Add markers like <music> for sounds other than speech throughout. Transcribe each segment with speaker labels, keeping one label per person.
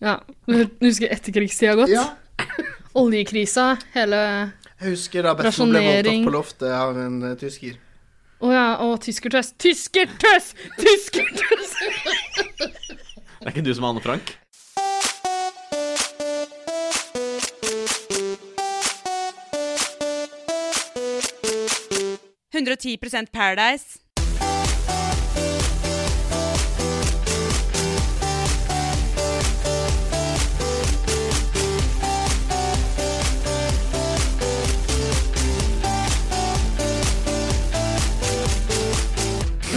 Speaker 1: Ja. men Husker etterkrigstida godt?
Speaker 2: Ja.
Speaker 1: Oljekrisa, hele
Speaker 2: Jeg husker da Betlen ble
Speaker 1: Rasjonering.
Speaker 2: voldtatt på loftet av en eh, tysker.
Speaker 1: Å ja, og tyskertøss. Tyskertøss! Tyskertøss!
Speaker 3: Det er ikke du som er Anne Frank? <laughs>
Speaker 4: Paradise.
Speaker 1: <laughs>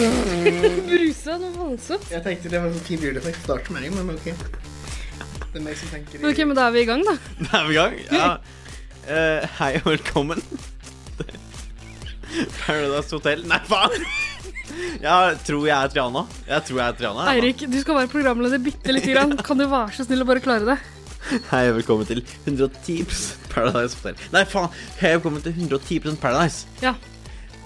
Speaker 1: Brusa noe voldsomt.
Speaker 2: Jeg tenkte det var en sånn fin lydeffekt å starte med, men ok. Det er meg som tenker
Speaker 1: Ok, men da er vi i gang, da.
Speaker 3: Da er vi i gang. Ja. Eh, hei og velkommen. <laughs> Paradise Hotel Nei, faen! <laughs> Jeg tror jeg er Triana. Jeg tror jeg er Triana. jeg, da.
Speaker 1: Eirik, du skal være programleder bitte lite grann. Kan du være så snill å bare klare det?
Speaker 3: Hei og velkommen til 110 Paradise Hotel. Nei, faen! Hei og velkommen til 110 Paradise.
Speaker 1: Ja,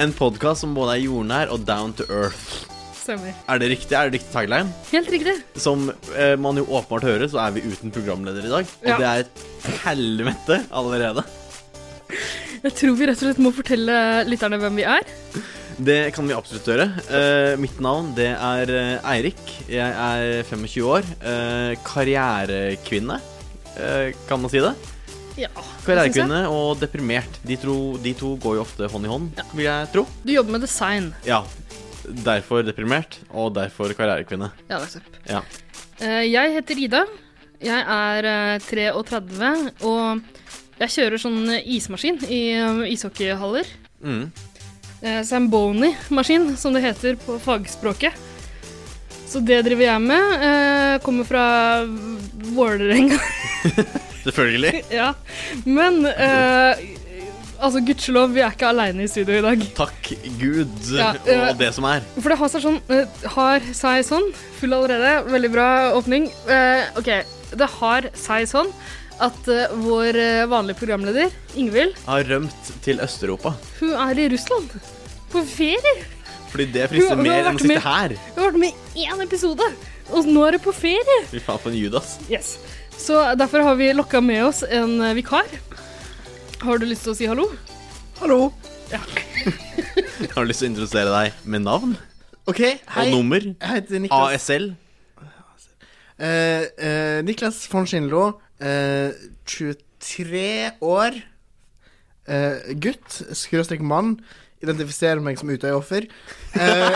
Speaker 3: En podkast som både er jordnær og down to earth.
Speaker 1: stemmer.
Speaker 3: Er det riktig? Er det riktig tagline?
Speaker 1: Helt riktig.
Speaker 3: Som eh, man jo åpenbart hører, så er vi uten programleder i dag. Og
Speaker 1: Ja.
Speaker 3: det er et helvete allerede.
Speaker 1: Jeg tror vi rett og slett må fortelle lytterne hvem vi er.
Speaker 3: Det kan vi absolutt gjøre. Eh, mitt navn det er eh, Eirik. Jeg er 25 år. eh, karrierekvinne, eh, kan man si det?
Speaker 1: Ja,
Speaker 3: Karrierekvinne og deprimert. De to, de to går jo ofte hånd i hånd, vil jeg tro.
Speaker 1: Du jobber med design.
Speaker 3: Ja. Derfor deprimert, og derfor karrierekvinne.
Speaker 1: Ja, nettopp.
Speaker 3: Ja.
Speaker 1: Eh, Jeg heter Ida. Jeg er eh, 33, og jeg kjører sånn ismaskin i eh, ishockeyhaller.
Speaker 3: Mm.
Speaker 1: eh, Zamboni-maskin, som det heter på fagspråket. Så det driver jeg med. Eh, kommer fra Vålerenga. <laughs>
Speaker 3: Selvfølgelig.
Speaker 1: ja. Men eh, altså, gudskjelov, vi er ikke aleine i studio i dag.
Speaker 3: Takk Gud
Speaker 1: Ja, eh,
Speaker 3: og det som er.
Speaker 1: For det har seg sånn eh, Har seg sånn. Full allerede. Veldig bra åpning. Eh, OK. Det har seg sånn at eh, vår eh, vanlige programleder, Ingvild,
Speaker 3: Har rømt til Øst-Europa.
Speaker 1: hun er i Russland. På ferie.
Speaker 3: Fordi det frister
Speaker 1: Du- du har
Speaker 3: mer enn
Speaker 1: vært
Speaker 3: å sitte
Speaker 1: med-
Speaker 3: her.
Speaker 1: Hun har vært med i én episode, og nå er hun på ferie.
Speaker 3: Fy faen, for en Judas.
Speaker 1: Yes. Så derfor har vi lokka med oss en eh, vikar. Har du lyst til å si hallo?
Speaker 2: Hallo!
Speaker 3: Har du lyst til å introdusere deg med navn
Speaker 2: Ok, hei.
Speaker 3: og nummer?
Speaker 2: Jeg heter Niklas.
Speaker 3: ASL?
Speaker 2: Eh, eh, Niklas von Schindlo, eh, 23 år, eh, gutt, skråstrek mann, identifiserer meg som Utøya-offer. Eh,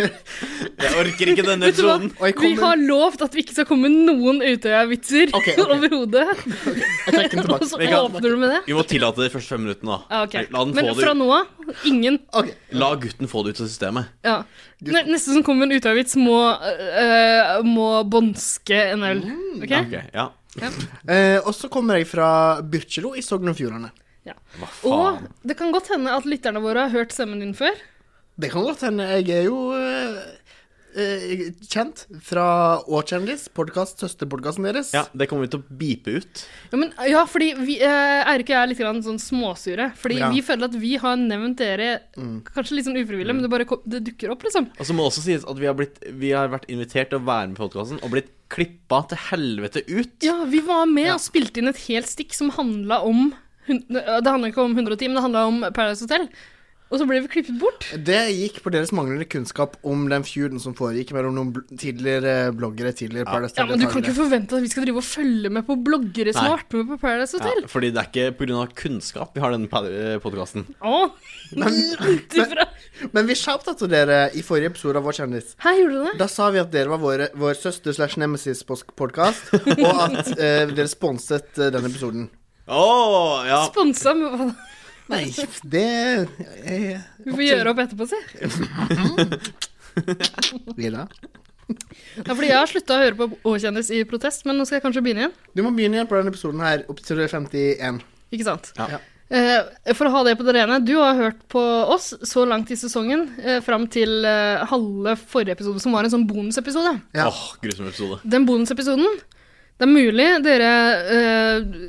Speaker 3: Jeg orker ikke denne
Speaker 1: Vet du hva?
Speaker 3: episoden.
Speaker 2: og jeg
Speaker 1: Vi har
Speaker 2: kommer
Speaker 1: lovt at vi ikke skal komme med noen Utøya-vitser
Speaker 2: Ok, ok.
Speaker 1: <laughs> overhodet.
Speaker 2: Jeg trekker den
Speaker 1: Og så
Speaker 3: Vi kan-
Speaker 1: åpner du med det.
Speaker 3: Vi må tillate det de første fem minuttene, da.
Speaker 1: Ja, Ah, ok.
Speaker 3: La, den
Speaker 1: Men
Speaker 3: få det
Speaker 1: fra
Speaker 3: ut.
Speaker 1: nå av, ingen.
Speaker 2: Ok,
Speaker 3: La gutten få det ut av systemet.
Speaker 1: Ja. Ne- Neste som kommer med en Utøya-vits, må, eh, må bånske en øl. OK?
Speaker 3: Mm, Ok, ja.
Speaker 2: Eh, og så kommer jeg fra Byrkjelo i Sogn og Fjordane.
Speaker 3: Hva
Speaker 1: Og
Speaker 3: faen?
Speaker 1: det kan godt hende at lytterne våre har hørt stemmen din før.
Speaker 2: Det kan godt hende. Jeg er jo eh, eh, kjent fra Åkjendis, podkast, søsterpodkasten deres.
Speaker 3: Ja, det kommer vi til å bipe ut.
Speaker 1: Ja, men, ja fordi vi, eh, Eirik og jeg er litt grann sånn småsure. Fordi
Speaker 2: Ja.
Speaker 1: vi føler at vi har nevnt dere kanskje litt sånn ufrivillig, men det bare kom, det dukker opp, liksom.
Speaker 3: Og så må det også sies at vi har, blitt, vi har vært invitert til å være med i podkasten og blitt klippa til helvete ut.
Speaker 1: Ja, vi var med og spilte inn et helt stikk som handla om hun- Det handla ikke om 110, men det handla om Paradise Hotel. Og så ble vi klippet bort.
Speaker 2: Det gikk på deres manglende kunnskap om den feuden som foregikk mellom noen bl tidligere bloggere. tidligere Paradise
Speaker 1: Ja, men Du kan ikke
Speaker 2: Hotel-deltakere.
Speaker 1: forvente at vi skal drive og følge med på bloggere som
Speaker 3: Nei.
Speaker 1: har vært med på Paradise
Speaker 3: Ja,
Speaker 1: Hotel.
Speaker 3: fordi det er ikke pga. kunnskap vi har eh, denne podkasten.
Speaker 1: Å, langt ifra.
Speaker 2: Men vi shouta til dere i forrige episode av Vår kjendis.
Speaker 1: Her gjorde du det.
Speaker 2: Da sa vi at dere var våre, vår søster slash nemesis-podkast, og at
Speaker 1: <laughs>
Speaker 2: eh, dere sponset eh, den episoden.
Speaker 3: Å, ja.
Speaker 1: Sponsa med hva da?
Speaker 2: Nei, det jeg,
Speaker 1: Vi får gjøre opp etterpå, si.
Speaker 2: Videre.
Speaker 1: Ja, fordi jeg har slutta å høre på Å-kjendis i protest, men nå skal jeg kanskje begynne igjen.
Speaker 2: Du må begynne igjen på denne episoden her, episode 51.
Speaker 1: Ikke sant?
Speaker 3: Ja.
Speaker 2: Ja.
Speaker 1: Eh, for å ha det på det rene, du har hørt på oss så langt i sesongen, eh, fram til eh, halve forrige episode, som var en sånn bonusepisode.
Speaker 2: Ja.
Speaker 3: Åh, grusom episode.
Speaker 1: Den bonusepisoden Det er mulig dere eh,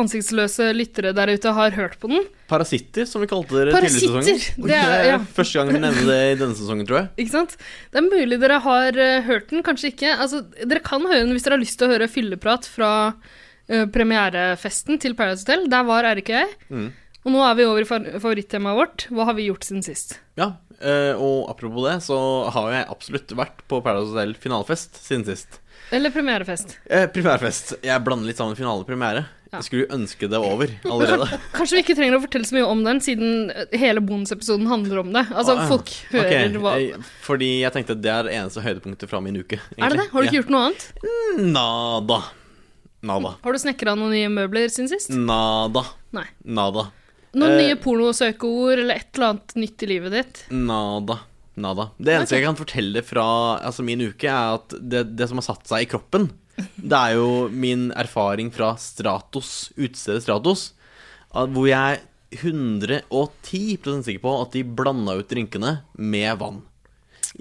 Speaker 1: ansiktsløse lyttere der ute har hørt på den.
Speaker 3: Parasitter, som vi kalte dere tidligere i
Speaker 1: Parasitter!
Speaker 3: sesongen.
Speaker 1: Det er, ja,
Speaker 3: Første gang vi nevner det i denne sesongen, tror jeg.
Speaker 1: ikke sant? Det er mulig dere har eh, hørt den, kanskje ikke. Altså, dere kan høre den hvis dere har lyst til å høre fylleprat fra eh, premierefesten til Paradise Hotel. Der var Eirik og jeg.
Speaker 3: Mm.
Speaker 1: Og nå er vi over i fa- favorittemaet vårt. Hva har vi gjort siden sist?
Speaker 3: Ja, eh, og apropos det, så har jo jeg absolutt vært på Paradise Hotel finalefest siden sist.
Speaker 1: Eller premierefest.
Speaker 3: Eh, primærfest. Jeg blander litt sammen finale og premiere.
Speaker 1: Ja.
Speaker 3: Jeg skulle jo ønske det var over allerede.
Speaker 1: Kanskje, kanskje vi ikke trenger å fortelle så mye om den, siden eh, hele bonusepisoden handler <laughs> om det. Altså,
Speaker 3: Ah, ja.
Speaker 1: folk hører
Speaker 3: Ok,
Speaker 1: hva
Speaker 3: eh, Fordi jeg tenkte det er det eneste høydepunktet fra min uke.
Speaker 1: Er det det? Har du ikke gjort noe annet?
Speaker 3: gjort Nada. Nada.
Speaker 1: Har du snekra noen nye møbler siden sist?
Speaker 3: Nada.
Speaker 1: Nei.
Speaker 3: Nada.
Speaker 1: Noen
Speaker 3: Eh,
Speaker 1: nye pornosøkeord eller et eller annet nytt i livet ditt?
Speaker 3: Nada. Nada. Det eneste jeg kan fortelle fra altså, min uke, er at det, det som har satt seg i kroppen, det er jo min erfaring fra Stratos, utestedet Stratos, at- hvor jeg er 110 sikker på at de blanda ut drinkene med vann.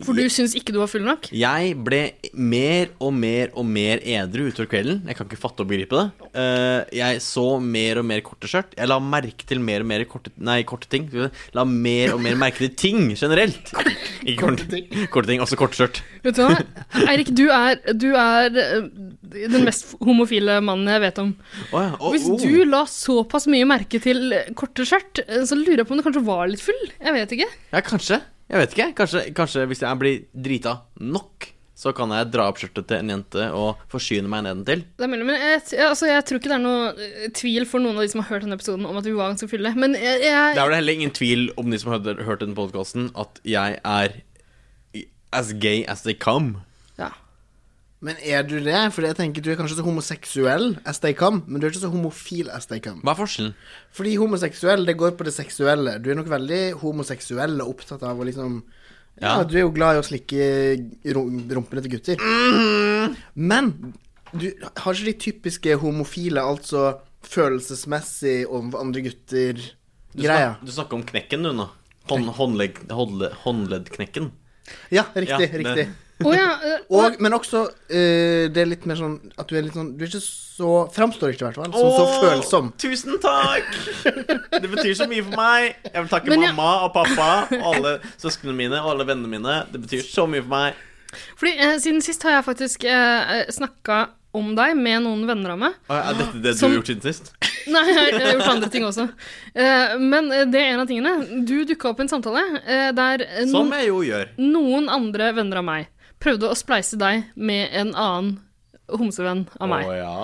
Speaker 1: For du syns ikke du var full nok?
Speaker 3: Jeg ble mer og mer og mer edru utover kvelden. Jeg kan ikke fatte og begripe det. Eh, jeg så mer og mer korte skjørt. Jeg la merke til mer og mer korte, nei, korte ting. Skal vi se. La mer og mer merke til ting generelt. Ikke korte,
Speaker 2: ting.
Speaker 3: korte ting, også korte skjørt.
Speaker 1: Vet du hva? Eirik, du er, du er eh, den mest homofile mannen jeg vet om.
Speaker 3: Å ja, å,
Speaker 1: Hvis
Speaker 3: oh.
Speaker 1: du la såpass mye merke til eh, korte skjørt, eh, så lurer jeg på om du kanskje var litt full? Jeg vet ikke.
Speaker 3: Ja, kanskje. Jeg vet ikke. Kanskje, kanskje hvis jeg blir drita nok, så kan jeg dra opp skjørtet til en jente og forsyne meg nedentil.
Speaker 1: Det er mulig, men jeg, t- altså, jeg tror ikke det er noe eh, tvil for noen av de som har hørt denne episoden om at vi var ganske fulle. Men jeg, jeg,
Speaker 3: Det er vel heller ingen tvil om de som har hørt den podkasten, at jeg er as gay as they come.
Speaker 1: ja.
Speaker 2: Men er du det? Fordi jeg tenker du er kanskje så homoseksuell as they come, men du er ikke så homofil as they come.
Speaker 3: Hva er forskjellen?
Speaker 2: Fordi homoseksuell, det går på det seksuelle. Du er nok veldig homoseksuell og opptatt av å liksom Ja,
Speaker 3: Ja.
Speaker 2: du er jo glad i å slikke rum- rumpene til gutter.
Speaker 3: Mhm.
Speaker 2: Men du har ikke de typiske homofile, altså følelsesmessig overfor andre gutter
Speaker 3: Du,
Speaker 2: Greia.
Speaker 3: snak, du snakker om knekken, du nå. Hånd, håndlegg, håndle, håndleddknekken.
Speaker 2: Ja, riktig.
Speaker 3: Ja, det-
Speaker 2: riktig.
Speaker 1: Å ja,
Speaker 3: <laughs>
Speaker 1: eh,
Speaker 2: Og, men også eh, det er litt mer sånn at du er litt sånn Du er ikke så Framstår ikke, i hvert fall, som så
Speaker 3: Åh,
Speaker 2: følsom.
Speaker 3: Tusen takk! Det betyr så mye for meg. Jeg vil takke
Speaker 1: Men jeg-
Speaker 3: mamma og pappa og alle søsknene mine og alle vennene mine. Det betyr så mye for meg.
Speaker 1: Fordi eh, siden sist har jeg faktisk eh, snakka om deg med noen venner av meg. <laughs>
Speaker 3: Å, Er dette det du
Speaker 1: Som-
Speaker 3: har gjort siden sist?
Speaker 1: Nei, jeg har jeg har gjort andre ting også. Eh, men eh, det er en av tingene. Du dukka opp i en samtale eh, der eh,
Speaker 3: Som
Speaker 1: noen,
Speaker 3: jeg jo gjør.
Speaker 1: noen andre venner av meg prøvde å spleise deg med en annen homsevenn av meg.
Speaker 3: Å ja.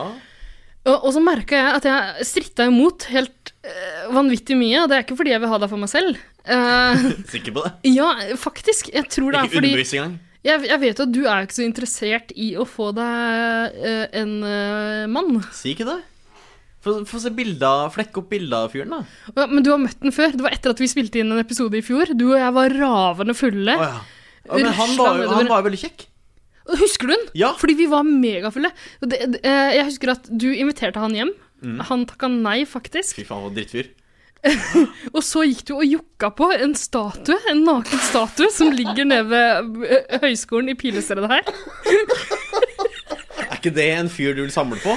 Speaker 1: Og, og så merka jeg at jeg stritta imot helt eh, vanvittig mye, og det er ikke fordi jeg vil ha deg for meg selv. Eh, <laughs>
Speaker 3: Sikker på det?
Speaker 1: ja, faktisk. Jeg tror det er
Speaker 3: Ikke
Speaker 1: fordi
Speaker 3: underbevisst engang.
Speaker 1: jeg, jeg vet jo at du er jo ikke så interessert i å få deg eh, en eh, mann.
Speaker 3: Si ikke det. Få få se bilde av Flekk opp bilde av fyren, da.
Speaker 1: Ja, men du har møtt den før. Det var etter at vi spilte inn en episode i fjor. Du og jeg var ravende fulle.
Speaker 3: Å ja. Ja, Men han var,
Speaker 1: Rusla
Speaker 3: jo, han
Speaker 1: nedover.
Speaker 3: var jo veldig kjekk.
Speaker 1: Og Husker du den?
Speaker 3: Ja.
Speaker 1: Fordi vi var megafulle. Og Det, det, eh, jeg husker at du inviterte han hjem.
Speaker 3: Mm.
Speaker 1: Han takka nei, faktisk.
Speaker 3: Fy faen, for en drittfyr.
Speaker 1: Og så gikk du og jokka på en statue, en naken statue, som ligger nede ved eh, høyskolen i Pilestredet her.
Speaker 3: Er ikke det en fyr du vil samle på?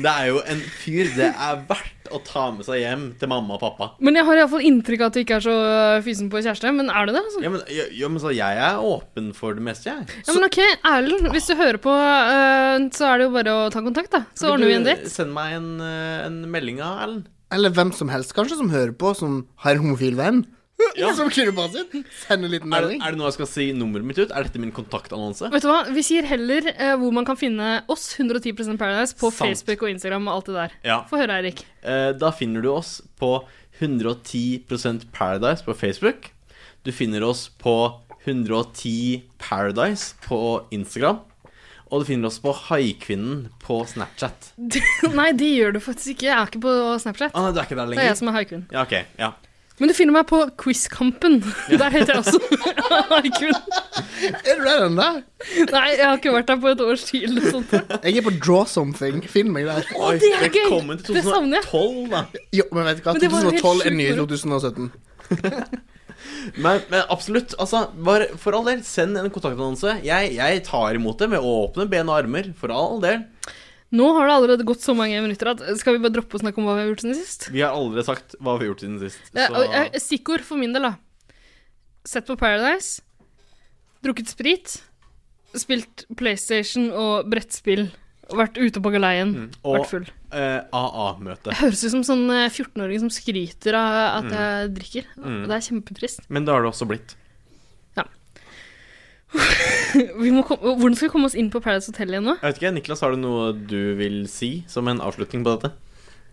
Speaker 3: Det er jo en fyr det er verdt å ta med seg hjem til mamma og pappa.
Speaker 1: Men jeg har iallfall inntrykk av at du ikke er så eh, fysen på kjæreste. Men er du det? altså?
Speaker 3: Ja, men, ja, ja, men så Jeg er åpen for det meste, jeg.
Speaker 1: Ja, men ok, Erlend, hvis du hører på, eh, så er det jo bare å ta kontakt, da. Så ordner vi en date.
Speaker 3: Send meg en, eh, en melding av Erlend.
Speaker 2: Eller hvem som helst, kanskje, som hører på, som har en homofil venn. <laughs> Som klirrer på sin. Send en liten
Speaker 3: Er, det-
Speaker 2: melding.
Speaker 3: er det nå jeg skal si nummeret mitt ut? Er dette min kontaktannonse?
Speaker 1: Vet du hva, Vi sier heller eh, hvor man kan finne oss 110 Paradise på
Speaker 3: Sant.
Speaker 1: Facebook og Instagram og alt det der.
Speaker 3: Ja.
Speaker 1: Få høre, Eirik. <laughs>
Speaker 3: Eh, Da finner du oss på 110 Paradise på Facebook. Du finner oss på 110 Paradise på Instagram. Og du finner oss på Haikvinnen på Snapchat.
Speaker 1: Nei, det gjør du faktisk ikke. Jeg er ikke på Snapchat.
Speaker 3: Ah, nei, du er ikke der
Speaker 1: Det er
Speaker 3: lenger?
Speaker 1: jeg som er haikvinnen.
Speaker 3: Ja, ok. Ja.
Speaker 1: Men du finner meg på Quizkampen. Der heter jeg også <laughs> Arkun.
Speaker 2: Er du der ennå?
Speaker 1: Nei, jeg har ikke vært der på et års tid. Eller noe sånt.
Speaker 2: Jeg er på Draw Something. Finn meg der.
Speaker 1: Å, det er gøy!
Speaker 3: Velkommen til
Speaker 1: Det savner jeg.
Speaker 3: 2012, da.
Speaker 2: Jo, men vet du hva,
Speaker 1: Men det var helt
Speaker 2: 2012 er
Speaker 1: sjukt
Speaker 2: ny
Speaker 1: for-
Speaker 2: 2017.
Speaker 3: Men, men absolutt. altså, bare For all del, send en kontaktannonse. Jeg, jeg tar imot det med åpne ben og armer. For all del.
Speaker 1: Nå har det allerede gått så mange minutter at skal vi bare droppe å snakke om hva vi har gjort siden sist?
Speaker 3: Vi har aldri sagt hva vi har gjort siden sist.
Speaker 1: Ja,
Speaker 3: så-
Speaker 1: og, eh, Stikkord for min del, da. Sett på Paradise. Drukket sprit. Spilt PlayStation og brettspill. og Vært ute på galeien.
Speaker 3: Mm, og-
Speaker 1: Vært full.
Speaker 3: Eh, AA-møte.
Speaker 1: Jeg høres ut som sånn eh, 14-åring som skryter av
Speaker 3: Mm.
Speaker 1: at jeg drikker. Og Det er kjempetrist.
Speaker 3: Men det har det også blitt.
Speaker 1: Vi må kom Hvordan skal vi komme oss inn på Paradise Hotel igjen nå?
Speaker 3: Jeg vet ikke, Niklas, har du noe du vil si som en avslutning på dette?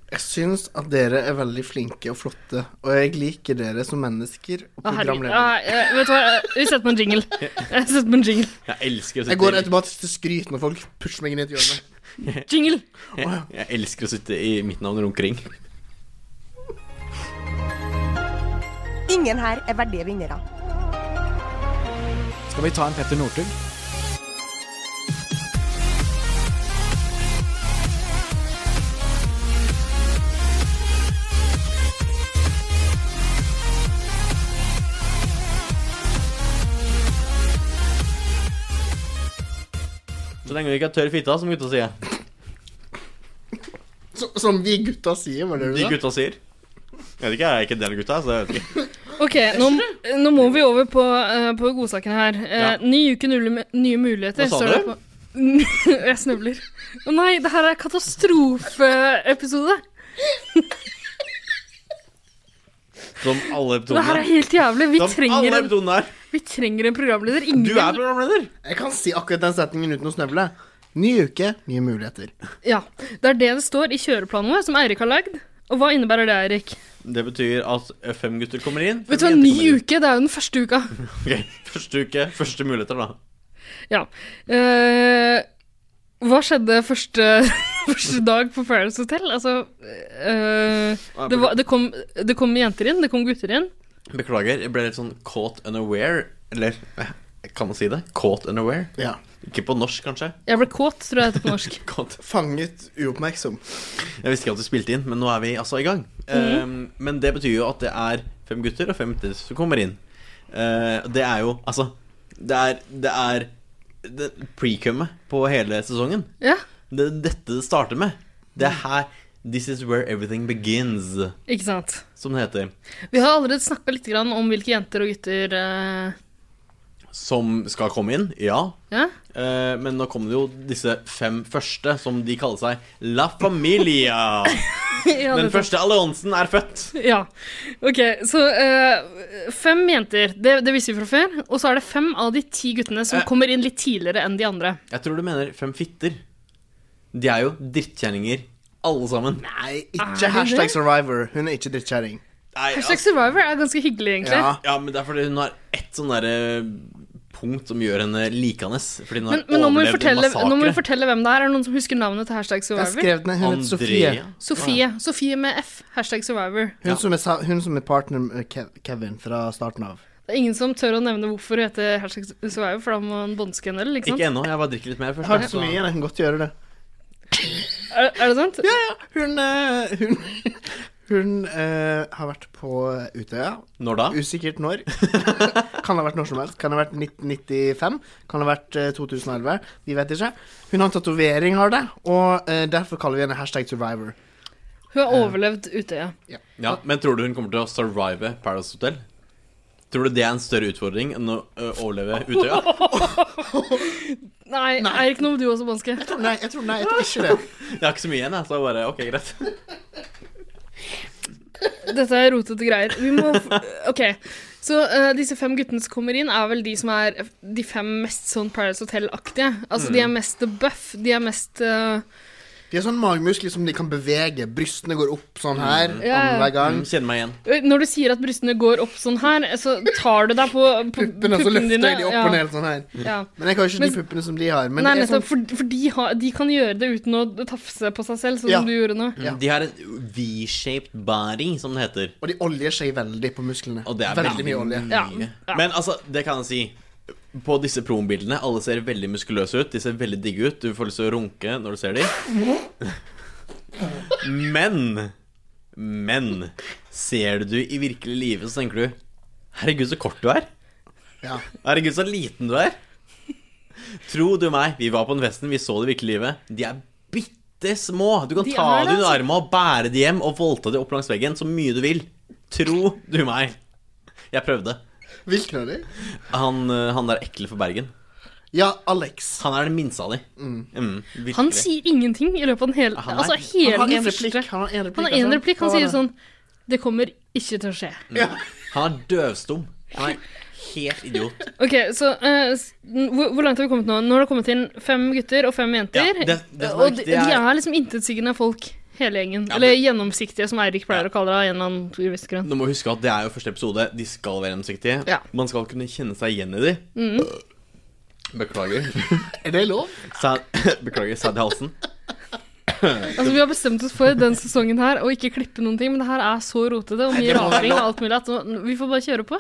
Speaker 2: Jeg syns at dere er veldig flinke og flotte, og jeg liker dere som mennesker og
Speaker 1: Å, herregud.
Speaker 2: programledere.
Speaker 1: Ah, eh, vet du hva, Eh, vi setter på en jingle. Jeg setter på en jingle.
Speaker 3: Jeg elsker å
Speaker 2: Jeg går
Speaker 3: sitte,
Speaker 2: automatisk til skryt når folk pusher meg inn i et hjørne.
Speaker 1: Jingle!
Speaker 3: i, jeg, jeg elsker å sitte i midten av en rundkring.
Speaker 5: Ingen her er verdige vinnere.
Speaker 6: Skal vi ta en Petter Northug?
Speaker 3: Så lenge du ikke har tørr fitte, som gutta sier.
Speaker 2: Så, som vi gutta sier, var det
Speaker 3: De
Speaker 2: det du sa?
Speaker 3: gutta sier. Jeg vet ikke, jeg er ikke en del av gutta, så jeg vet ikke.
Speaker 1: Ok, nå, nå må vi over på, eh, på godsaken her. Eh,
Speaker 3: Ja.
Speaker 1: Ny uke, nulle, nye muligheter.
Speaker 3: Hva sa
Speaker 1: står det
Speaker 3: du?
Speaker 1: på- <laughs> Jeg snøvler. Å nei, det her er katastrofeepisode.
Speaker 3: Som alle
Speaker 1: Det her er
Speaker 3: episodene.
Speaker 1: helt jævlig. Vi
Speaker 3: Som alle
Speaker 1: trenger en,
Speaker 3: episodene her.
Speaker 1: vi trenger en programleder.
Speaker 3: Du er
Speaker 1: Ingen
Speaker 3: programleder.
Speaker 2: Jeg kan si akkurat den setningen uten å snøvle. Ny uke, nye muligheter.
Speaker 1: Ja, Det er det det står i kjøreplanen vår, som Eirik har lagd. Og hva innebærer det, Eirik?
Speaker 3: Det betyr at fem gutter kommer inn.
Speaker 1: Vet du hva, Ny uke, det er jo den første uka.
Speaker 3: Ok, Første uke, første muligheter, da.
Speaker 1: Ja. Eh, hva skjedde første, <laughs> første dag på Paradise Hotel? Altså eh, det, var, det, kom, det kom jenter inn, det kom gutter inn.
Speaker 3: Beklager, jeg ble litt sånn caught unaware. Eller eh, kan man si det? Caught unaware?
Speaker 2: Ja.
Speaker 3: Ikke på norsk, kanskje?
Speaker 1: Jeg ble kåt, tror jeg det heter på norsk.
Speaker 3: Caught.
Speaker 2: Fanget uoppmerksom.
Speaker 3: Jeg visste ikke at du spilte inn, men nå er vi altså i gang.
Speaker 1: Mhm.
Speaker 3: Eh, men det betyr jo at det er fem gutter og fem gutter som kommer inn. Eh, det er jo Altså, det er, det er det- pre-cummet på hele sesongen.
Speaker 1: <laughs> Ja,
Speaker 3: Det er dette det starter med. Det
Speaker 1: Mhm.
Speaker 3: er her This is where everything begins,
Speaker 1: ikke sant.
Speaker 3: som det heter.
Speaker 1: Vi har allerede snakka litt grann om hvilke jenter og gutter eh,
Speaker 3: Som skal komme inn, ja.
Speaker 1: Ja,
Speaker 3: Eh, Men nå kom det jo disse fem første, som de kaller seg La Familia.
Speaker 1: <laughs> <laughs> ja
Speaker 3: Den
Speaker 1: det-
Speaker 3: første alliansen er født.
Speaker 1: Ja. Ok, så eh, fem jenter, det, det visste vi fra før. Og så er det fem av de ti guttene som
Speaker 3: Eh.
Speaker 1: kommer inn litt tidligere enn de andre.
Speaker 3: Jeg tror du mener fem fitter. De er jo drittkjerringer, alle sammen.
Speaker 2: Nei, ikke hashtag survivor. Hun er ikke drittkjerring.
Speaker 3: Nei,
Speaker 1: Hashtag
Speaker 3: altså,
Speaker 1: Survivor er ganske hyggelig, egentlig.
Speaker 2: Ja.
Speaker 3: ja, men det er fordi hun har ett sånn derre punkt som gjør henne likende. Fordi hun har
Speaker 1: Men, men nå, må vi
Speaker 3: overlevd en
Speaker 1: fortelle, nå må vi
Speaker 3: massakre.
Speaker 1: fortelle hvem det er. Er det noen som husker navnet til hashtag
Speaker 2: Jeg
Speaker 1: Survivor?
Speaker 2: skrev ned. Hun heter Sofie.
Speaker 3: Andrea.
Speaker 1: Sofie. Sofie med F. Hashtag Survivor.
Speaker 2: Hun, som er, sa- hun som er partner med Kev- Kevin fra starten av.
Speaker 1: Det er ingen som tør å nevne hvorfor hun heter hashtag Survivor, for da må han båndske henne, eller? Ikke sant?
Speaker 3: Ikke ennå. Jeg bare drikker litt mer først.
Speaker 2: Jeg har
Speaker 3: altså.
Speaker 2: ikke så mye igjen, jeg kan godt gjøre det.
Speaker 1: Er, er det sant?
Speaker 2: Hun eh, Hun, <laughs> hun eh, har vært på Utøya.
Speaker 3: Når
Speaker 2: Ah.
Speaker 3: da?
Speaker 2: Usikkert når. <laughs> kan ha vært når som helst. Kan ha vært 1995. Kan ha vært eh, 2011. Vi vet ikke. Hun har en tatovering, har det, og eh, derfor kaller vi henne hashtag survivor.
Speaker 1: Hun har overlevd Utøya.
Speaker 3: Ja, men tror du hun kommer til å survive Paradise Hotel? Tror du det er en større utfordring enn å ø, overleve Utøya?
Speaker 1: <laughs> Nei, Eirik, nå må du også båndske.
Speaker 2: Nei, jeg tror, nei, jeg tror ikke <laughs> det.
Speaker 3: Jeg har ikke så mye igjen, jeg, så jeg bare ok, greit.
Speaker 1: Dette er rotete greier. Vi må OK. Så eh, disse fem guttene som kommer inn, er vel de som er de fem mest sånn Paradise Hotel-aktige. Altså, de er mest the buff. De er mest eh,
Speaker 2: De har sånne magemuskler som de kan bevege. Brystene går opp sånn her
Speaker 1: Ja, ja.
Speaker 2: annenhver gang.
Speaker 3: Mm, Kjenner meg igjen.
Speaker 1: Når du sier at brystene går opp sånn her, så tar du deg på, på
Speaker 2: Puppene, så løfter de opp
Speaker 1: ja.
Speaker 2: og ned sånn her.
Speaker 1: Ja.
Speaker 2: Men jeg har jo ikke
Speaker 1: Men-
Speaker 2: de puppene som de har. Men
Speaker 1: Nei,
Speaker 2: det er
Speaker 1: nettopp,
Speaker 2: sånn,
Speaker 1: for, for de, har, de kan gjøre det uten å tafse på seg selv, sånn
Speaker 2: Ja.
Speaker 1: som du gjorde nå.
Speaker 2: Ja.
Speaker 3: De har et V-shaped body, som det heter.
Speaker 2: og de oljer seg veldig på musklene.
Speaker 3: Og det er
Speaker 2: veldig mye olje.
Speaker 1: Ja. Ja.
Speaker 3: Men altså, det kan jeg si. På disse promobildene, alle ser veldig muskuløse ut. De ser veldig digge ut. Du får lyst til å runke når du ser dem. Men Men ser du i virkelig livet, så tenker du Herregud, så kort du er.
Speaker 2: Ja.
Speaker 3: Herregud, så liten du er. Tro du meg, vi var på den festen, vi så det i virkelig livet. De er bitte små. Du kan
Speaker 1: De
Speaker 3: ta
Speaker 1: er det,
Speaker 3: dem under
Speaker 1: altså.
Speaker 3: armene og bære dem hjem og voldta dem opp langs veggen så mye du vil. Tro du meg. Jeg prøvde.
Speaker 2: Hvilken av de?
Speaker 3: Han, eh, han der ekle for Bergen.
Speaker 2: Ja, Alex.
Speaker 3: Han er den minste av de. Mm, virkelig.
Speaker 1: Han sier ingenting i løpet av den hele
Speaker 3: Han er-
Speaker 1: Altså hele
Speaker 2: Han har
Speaker 1: den
Speaker 2: en replikk.
Speaker 1: første.
Speaker 2: Han har en replikk.
Speaker 1: Han har én
Speaker 2: altså.
Speaker 1: replikk. Han
Speaker 2: Hva var
Speaker 1: sier
Speaker 2: det?
Speaker 1: sånn Det kommer ikke til å skje.
Speaker 3: Mm. han er døvstum. Han er
Speaker 1: <laughs>
Speaker 3: helt idiot.
Speaker 1: Ok, så eh, s- hvor, hvor langt har vi kommet nå? Nå har det kommet inn fem gutter og fem jenter.
Speaker 3: Ja, det- det som er
Speaker 1: og de,
Speaker 3: viktig er-
Speaker 1: de er liksom intetsigende folk, hele gjengen. Eller gjennomsiktige, som Eirik pleier å kalle det. av en eller annen viss grunn.
Speaker 3: Du må huske at det er jo første episode. De skal være gjennomsiktige.
Speaker 1: Ja. Mm.
Speaker 3: Man skal kunne kjenne seg igjen i de. Beklager. <laughs>
Speaker 1: sånn.
Speaker 2: <laughs> Er det lov?
Speaker 3: Sad, <laughs> beklager, sad i halsen.
Speaker 1: Altså, Vi har bestemt oss for den sesongen her å ikke klippe noen ting, men det her er så rotete og mye raring og alt mulig at nå- vi får bare kjøre på.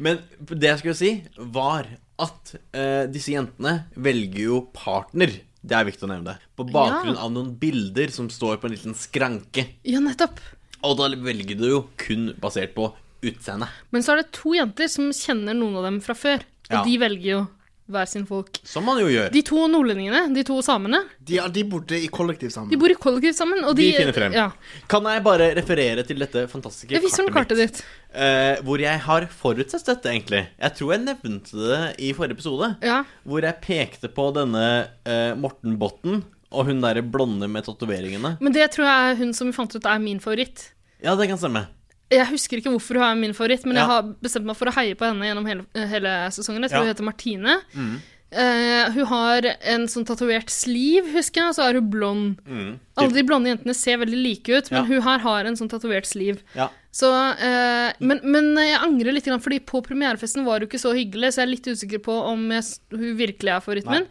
Speaker 3: Men det jeg skulle si, var at eh, disse jentene velger jo partner. Det er viktig å nevne det. På bakgrunn av noen bilder som står på en liten skranke.
Speaker 1: Ja, nettopp.
Speaker 3: Og da velger du jo kun basert på utseende.
Speaker 1: Men så er det to jenter som kjenner noen av dem fra før, og
Speaker 3: Ja.
Speaker 1: de velger jo hver sin folk.
Speaker 3: Som man jo gjør.
Speaker 1: De to nordlendingene, de to samene,
Speaker 2: De, ja, de bodde i kollektiv sammen.
Speaker 1: de bor i kollektiv sammen, og de
Speaker 3: De finner frem.
Speaker 1: Ja.
Speaker 3: Kan jeg bare referere til dette fantastiske
Speaker 1: Jeg viser dem
Speaker 3: kartet
Speaker 1: kartet
Speaker 3: mitt?
Speaker 1: ditt.
Speaker 3: eh, hvor jeg har forutsett dette, egentlig. Jeg tror jeg nevnte det i forrige episode.
Speaker 1: Ja.
Speaker 3: Hvor jeg pekte på denne eh, Morten Botten og hun derre blonde med tatoveringene.
Speaker 1: Men det tror jeg er hun som vi fant ut er min favoritt.
Speaker 3: Ja, det kan stemme.
Speaker 1: Jeg husker ikke hvorfor hun er min favoritt, men
Speaker 3: Ja.
Speaker 1: jeg har bestemt meg for å heie på henne gjennom hele, hele sesongen. Jeg tror hun
Speaker 3: Ja. Mm.
Speaker 1: heter Martine. Eh, hun har en sånn tatovert sleeve, husker jeg, og så er hun blond. Alle de blonde jentene ser veldig like ut, men
Speaker 3: Mm. Ja.
Speaker 1: hun her har en sånn tatovert sleeve.
Speaker 3: Ja.
Speaker 1: Så, eh, men, men jeg angrer litt, grann, fordi på premierefesten var hun ikke så hyggelig, så jeg er litt usikker på om jeg, s- hun virkelig er favoritten
Speaker 3: Nei.
Speaker 1: min.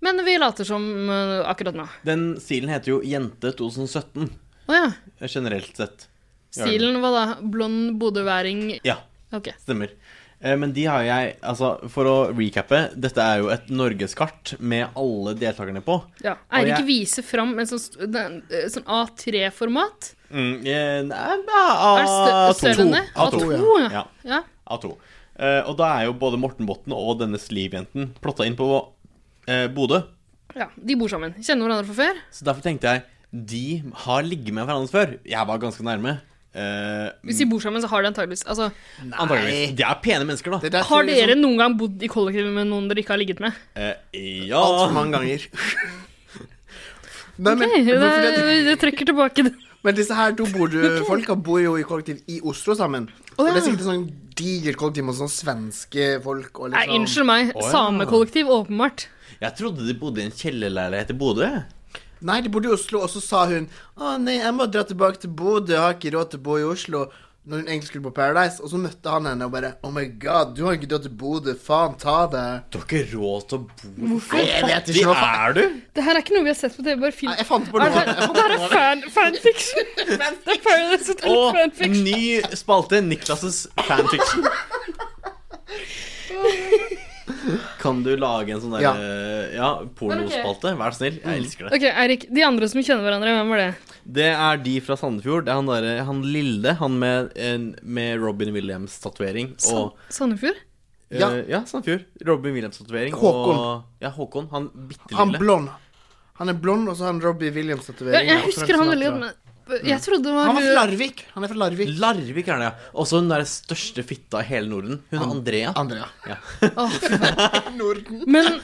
Speaker 1: Men vi later som eh, akkurat nå.
Speaker 3: Den stilen heter jo Jente 2017,
Speaker 1: Å ja.
Speaker 3: eh, generelt sett.
Speaker 1: Stilen var da blond bodøværing.
Speaker 3: Ja,
Speaker 1: Ok.
Speaker 3: stemmer. Eh, Men de har jeg Altså, for å recappe, dette er jo et norgeskart med alle deltakerne på.
Speaker 1: Ja.
Speaker 3: Og
Speaker 1: Eirik
Speaker 3: jeg-
Speaker 1: viser fram en sånn, st- den- eh, sånn A3-format.
Speaker 3: Mm, eh, nei,
Speaker 1: Er det stø-
Speaker 3: A2.
Speaker 1: større enn det?
Speaker 3: A2.
Speaker 1: A2, ja.
Speaker 3: Ja.
Speaker 1: ja.
Speaker 3: A2. Eh, og da er jo både Morten Botten og denne Sliv-jenten plotta inn på eh, Bodø.
Speaker 1: ja. De bor sammen. Kjenner hverandre fra før.
Speaker 3: Så derfor tenkte jeg de har ligget med hverandre før. Jeg var ganske nærme. Eh,
Speaker 1: Hvis de bor sammen, så har de antageligvis altså,
Speaker 3: antageligvis. De er pene mennesker, da.
Speaker 2: Det der tror liksom-
Speaker 1: Har
Speaker 2: jeg sånn-
Speaker 1: dere noen gang bodd i kollektiv med noen dere ikke har ligget med?
Speaker 3: Eh, ja
Speaker 2: sånn altfor mange
Speaker 3: <laughs>
Speaker 2: ganger. Nei, men,
Speaker 1: Nei,
Speaker 2: men, fordi at-
Speaker 1: det, det trekker tilbake det.
Speaker 2: men disse her to
Speaker 1: <laughs>
Speaker 2: bor du, folka bor jo i kollektiv i Oslo sammen. Og det er
Speaker 1: ja.
Speaker 2: sikkert et sånn digert kollektiv med sånn svenske folk og
Speaker 1: Nei,
Speaker 2: liksom
Speaker 1: unnskyld meg.
Speaker 3: ja.
Speaker 1: Samekollektiv, åpenbart.
Speaker 3: Jeg trodde de bodde i en kjellerleilighet i Bodø. jeg.
Speaker 2: Nei, de bodde i Oslo, og så sa hun Å nei, jeg må dra tilbake til Bodø, jeg har ikke råd til å bo i Oslo. Når hun egentlig skulle på Paradise, og så møtte han henne og bare Oh my god, du har ikke råd til Bodø, faen, ta det.
Speaker 3: Du har ikke råd til å bo Hvorfor
Speaker 2: Nei, jeg vet
Speaker 3: de
Speaker 2: ikke hva faen
Speaker 3: er du?
Speaker 1: Det her er ikke noe vi har sett på TV, bare film.
Speaker 2: Nei, Jeg fant på
Speaker 1: <laughs> Det
Speaker 2: noe.
Speaker 1: her, det her er fan, fanfiction. Det er Paradise Hotel
Speaker 3: Og
Speaker 1: fanfiction.
Speaker 3: ny spalte, Niklas' fanfiction. Kan du lage en sånn der
Speaker 2: Ja.
Speaker 3: eh, ja, pornospalte? Vær så snill. Jeg elsker det.
Speaker 1: Ok, Eirik. De andre som kjenner hverandre, hvem var det?
Speaker 3: Det er de fra Sandefjord. Det er han derre Han lille. Han med, en, med Robin Williams-tatovering. Og
Speaker 1: Sandefjord?
Speaker 3: eh,
Speaker 2: Ja.
Speaker 3: ja, Sandefjord. Robin Williams-tatovering.
Speaker 2: Håkon.
Speaker 3: Og, ja, Håkon. Han bitte
Speaker 2: Han
Speaker 3: lille.
Speaker 2: blond. Han er blond, og så har han Robbie Williams-tatovering.
Speaker 1: Ja, jeg husker han veldig godt, men jeg trodde det var
Speaker 2: Han var
Speaker 1: hun-
Speaker 2: fra Larvik. Han er fra Larvik.
Speaker 3: Larvik er det, ja. Også hun der største fitta i hele Norden. Hun er Andrea.
Speaker 2: Andrea. <laughs>
Speaker 1: Men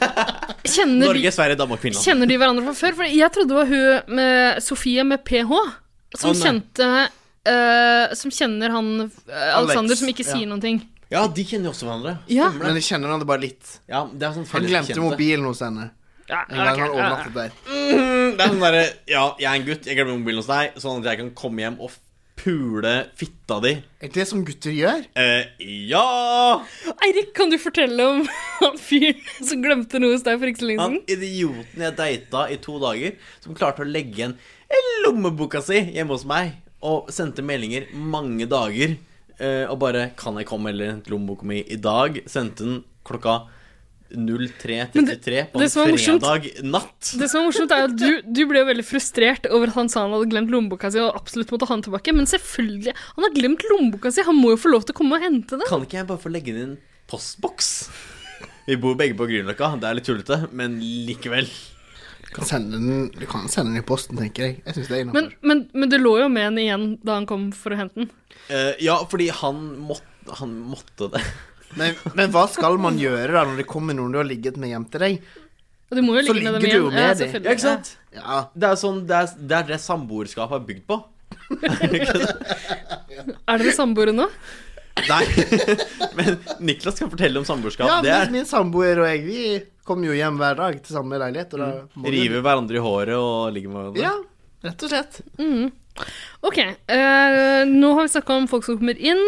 Speaker 1: kjenner de,
Speaker 3: Norge, Sverige, Danmark, Finland.
Speaker 1: kjenner de hverandre fra før? For jeg trodde det var hun med Sofie med PH som
Speaker 3: Å, nei.
Speaker 1: kjente eh, Som kjenner han eh, Alexander som ikke
Speaker 2: ja.
Speaker 1: sier noen ting.
Speaker 3: Ja, de kjenner jo også hverandre.
Speaker 1: Ja.
Speaker 2: Men jeg kjenner han det bare litt.
Speaker 3: Ja, det er sånn
Speaker 2: Han
Speaker 3: felles
Speaker 2: glemte
Speaker 3: bekjente.
Speaker 2: mobilen hos henne.
Speaker 1: Ja,
Speaker 2: En gang
Speaker 1: ok,
Speaker 2: han
Speaker 1: ja, ja.
Speaker 2: overnattet der.
Speaker 3: Mm, Det er sånn derre Ja, jeg er en gutt, jeg glemmer mobilen hos deg, sånn at jeg kan komme hjem og pule fitta di.
Speaker 2: Er det som gutter gjør?
Speaker 3: Eh, ja!
Speaker 1: Eirik, kan du fortelle om <laughs> han fyren som glemte noe hos deg for ikke så lenge
Speaker 3: Han
Speaker 1: siden?
Speaker 3: idioten jeg data i to dager, som klarte å legge igjen lommeboka si hjemme hos meg, og sendte meldinger mange dager, eh, og bare 'Kan jeg komme eller hente lommeboka mi i dag?' Sendte den klokka
Speaker 1: Men det-
Speaker 3: 03.33 på
Speaker 1: det
Speaker 3: en
Speaker 1: som var morsomt-
Speaker 3: fredag natt.
Speaker 1: Det som er morsomt, er at du, du ble jo veldig frustrert over at han sa han hadde glemt lommeboka si, og absolutt måtte ha den tilbake, men selvfølgelig, han har glemt lommeboka si, han må jo få lov til å komme og hente den.
Speaker 3: Kan ikke jeg bare få legge den i en postboks? Vi bor begge på Grünerløkka, det er litt tullete, men likevel.
Speaker 2: Du kan sende den, du kan sende den i posten, tenker jeg. Jeg synes det er
Speaker 1: Men,
Speaker 2: innenfor.
Speaker 1: men, men det lå jo med en igjen da han kom for å hente den.
Speaker 3: Eh, ja, fordi han måtte, han måtte det.
Speaker 2: Men, men hva skal man gjøre da når det kommer noen du har ligget med hjem til deg?
Speaker 1: Og du må jo
Speaker 2: Så
Speaker 1: ligge med dem
Speaker 2: ligger
Speaker 1: igjen.
Speaker 2: du jo med de.
Speaker 1: selvfølgelig.
Speaker 3: Ja, ikke sant?
Speaker 2: Ja,
Speaker 3: Det er jo sånn, det er det, er det samboerskapet er bygd på. <laughs>
Speaker 1: Er dere samboere nå?
Speaker 3: Nei, men Niklas kan fortelle om samboerskap.
Speaker 2: ja
Speaker 3: det
Speaker 2: min, min samboer og jeg, vi kommer jo hjem hver dag til samme leilighet, og da må
Speaker 3: er
Speaker 2: vi-
Speaker 3: rive hverandre i håret og ligge med hverandre.
Speaker 2: Ja, rett og slett.
Speaker 1: Ok, eh, nå har vi snakka om folk som kommer inn,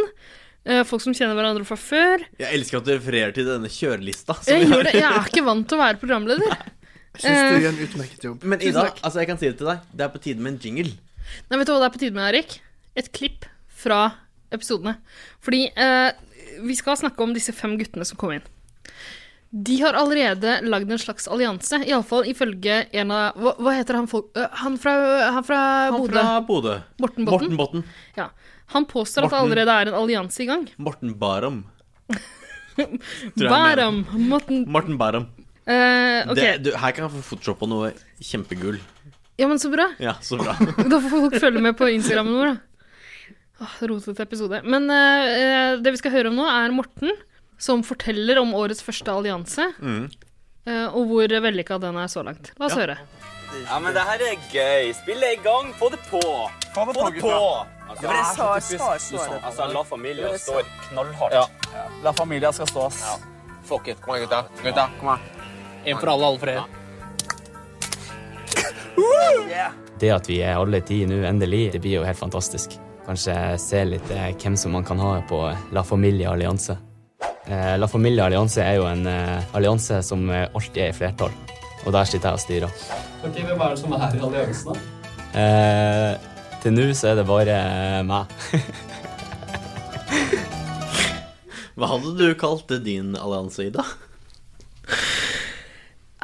Speaker 1: eh, folk som kjenner hverandre fra før.
Speaker 3: Jeg elsker at du refererer til denne kjørelista. som
Speaker 1: Jeg,
Speaker 3: vi har.
Speaker 1: gjør det. jeg er ikke vant til å være programleder.
Speaker 2: Jeg
Speaker 1: Eh.
Speaker 2: syns du gjør en utmerket jobb.
Speaker 3: Men Ida, altså jeg kan si det til deg. Det er på tide med en jingle.
Speaker 1: Nei, vet du hva det er på tide med, Erik? Et klipp fra episodene. Fordi eh, vi skal snakke om disse fem guttene som kom inn. De har allerede lagd en slags allianse, iallfall ifølge en av Hva, hva heter han folk... øh, han fra, han fra
Speaker 3: Han
Speaker 1: Bodø?
Speaker 3: fra Bodø.
Speaker 1: Morten Botten?
Speaker 3: Morten Botten.
Speaker 1: Ja. Han påstår at det
Speaker 3: Morten.
Speaker 1: allerede er en allianse i gang.
Speaker 3: Morten Barum. jeg mener.
Speaker 1: Bærum! Morten
Speaker 3: Morten Barum.
Speaker 1: Eh, Ok,
Speaker 3: Det, du, her kan jeg få photoshoppa noe kjempegull.
Speaker 1: ja, men så bra.
Speaker 3: Ja, så <laughs> bra.
Speaker 1: Da får folk følge med på Instagrammen vår, da. Åh, Rotete episode. Men eh, eh, det vi skal høre om nå, er Morten, som forteller om årets første allianse.
Speaker 3: Mm.
Speaker 1: eh, og hvor vellykka den er så langt. La oss høre.
Speaker 6: Ja, men det her er gøy. Spille i gang. Få det på. Få det på, Altså, det er så typisk. Altså, la familien stå knallhardt. La familien skal stå, ass. Fuck it. Kom igjen, gutta. Gutta, kom her. En for alle, alle for dere.
Speaker 7: Det at vi er alle ti nå, endelig, det blir jo helt fantastisk. Kanskje se litt eh, hvem som man kan ha på La Familia Allianse. Eh, La Familia Allianse er jo en eh, allianse som eh, alltid er i flertall, og der sitter jeg og styrer.
Speaker 6: Ok, hvem er det som er i alliansen, da?
Speaker 7: Eh, Til nå så er det bare eh, meg. <laughs>
Speaker 3: Hva hadde du kalt din allianse, Ida?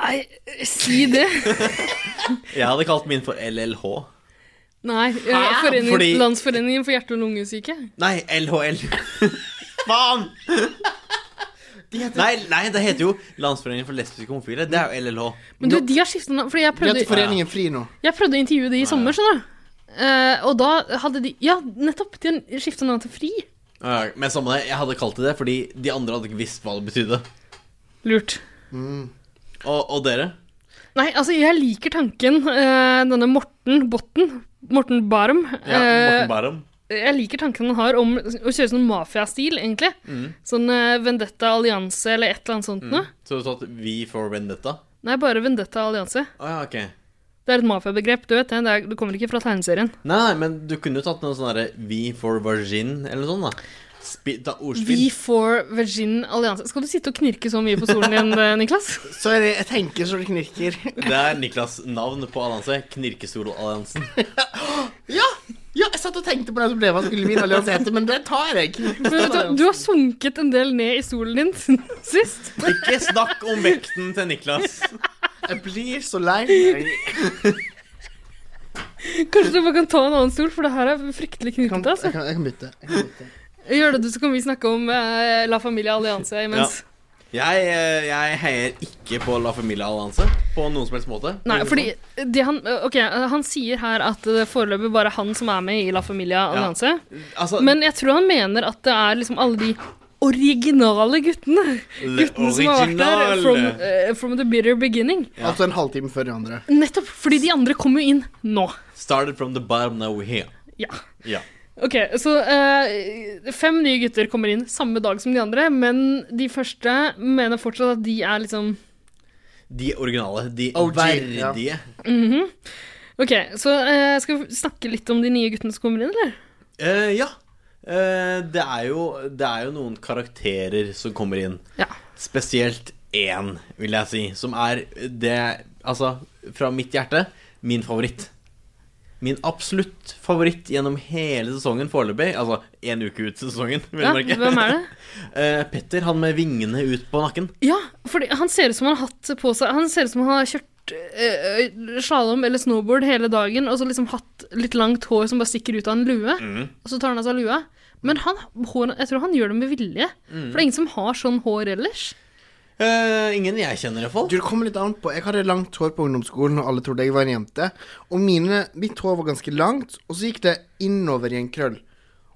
Speaker 1: Nei, si det!
Speaker 3: Jeg hadde kalt min for LLH.
Speaker 1: Nei, eh, forening,
Speaker 3: Fordi-
Speaker 1: Landsforeningen for hjerte- og lungesyke.
Speaker 3: Nei, LHL. <laughs> Faen! <laughs> Nei, nei, det heter jo Landsforeningen for lesbiske homofile. Det er jo LLH.
Speaker 1: Men du, de har skiftet navn. Fordi jeg
Speaker 2: Vi heter
Speaker 1: prøvde,
Speaker 2: Foreningen Fri nå.
Speaker 1: jeg prøvde å intervjue de i sommer, skjønner du. Eh, og da hadde de Ja, nettopp! De skifta navn til Fri.
Speaker 3: Ja, Men samme det, jeg hadde kalt det det fordi de andre hadde ikke visst hva det betydde.
Speaker 1: Lurt.
Speaker 3: Og, og dere?
Speaker 1: Nei, altså jeg liker tanken eh, Denne Morten Botten Morten Barum
Speaker 3: Ja,
Speaker 1: eh,
Speaker 3: Morten Barum.
Speaker 1: Jeg liker tanken han har om Å kjøre sånn mafia-stil egentlig Sånn eh, Vendetta-allianse Eller et eller annet sånt noe
Speaker 3: Så du sa at vi for vendetta?
Speaker 1: Nei, bare Vendetta-allianse
Speaker 3: Å ja, ok.
Speaker 1: Det er et mafia-begrep, du vet det Det, er, det kommer ikke fra tegneserien
Speaker 3: Nei, nei, men du kunne jo tatt noe sånn derre vi for virgin, eller noe sånt, da. Spi, da ordspill.
Speaker 1: V4-Virgin-allianse Skal du sitte og knirke så mye på stolen din, eh, Niklas?
Speaker 2: Så er det, jeg tenker så det knirker.
Speaker 3: Det er Niklas' navn på allianse. Knirkestolalliansen.
Speaker 2: Ja! ja jeg satt og tenkte på det som ble hva skulle min allianse hete, men det tar jeg.
Speaker 1: Men vet du, hva, du har sunket en del ned i stolen din siden <laughs> sist
Speaker 3: Ikke snakk om vekten til Niklas.
Speaker 2: Jeg blir så lei meg.
Speaker 1: Kanskje du bare kan ta en annen stol For det her er fryktelig
Speaker 2: Jeg kan,
Speaker 1: knirket altså
Speaker 2: jeg kan, jeg kan bytte. Jeg kan bytte.
Speaker 1: Gjør det du, så kan vi snakke om eh, La Familia Allianse imens.
Speaker 3: Jeg, eh, jeg heier ikke på La Familia Allianse på noen som helst måte.
Speaker 1: Nei, fordi det han, ok, han sier her at det foreløpig bare er han som er med i La Familia Allianse.
Speaker 3: Altså,
Speaker 1: Men jeg tror han mener at det er liksom alle de originale guttene.
Speaker 3: Le
Speaker 1: Guttene som har vært der
Speaker 3: originale.
Speaker 1: from, eh, from the bitter beginning.
Speaker 2: Altså en halvtime før de andre.
Speaker 1: Nettopp fordi de andre kommer jo inn nå.
Speaker 3: Started from the bottom, now we're here.
Speaker 1: Ja.
Speaker 3: Ja.
Speaker 1: Ok, så eh, fem nye gutter kommer inn samme dag som de andre, men de første mener fortsatt at de er liksom
Speaker 3: De originale. De
Speaker 2: OG, ja.
Speaker 3: verdige.
Speaker 1: Mhm. Ok, så eh, skal vi snakke litt om de nye guttene som kommer inn, eller?
Speaker 3: Eh, ja. Eh, det, er jo, det er jo noen karakterer som kommer inn. Spesielt én, vil jeg si, som er det Altså, fra mitt hjerte, min favoritt. Min absolutt favoritt gjennom hele sesongen foreløpig. Altså én uke ut sesongen, vil
Speaker 1: Ja,
Speaker 3: jeg merke.
Speaker 1: hvem er det?
Speaker 3: <laughs> Eh, Petter, han med vingene ut på nakken.
Speaker 1: Ja, fordi han ser ut som han har hatt på seg Han ser ut som han har kjørt eh, slalåm eller snowboard hele dagen, og så liksom hatt litt langt hår som bare stikker ut av en lue.
Speaker 3: Mm.
Speaker 1: Og så tar han av seg lua. Men han, hår, jeg tror han gjør det med vilje.
Speaker 3: Mm.
Speaker 1: For det er ingen som har sånn hår ellers.
Speaker 3: Eh, ingen jeg kjenner, iallfall.
Speaker 2: Du, det kommer litt an på. Jeg hadde langt hår på ungdomsskolen, og alle trodde jeg var en jente. Og mine, mitt hår var ganske langt, og så gikk det innover i en krøll.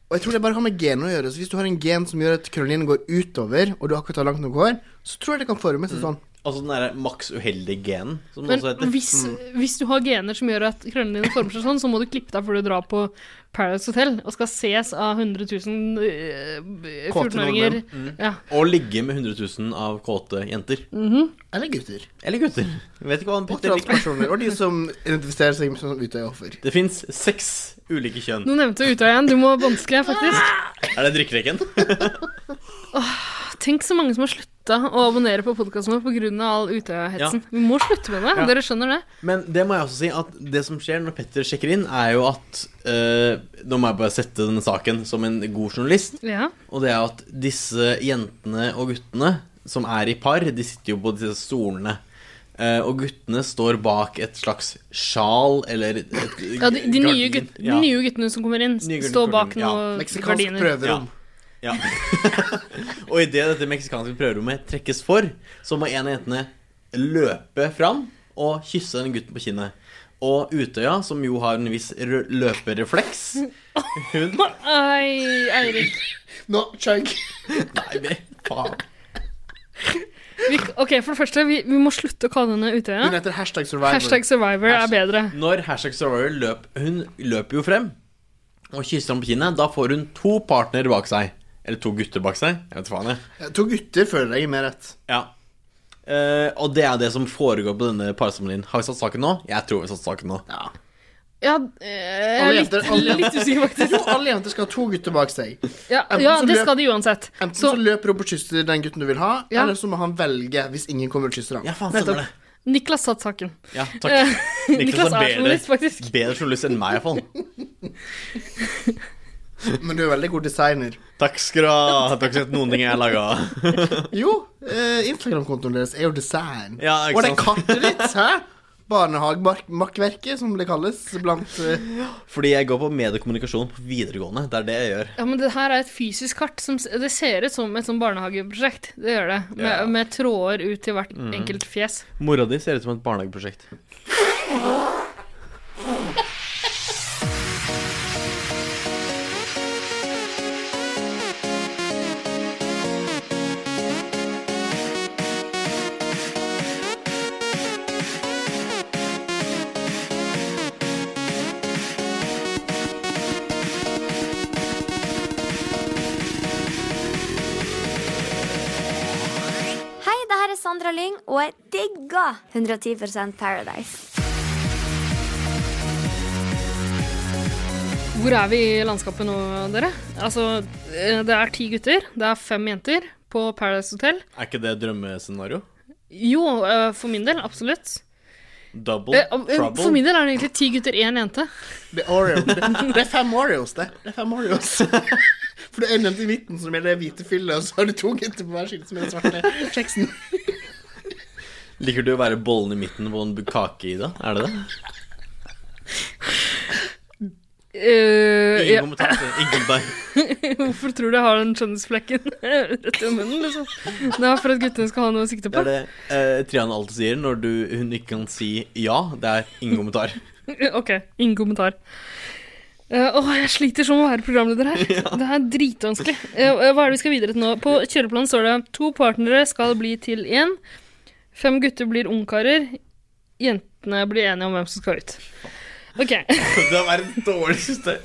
Speaker 2: Og jeg tror det bare har med gen å gjøre. Så hvis du har en gen som gjør at krøllen din går utover, og du akkurat har langt nok hår, så tror jeg det kan forme
Speaker 1: Mm.
Speaker 2: seg sånn.
Speaker 3: Altså den derre maks uheldige genen, som det
Speaker 1: Men
Speaker 3: også heter.
Speaker 1: hvis,
Speaker 3: Mm.
Speaker 1: hvis du har gener som gjør at krøllene dine former seg sånn, så må du klippe deg før du drar på Paradise Hotel og skal ses av 100 000 eh, 14-åringer.
Speaker 3: nordmenn. Mm.
Speaker 1: Ja.
Speaker 3: Og ligge med 100 000 av kåte jenter.
Speaker 2: Eller gutter.
Speaker 3: Eller gutter. Jeg vet ikke hva
Speaker 2: Og
Speaker 3: han Petter liker.
Speaker 2: transpersoner. Og de som identifiserer seg som Utøya-offer.
Speaker 3: Det fins seks ulike kjønn.
Speaker 1: Nå nevnte jeg Utøya igjen. Du må vanskelig, faktisk.
Speaker 3: Er det drikkerekken?
Speaker 1: Tenk så mange som har slutta å abonnere på podkasten vår pga. all Utøya-hetsen.
Speaker 3: Ja.
Speaker 1: Vi må slutte med det.
Speaker 3: Ja.
Speaker 1: Dere skjønner det?
Speaker 3: Men det må jeg også si at det som skjer når Petter sjekker inn, er jo at eh, Nå må jeg bare sette denne saken som en god journalist.
Speaker 1: Ja.
Speaker 3: Og det er at disse jentene og guttene som er i par, de sitter jo på disse stolene. Eh, og guttene står bak et slags sjal eller et,
Speaker 1: Ja, de, de, nye
Speaker 3: gardin.
Speaker 1: gutt, de
Speaker 3: Ja.
Speaker 1: nye guttene som kommer inn,
Speaker 3: Nye gutter
Speaker 1: står bak
Speaker 3: kommer inn, ja.
Speaker 1: noen Mm. gardiner.
Speaker 3: Ja. <laughs> ja. og idet dette meksikanske prøverommet trekkes for, så må en av jentene løpe fram og kysse den gutten på kinnet. Og Utøya, som jo har en viss rø- løperefleks Hun
Speaker 1: Ai, Eirik.
Speaker 2: Nå, chug.
Speaker 3: Nei, men faen.
Speaker 1: Vi, ok, for det første, vi, vi må slutte å kalle henne Utøya.
Speaker 2: Hun heter hashtag survivor.
Speaker 1: Hashtag survivor er bedre.
Speaker 3: Når hashtag survivor løp Hun løper jo frem og kysser ham på kinnet. Da får hun to partnere bak seg. Eller to gutter bak seg. Jeg vet faen, jeg.
Speaker 2: To gutter føler jeg gir mer rett.
Speaker 3: Ja. Eh, og det er det som foregår på denne parsamlingen. Har vi satt saken nå? Jeg tror vi har satt saken nå. Ja.
Speaker 1: Ja, eh, jeg er
Speaker 2: Alle
Speaker 1: litt,
Speaker 2: jenter, alle,
Speaker 1: litt usikker, faktisk.
Speaker 2: Jo, alle jenter skal ha to gutter bak seg.
Speaker 1: Ja,
Speaker 2: Enten
Speaker 1: ja
Speaker 2: så
Speaker 1: det
Speaker 2: løp-
Speaker 1: skal de uansett.
Speaker 2: Enten så,
Speaker 1: Så
Speaker 2: løper hun opp og kysser den gutten du vil ha,
Speaker 1: Ja.
Speaker 2: eller så må han velge hvis ingen kommer og kysser ham.
Speaker 3: Ja, faen, sånn stemmer det.
Speaker 1: Niklas satt saken.
Speaker 3: Ja,
Speaker 1: Eh,
Speaker 3: takk.
Speaker 1: Niklas er
Speaker 3: bedre-
Speaker 1: journalist, faktisk.
Speaker 3: Bedre journalist enn meg, iallfall.
Speaker 1: <laughs>
Speaker 2: Men du er veldig god designer.
Speaker 3: Takk skal du ha. Takk skal du ha noen ting jeg har laga.
Speaker 2: Jo, eh, Instagram-kontoen deres er jo design.
Speaker 3: Ja, ikke
Speaker 2: og det
Speaker 3: sant?
Speaker 2: kartet ditt, hæ? Barnehagemakkverket, som det kalles blant eh,
Speaker 3: <laughs> Fordi jeg går på mediekommunikasjon på videregående. Det er det jeg gjør.
Speaker 1: Ja, men det her er et fysisk kart. Som, s- det ser ut som et sånn barnehageprosjekt. Det gjør det. Med,
Speaker 3: Ja.
Speaker 1: med tråder ut til hvert enkelt fjes.
Speaker 3: Mora di ser ut som et barnehageprosjekt.
Speaker 8: Hei, det her er Sandra Lyng, og jeg digger 110 Paradise.
Speaker 1: Hvor er vi i landskapet nå, dere? Altså, eh, det er ti gutter. Det er fem jenter på Paradise Hotel.
Speaker 3: Er ikke det drømmescenario?
Speaker 1: Jo, eh, for min del, absolutt.
Speaker 3: Double
Speaker 1: Eh, eh,
Speaker 3: trouble?
Speaker 1: For min del er det egentlig ti gutter, én jente.
Speaker 2: det, Oreo. Det, det er fem Oreos, det. Det er fem Oreos. <laughs> For det er en jente i midten som er det hvite fyllet, og så har du to gutter på hver side som er den svarte kjeksen.
Speaker 3: Liker du å være bollen i midten på en kake, Ida? Er det det?
Speaker 1: Eh,
Speaker 3: Ingen
Speaker 1: ja.
Speaker 3: kommentar. Ingen bare
Speaker 1: Hvorfor tror du jeg har den skjønnhetsflekken <laughs> rett i munnen, liksom? Det er for at guttene skal ha noe å sikte
Speaker 3: <laughs> Det
Speaker 1: på.
Speaker 3: er det eh, Triana alltid sier når du, hun ikke kan si ja. Det er ingen <laughs> kommentar.
Speaker 1: <laughs> Ok, ingen kommentar. Eh, Åh, jeg sliter som å være programleder
Speaker 3: <laughs>
Speaker 1: her. Det er dritvanskelig. Eh, eh, hva er det vi skal videre til nå? På kjøreplanen står det to partnere skal bli til én. Fem gutter blir ungkarer. Jentene blir enige om hvem som skal ut. Ok. <laughs>
Speaker 3: Det er verdens dårligste.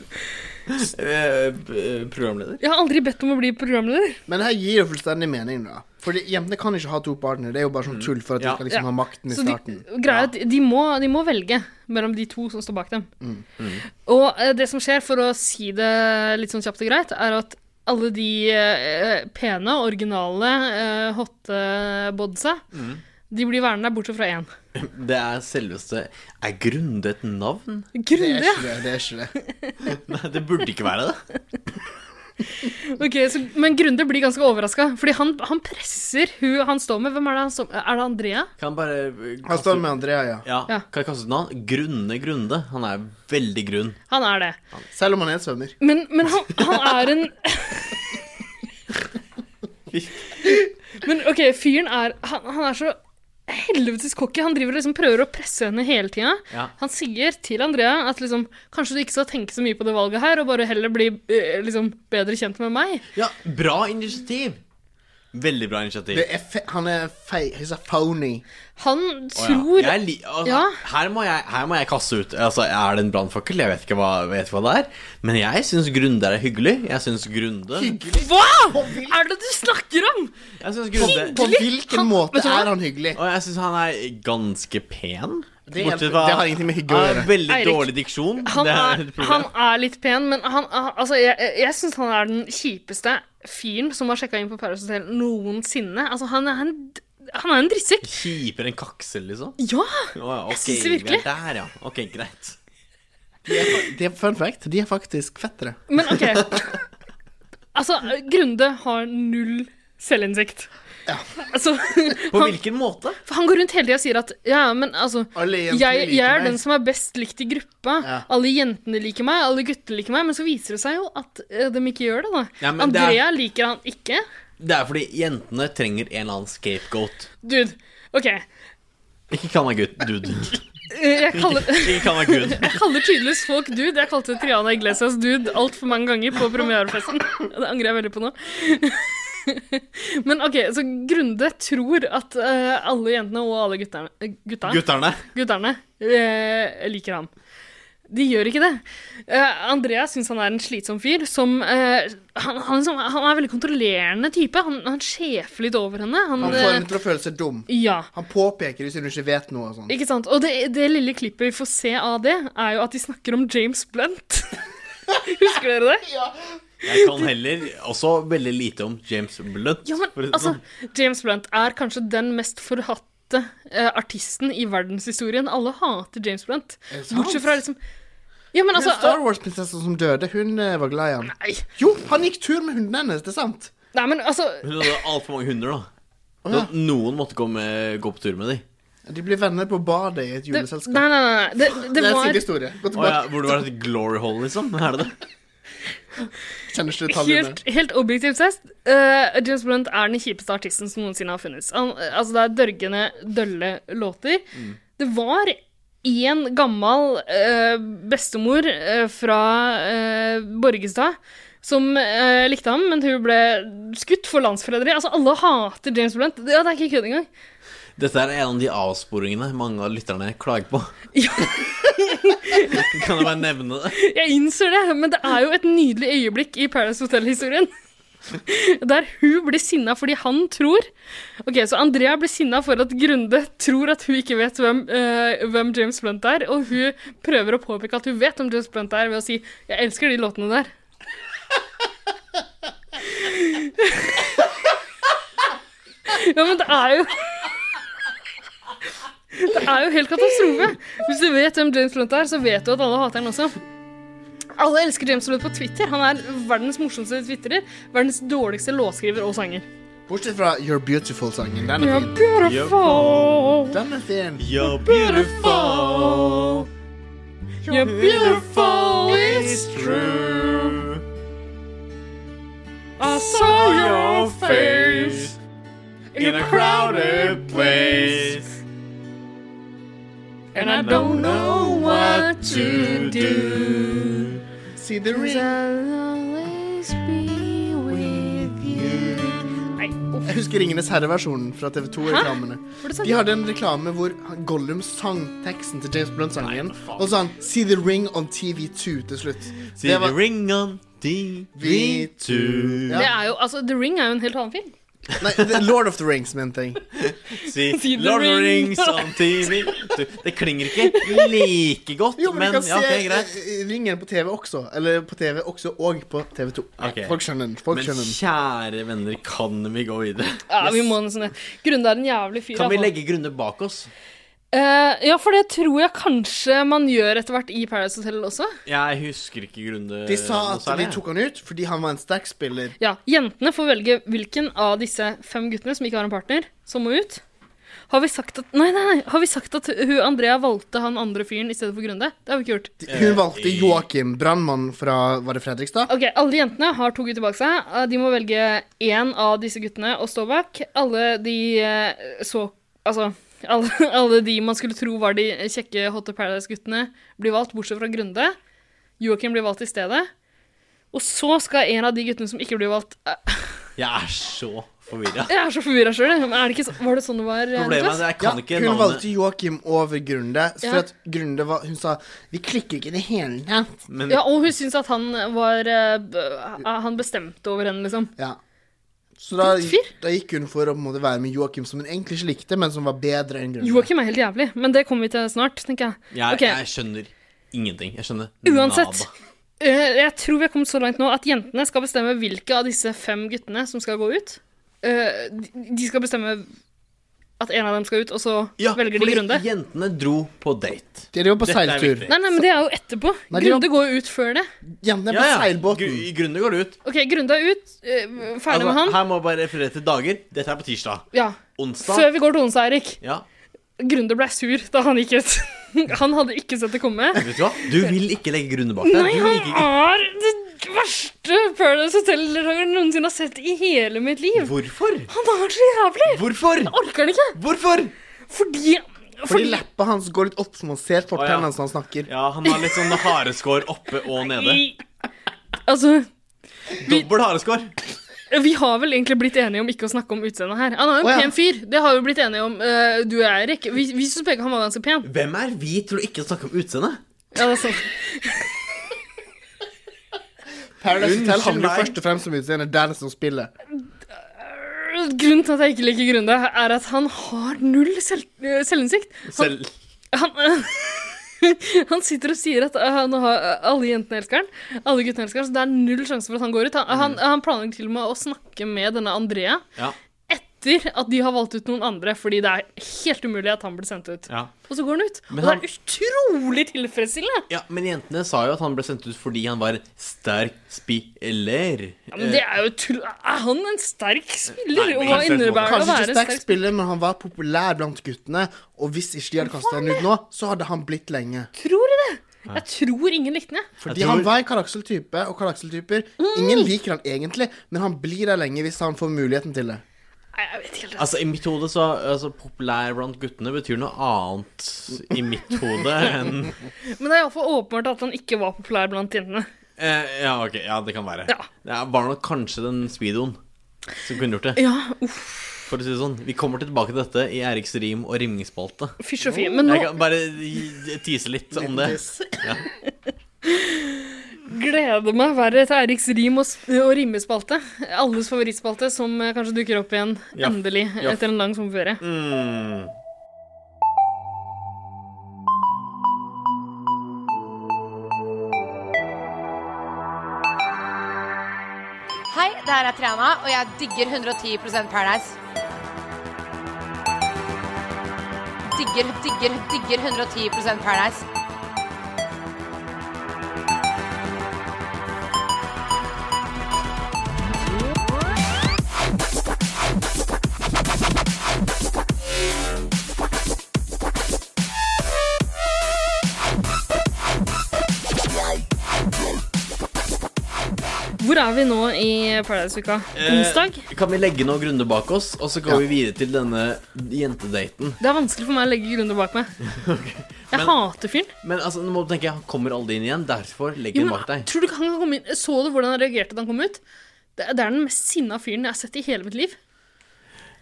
Speaker 3: Eh, programleder.
Speaker 1: Jeg har aldri bedt om å bli programleder.
Speaker 2: Men det her gir jo fullstendig mening, da. Fordi jentene kan ikke ha to partnere. Det er jo bare
Speaker 3: Mm.
Speaker 2: sånn tull for at de skal liksom ha makten i
Speaker 1: Så
Speaker 2: starten.
Speaker 1: De, greia er at de må, de må velge mellom de to som står bak dem.
Speaker 2: Mm.
Speaker 1: Og eh, det som skjer, for å si det litt sånn kjapt og greit, er at alle de eh, pene, originale, eh, hotte bodsa,
Speaker 3: Mm.
Speaker 1: de blir værende der, bortsett fra én.
Speaker 3: Det er selveste Er Grunde et navn? <laughs>
Speaker 1: Grunde, ja.
Speaker 2: Det er ikke det.
Speaker 3: Nei, det burde ikke være det.
Speaker 1: Ok, så, men Grunde blir ganske overraska, fordi han, han presser hun han står med. Hvem er det han står med? Er det Andrea?
Speaker 3: Kan jeg bare eh,
Speaker 2: Han står med Andrea, ja.
Speaker 3: ja. Kan jeg kaste ut navn? Grunne Grunde. Han er veldig grunn.
Speaker 1: Han er det.
Speaker 2: Selv om han er svømmer.
Speaker 1: Men, men han, han er en Men ok, fyren er Han, han er så helvetes cocky. Han driver og liksom prøver å presse henne hele tida.
Speaker 3: Ja.
Speaker 1: Han sier til Andrea at liksom, kanskje du ikke skal tenke så mye på det valget her, og bare heller bli eh, liksom, bedre kjent med meg.
Speaker 3: Bra initiativ! Veldig bra initiativ.
Speaker 2: Det er fe han er fei... He's a phony.
Speaker 1: Han
Speaker 3: Å, ja.
Speaker 1: tror
Speaker 3: Jeg li altså, her, må jeg, her må jeg kaste ut Altså, Er det en brannfakkel? Jeg vet ikke hva, vet hva det er. Men jeg syns Grunde er hyggelig. Jeg syns Grunde
Speaker 1: Hva er det du snakker om?!
Speaker 3: Jeg synes
Speaker 1: Grunde-
Speaker 2: På hvilken måte
Speaker 1: vet du hva?
Speaker 2: er han hyggelig?
Speaker 3: Og jeg syns han er ganske pen.
Speaker 2: Det er- det har ingenting med hygge å
Speaker 3: Han har
Speaker 2: gjøre.
Speaker 3: Veldig
Speaker 1: Eirik,
Speaker 3: dårlig diksjon.
Speaker 1: Han
Speaker 3: det
Speaker 1: er,
Speaker 3: er et problem.
Speaker 1: han er litt pen, men han, altså, jeg, jeg syns han er den kjipeste fyren som har sjekka inn på Paradise Hotel noensinne. Altså, han er en, han er en drittsekk.
Speaker 3: Kjipere enn kaksel, liksom?
Speaker 1: Ja!
Speaker 3: Å, ja, ok,
Speaker 1: Jeg synes det
Speaker 3: vi er
Speaker 1: virkelig.
Speaker 3: Der, ja. Ok, greit.
Speaker 2: De er, fun fact, de er faktisk fettere.
Speaker 1: Men OK. Altså, Grunde har null selvinnsikt. Altså,
Speaker 3: På
Speaker 1: han,
Speaker 3: hvilken måte?
Speaker 1: for han går rundt hele tida og sier at Ja, men altså
Speaker 2: Alle
Speaker 1: jeg,
Speaker 2: jentene
Speaker 1: jeg
Speaker 2: liker
Speaker 1: er
Speaker 2: meg.
Speaker 1: den som er best likt i gruppa. Alle jentene liker meg, alle guttene liker meg. Men så viser det seg jo at eh, de ikke gjør det, da.
Speaker 3: Ja, men det er-
Speaker 1: Andrea liker han ikke.
Speaker 3: Det er fordi jentene trenger en eller annen scapegoat.
Speaker 1: Dude, OK.
Speaker 3: Ikke kall meg gutt, dude.
Speaker 1: Eh, Jeg kaller, <laughs>
Speaker 3: Ikke kall meg gud.
Speaker 1: jeg kaller tydeligvis folk dude. Jeg kalte Triana Iglesias dude altfor mange ganger på premierefesten. <laughs> Det angrer jeg veldig på nå. <laughs> Men OK, så Grunde tror at eh, alle jentene og alle gutterne eh, Gutta?
Speaker 3: Gutterne.
Speaker 1: Gutterne eh, liker ham. De gjør ikke det. Eh, Andrea syns han er en slitsom fyr som eh, han, han, liksom, han er en veldig kontrollerende type. Han, han sjefer litt over henne. Han,
Speaker 2: Han får
Speaker 1: eh,
Speaker 2: henne til å føle seg dum.
Speaker 1: ja.
Speaker 2: Han påpeker hvis hun ikke vet noe og sånn.
Speaker 1: Ikke sant? Og det, det lille klippet vi får se av det, er jo at de snakker om James Blunt. <laughs> Husker dere det? Ja.
Speaker 3: Jeg kan heller også veldig lite om James Blunt.
Speaker 1: men,
Speaker 3: for å si det
Speaker 1: altså,
Speaker 3: sånn.
Speaker 1: James Blunt er kanskje den mest forhatte eh, artisten i verdenshistorien. Alle hater James Blunt.
Speaker 2: Er det sant?
Speaker 1: Bortsett fra liksom Ja, men altså
Speaker 2: Hun Star Wars-prinsessen som døde, hun eh, var glad i han.
Speaker 1: Nei.
Speaker 2: Jo, han gikk tur med hunden hennes, det er sant.
Speaker 1: Nei, men altså
Speaker 3: Hun hadde altfor mange hunder, da.
Speaker 2: Å, ja.
Speaker 3: Så Noen måtte gå, med, gå på tur med dem.
Speaker 2: De blir venner på badet i et
Speaker 1: det,
Speaker 2: juleselskap.
Speaker 1: Nei, nei, nei. nei. Det, det,
Speaker 2: Det er en
Speaker 1: var
Speaker 2: side historie. Gå
Speaker 3: Å, ja,
Speaker 2: tilbake.
Speaker 3: hvor det var et glory hole, liksom? Er det det?
Speaker 2: Kjenner ikke detaljene.
Speaker 1: Helt, helt objektivt sett, eh, James Blunt er den kjipeste artisten som noensinne har funnes. Han, eh, altså, det er dørgende, dølle låter. Det var én gammel eh, bestemor eh, fra eh, Borgestad som eh, likte ham, men hun ble skutt for landsforræderi. Altså, alle hater James Blunt. Ja, det er ikke kødd engang.
Speaker 3: Dette er en av de avsporingene mange av lytterne klager på. kan jeg bare nevne det?
Speaker 1: Jeg innser det, men det er jo et nydelig øyeblikk i Paradise Hotel-historien. Der hun blir sinna fordi han tror Ok, Så Andrea blir sinna for at Grunde tror at hun ikke vet hvem, eh, hvem James Blunt er, og hun prøver å påpeke at hun vet hvem James Blunt er, ved å si 'Jeg elsker de låtene der'. ja, men det er jo Det er jo helt katastrofe. Hvis du vet hvem James Blunt er, så vet du at alle hater han også. Alle elsker James Blunt på Twitter. Han er verdens morsomste twitterer. Verdens dårligste låtskriver og sanger.
Speaker 2: Bortsett fra You're Beautiful-sangen. Den er
Speaker 1: You're
Speaker 2: fin.
Speaker 1: beautiful.
Speaker 2: Den er fin.
Speaker 3: You're beautiful.
Speaker 1: You're beautiful, it's
Speaker 3: true.
Speaker 1: I saw your face in a crowded place. And I don't know what to do.
Speaker 2: See the
Speaker 1: Cause I'll always be with you. Nei,
Speaker 2: Jeg husker Ringenes herre-versjonen fra TV2-reklamene.
Speaker 1: Var det sant?
Speaker 2: De hadde en reklame hvor han- Gollum sang teksten til James Blunt-sangen. Og så sa han 'See the ring on TV2' til slutt.
Speaker 3: See the ring on TV2.
Speaker 1: Det er jo, altså, The Ring er jo en helt annen film.
Speaker 2: Nei, The Lord of the Rings, mente jeg.
Speaker 3: See Lord of the Rings on TV. Du, det klinger ikke like godt,
Speaker 2: Jo,
Speaker 3: men,
Speaker 2: men, du kan
Speaker 3: ja, ok,
Speaker 2: se
Speaker 3: greit.
Speaker 2: eh, Ringen på TV også. Eller på TV også, og på TV2.
Speaker 3: Ok.
Speaker 2: Folk skjønner den. Folk
Speaker 3: men
Speaker 2: skjønner den.
Speaker 3: kjære venner, kan vi gå videre?
Speaker 1: Ja, vi må nesten det. Grunde er en jævlig fyr.
Speaker 3: Kan vi
Speaker 1: altså.
Speaker 3: legge grunner bak oss?
Speaker 1: Eh, ja, for det tror jeg kanskje man gjør etter hvert i Paradise Hotel også.
Speaker 3: Jeg husker ikke grunner
Speaker 2: De sa
Speaker 3: noe
Speaker 2: at de
Speaker 3: særlig.
Speaker 2: tok han ut fordi han var en sterk spiller.
Speaker 1: Ja, Jentene får velge hvilken av disse fem guttene som ikke har en partner, som må ut. Har vi sagt at Nei, nei, nei. Har vi sagt at hun Andrea valgte han andre fyren i stedet for Grunde? Det har vi ikke gjort.
Speaker 3: Eh,
Speaker 2: Hun valgte Joakim, brannmann fra Var det Fredrikstad?
Speaker 1: Ok, Alle jentene har to gutter bak seg. Eh, De må velge én av disse guttene å stå bak. Alle de eh, så Altså <laughs> alle, alle de man skulle tro var de kjekke Hotte Paradise-guttene, blir valgt, bortsett fra Grunde. Joakim blir valgt i stedet. Og så skal en av de guttene som ikke blir valgt eh, <laughs>
Speaker 3: Jeg er så forvirra.
Speaker 1: Jeg er så forvirra sjøl, jeg. Men er det ikke så, var det sånn det var? eh,
Speaker 3: Problemet er
Speaker 1: Niklas?
Speaker 3: at jeg kan
Speaker 2: Ja,
Speaker 3: ikke
Speaker 2: hun
Speaker 3: navnet,
Speaker 2: valgte Joakim over Grunde. så For
Speaker 1: Ja.
Speaker 2: at Grunde var Hun sa 'Vi klikker ikke i det hele tatt'.
Speaker 3: men
Speaker 1: Ja, og hun syns at han var eh, b- Han bestemte over henne, liksom.
Speaker 2: Ja. Så da,
Speaker 1: Fyr.
Speaker 2: da gikk hun for å på en måte være med Joakim, som hun egentlig ikke likte, men som var bedre enn Grunde.
Speaker 1: Joakim er helt jævlig, men det kommer vi til snart, tenker jeg.
Speaker 3: jeg,
Speaker 1: Ok.
Speaker 3: jeg skjønner ingenting. Jeg skjønner
Speaker 1: Uansett.
Speaker 3: nada.
Speaker 1: eh, jeg tror vi har kommet så langt nå at jentene skal bestemme hvilke av disse fem guttene som skal gå ut. Eh, de- de skal bestemme at en av dem skal ut, og så
Speaker 3: Ja,
Speaker 1: velger de
Speaker 3: fordi
Speaker 1: Grunde.
Speaker 3: Jentene dro på date.
Speaker 2: De var på
Speaker 3: Dette er
Speaker 2: seiltur.
Speaker 3: viktig.
Speaker 1: Nei, nei, men det er jo etterpå.
Speaker 2: Nei, de var-
Speaker 1: Grunde går jo ut før det.
Speaker 2: Jentene på
Speaker 3: Ja, ja.
Speaker 2: seilbåten.
Speaker 3: Gru- I grunnen går det ut.
Speaker 1: OK, Grunde er ut. eh, ferdig
Speaker 3: Altså,
Speaker 1: med han.
Speaker 3: Her må jeg bare referere til dager. Dette er på tirsdag.
Speaker 1: Ja.
Speaker 3: Onsdag.
Speaker 1: Før vi går til onsdag, Erik.
Speaker 3: Ja,
Speaker 1: Grunde ble sur da han gikk ut. <laughs> han hadde ikke sett det komme.
Speaker 3: vet du hva? Du vil ikke legge grunner bak deg.
Speaker 1: Nei,
Speaker 3: Du vil
Speaker 1: han
Speaker 3: ikke...
Speaker 1: er det verste Paradise Hotel-deltakeren jeg noensinne har sett i hele mitt liv.
Speaker 3: Hvorfor?
Speaker 1: Han er så jævlig!
Speaker 3: Hvorfor?
Speaker 1: Jeg orker det ikke.
Speaker 3: Hvorfor?
Speaker 1: Fordi
Speaker 2: Fordi
Speaker 1: Fordi
Speaker 2: leppa hans går litt opp, så man ser
Speaker 3: Å, ja.
Speaker 2: fortennene hans når han snakker.
Speaker 3: Ja, han har litt sånn hareskår oppe og nede.
Speaker 1: i, Altså,
Speaker 3: Dobbel hareskår.
Speaker 1: vi har vel egentlig blitt enige om ikke å snakke om utseendet her. Han er jo en
Speaker 2: Å, ja.
Speaker 1: pen fyr. Det har vi blitt enige om, eh, du og jeg, Erik. Vi, vi syns begge han var ganske pen.
Speaker 3: Hvem er vi til å ikke snakke om utseendet?
Speaker 1: Ja, altså, det er sant.
Speaker 2: Paradise Hotel
Speaker 3: Unnskyld
Speaker 2: handler
Speaker 3: meg.
Speaker 2: først og fremst om utseendet, dernest om spillet.
Speaker 1: Grunnen til at jeg ikke liker Grunde, er at han har null selv, eh, selvinnsikt. Han,
Speaker 3: Selv.
Speaker 1: han, <laughs> han sitter og sier at eh, han har, alle jentene elsker han, alle guttene elsker han, så det er null sjanse for at han går ut. Han, han,
Speaker 2: Mm.
Speaker 1: han planlegger til og med å snakke med denne Andrea
Speaker 3: Ja.
Speaker 1: etter at de har valgt ut noen andre, fordi det er helt umulig at han blir sendt ut.
Speaker 3: Ja.
Speaker 1: Og så går han ut.
Speaker 3: Men
Speaker 1: og
Speaker 3: han-
Speaker 1: det er utrolig tilfredsstillende!
Speaker 3: ja, Men jentene sa jo at han ble sendt ut fordi han var sterk spiller.
Speaker 1: Ja, men det er jo tull... Er han en sterk spiller?
Speaker 3: Eh. Nei,
Speaker 1: og
Speaker 3: men
Speaker 1: hva
Speaker 3: jeg ser det på
Speaker 1: innebærer det å
Speaker 2: Kanskje
Speaker 1: være
Speaker 2: ikke
Speaker 1: en
Speaker 2: sterk
Speaker 1: sterk spiller?
Speaker 2: spiller, men han var populær blant guttene. Og hvis ikke de hadde kasta han ut nå, så hadde han blitt lenge.
Speaker 1: Tror du det? Jeg tror ingen likte den, jeg.
Speaker 2: Fordi han var en Karaksel-type, og Karaksel-typer
Speaker 1: Mm.
Speaker 2: Ingen liker han egentlig, men han blir der lenge hvis han får muligheten til det.
Speaker 1: Nei, jeg vet ikke helt.
Speaker 3: Altså, I mitt hode så altså, Populær blant guttene betyr noe annet i mitt hode enn Altså-
Speaker 1: Men det er iallfall åpenbart at han ikke var populær blant jentene.
Speaker 3: eh, Ja, ok, ja, det kan være.
Speaker 1: Ja.
Speaker 3: Det var nok kanskje den speedoen som kunne gjort det.
Speaker 1: Ja, uff,
Speaker 3: For å si det sånn, Vi kommer tilbake til dette i Eriks rim- og rimningsspalte.
Speaker 1: fysj og fy. Men nå
Speaker 3: Jeg kan bare gi- tease litt om det.
Speaker 1: gleder meg verre til Eriks rim og, s- og rimespalte. Alles favorittspalte som eh, kanskje dukker opp igjen
Speaker 3: Ja.
Speaker 1: endelig
Speaker 3: Ja.
Speaker 1: etter en lang sommerferie.
Speaker 3: Mm.
Speaker 4: Hei, det her er Triana, og jeg digger 110 Paradise. Digger, digger, digger 110 Paradise.
Speaker 1: Hvor er vi nå i Paradise-uka? Onsdag?
Speaker 3: Eh, kan vi legge noen grunner bak oss, og så går vi videre til denne jentedaten?
Speaker 1: Det er vanskelig for meg å legge grunner
Speaker 3: <laughs>
Speaker 1: bak meg. Jeg hater fyren.
Speaker 3: Men altså, nå må du tenke, han kommer aldri inn igjen, derfor legger
Speaker 1: Jo,
Speaker 3: den
Speaker 1: men
Speaker 3: bak deg.
Speaker 1: Tror du ikke han kan komme inn? Så du hvordan han reagerte da han kom ut? Det, det er den mest sinna fyren jeg har sett i hele mitt liv.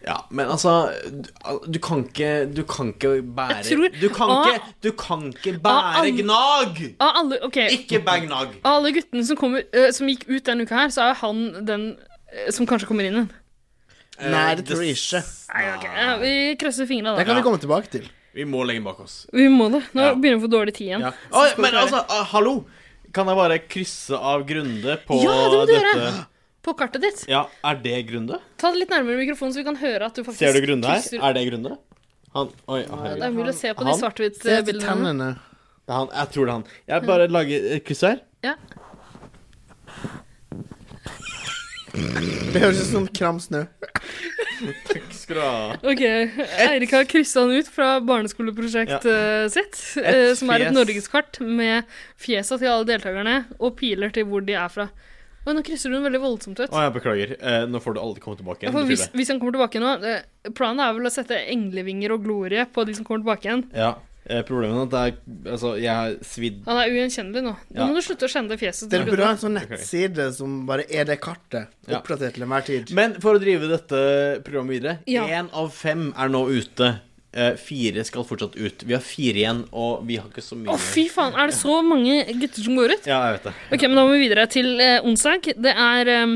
Speaker 3: Ja, men altså Du, du kan ikke Du kan ikke bære
Speaker 1: tror-
Speaker 3: du, kan
Speaker 1: Ah.
Speaker 3: ikke, du kan ikke
Speaker 1: Ah,
Speaker 3: bære
Speaker 1: alle-
Speaker 3: gnag!
Speaker 1: Av alle, ok.
Speaker 3: Ikke bære gnag.
Speaker 1: Av alle guttene som, kommer, eh, som gikk ut denne uka her, så er jo han den eh, som kanskje kommer inn igjen.
Speaker 2: Nei, det tror jeg ikke.
Speaker 1: Eh, vi krysser fingrene, da.
Speaker 2: Det kan vi komme tilbake til.
Speaker 3: Vi må legge den bak oss.
Speaker 1: Vi må det. Nå begynner vi å få dårlig tid igjen.
Speaker 3: Ja.
Speaker 1: Så
Speaker 3: Oi,
Speaker 1: skal vi
Speaker 3: men
Speaker 1: klare.
Speaker 3: altså, ah, hallo! Kan jeg bare krysse av Grunde på
Speaker 1: Ja, det må du
Speaker 3: dette?
Speaker 1: gjøre! På kartet ditt.
Speaker 3: Ja, er det Grunde?
Speaker 1: Ta det litt nærmere mikrofonen, så vi kan høre at du faktisk
Speaker 3: Ser du Grunde her?
Speaker 1: krysser-
Speaker 3: Er det Grunde? Han Oi, herregud.
Speaker 1: det er mulig å se på de
Speaker 3: Han?
Speaker 1: svart-hvitt-bildene.
Speaker 3: Det er han. Jeg tror det er han. Jeg bare lager et kryss her.
Speaker 2: Det høres ut som kram snø.
Speaker 3: Takk skal du ha.
Speaker 1: Ok, Eirik har kryssa han ut fra barneskoleprosjektet eh, sitt,
Speaker 3: Et
Speaker 1: eh, som er et
Speaker 3: fjes.
Speaker 1: norgeskart med fjesa til alle deltakerne og piler til hvor de er fra. Oi, nå krysser du den veldig voldsomt ut.
Speaker 3: Å, jeg beklager. Eh, nå får du aldri komme tilbake
Speaker 1: Ja,
Speaker 3: igjen.
Speaker 1: for
Speaker 3: du
Speaker 1: hvis,
Speaker 3: fylle.
Speaker 1: hvis han kommer tilbake nå eh, Planen er vel å sette englevinger og glorie på de som kommer tilbake igjen.
Speaker 3: Ja. Eh, problemet er at det er Altså, jeg har svidd
Speaker 1: Han er ugjenkjennelig nå. Nå
Speaker 3: Ja.
Speaker 1: må du slutte å kjenne fjeset
Speaker 2: Dere
Speaker 1: til
Speaker 2: burde ha en
Speaker 1: Rune.
Speaker 2: sånn nettside som bare er det kartet.
Speaker 3: Ja.
Speaker 2: Oppdatert til enhver tid.
Speaker 3: Men for å drive dette programmet videre
Speaker 1: Ja.
Speaker 3: Én av fem er nå ute. Eh, fire skal fortsatt ut. Vi har fire igjen, og vi har ikke så mye
Speaker 1: Å, fy faen! Er det så mange gutter som går ut?
Speaker 3: Ja, jeg vet det.
Speaker 1: Ok, men Da må vi videre til eh, onsdag. Det er, eh,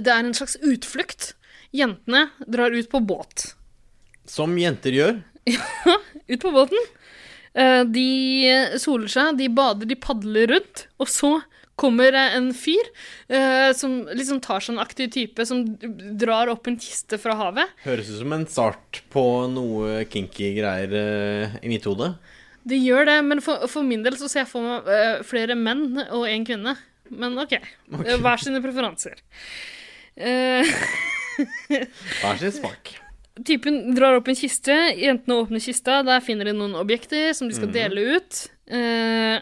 Speaker 1: det er en slags utflukt. Jentene drar ut på båt.
Speaker 3: Som jenter gjør.
Speaker 1: Ut på båten. Eh, de soler seg, de bader, de padler rundt. Og så kommer eh, en fyr eh, som liksom tar seg en aktiv type, som drar opp en kiste fra havet.
Speaker 3: Høres ut som en start på noe kinky greier eh, i mitt hode.
Speaker 1: De gjør det, men for, for min del så ser jeg for meg eh, flere menn og én kvinne. Men OK. Eh, Hver sine preferanser. Eh,
Speaker 3: Hver sin smak.
Speaker 1: Typen drar opp en kiste, jentene åpner kista, der finner de noen objekter som de skal
Speaker 3: Mhm.
Speaker 1: dele ut. Eh,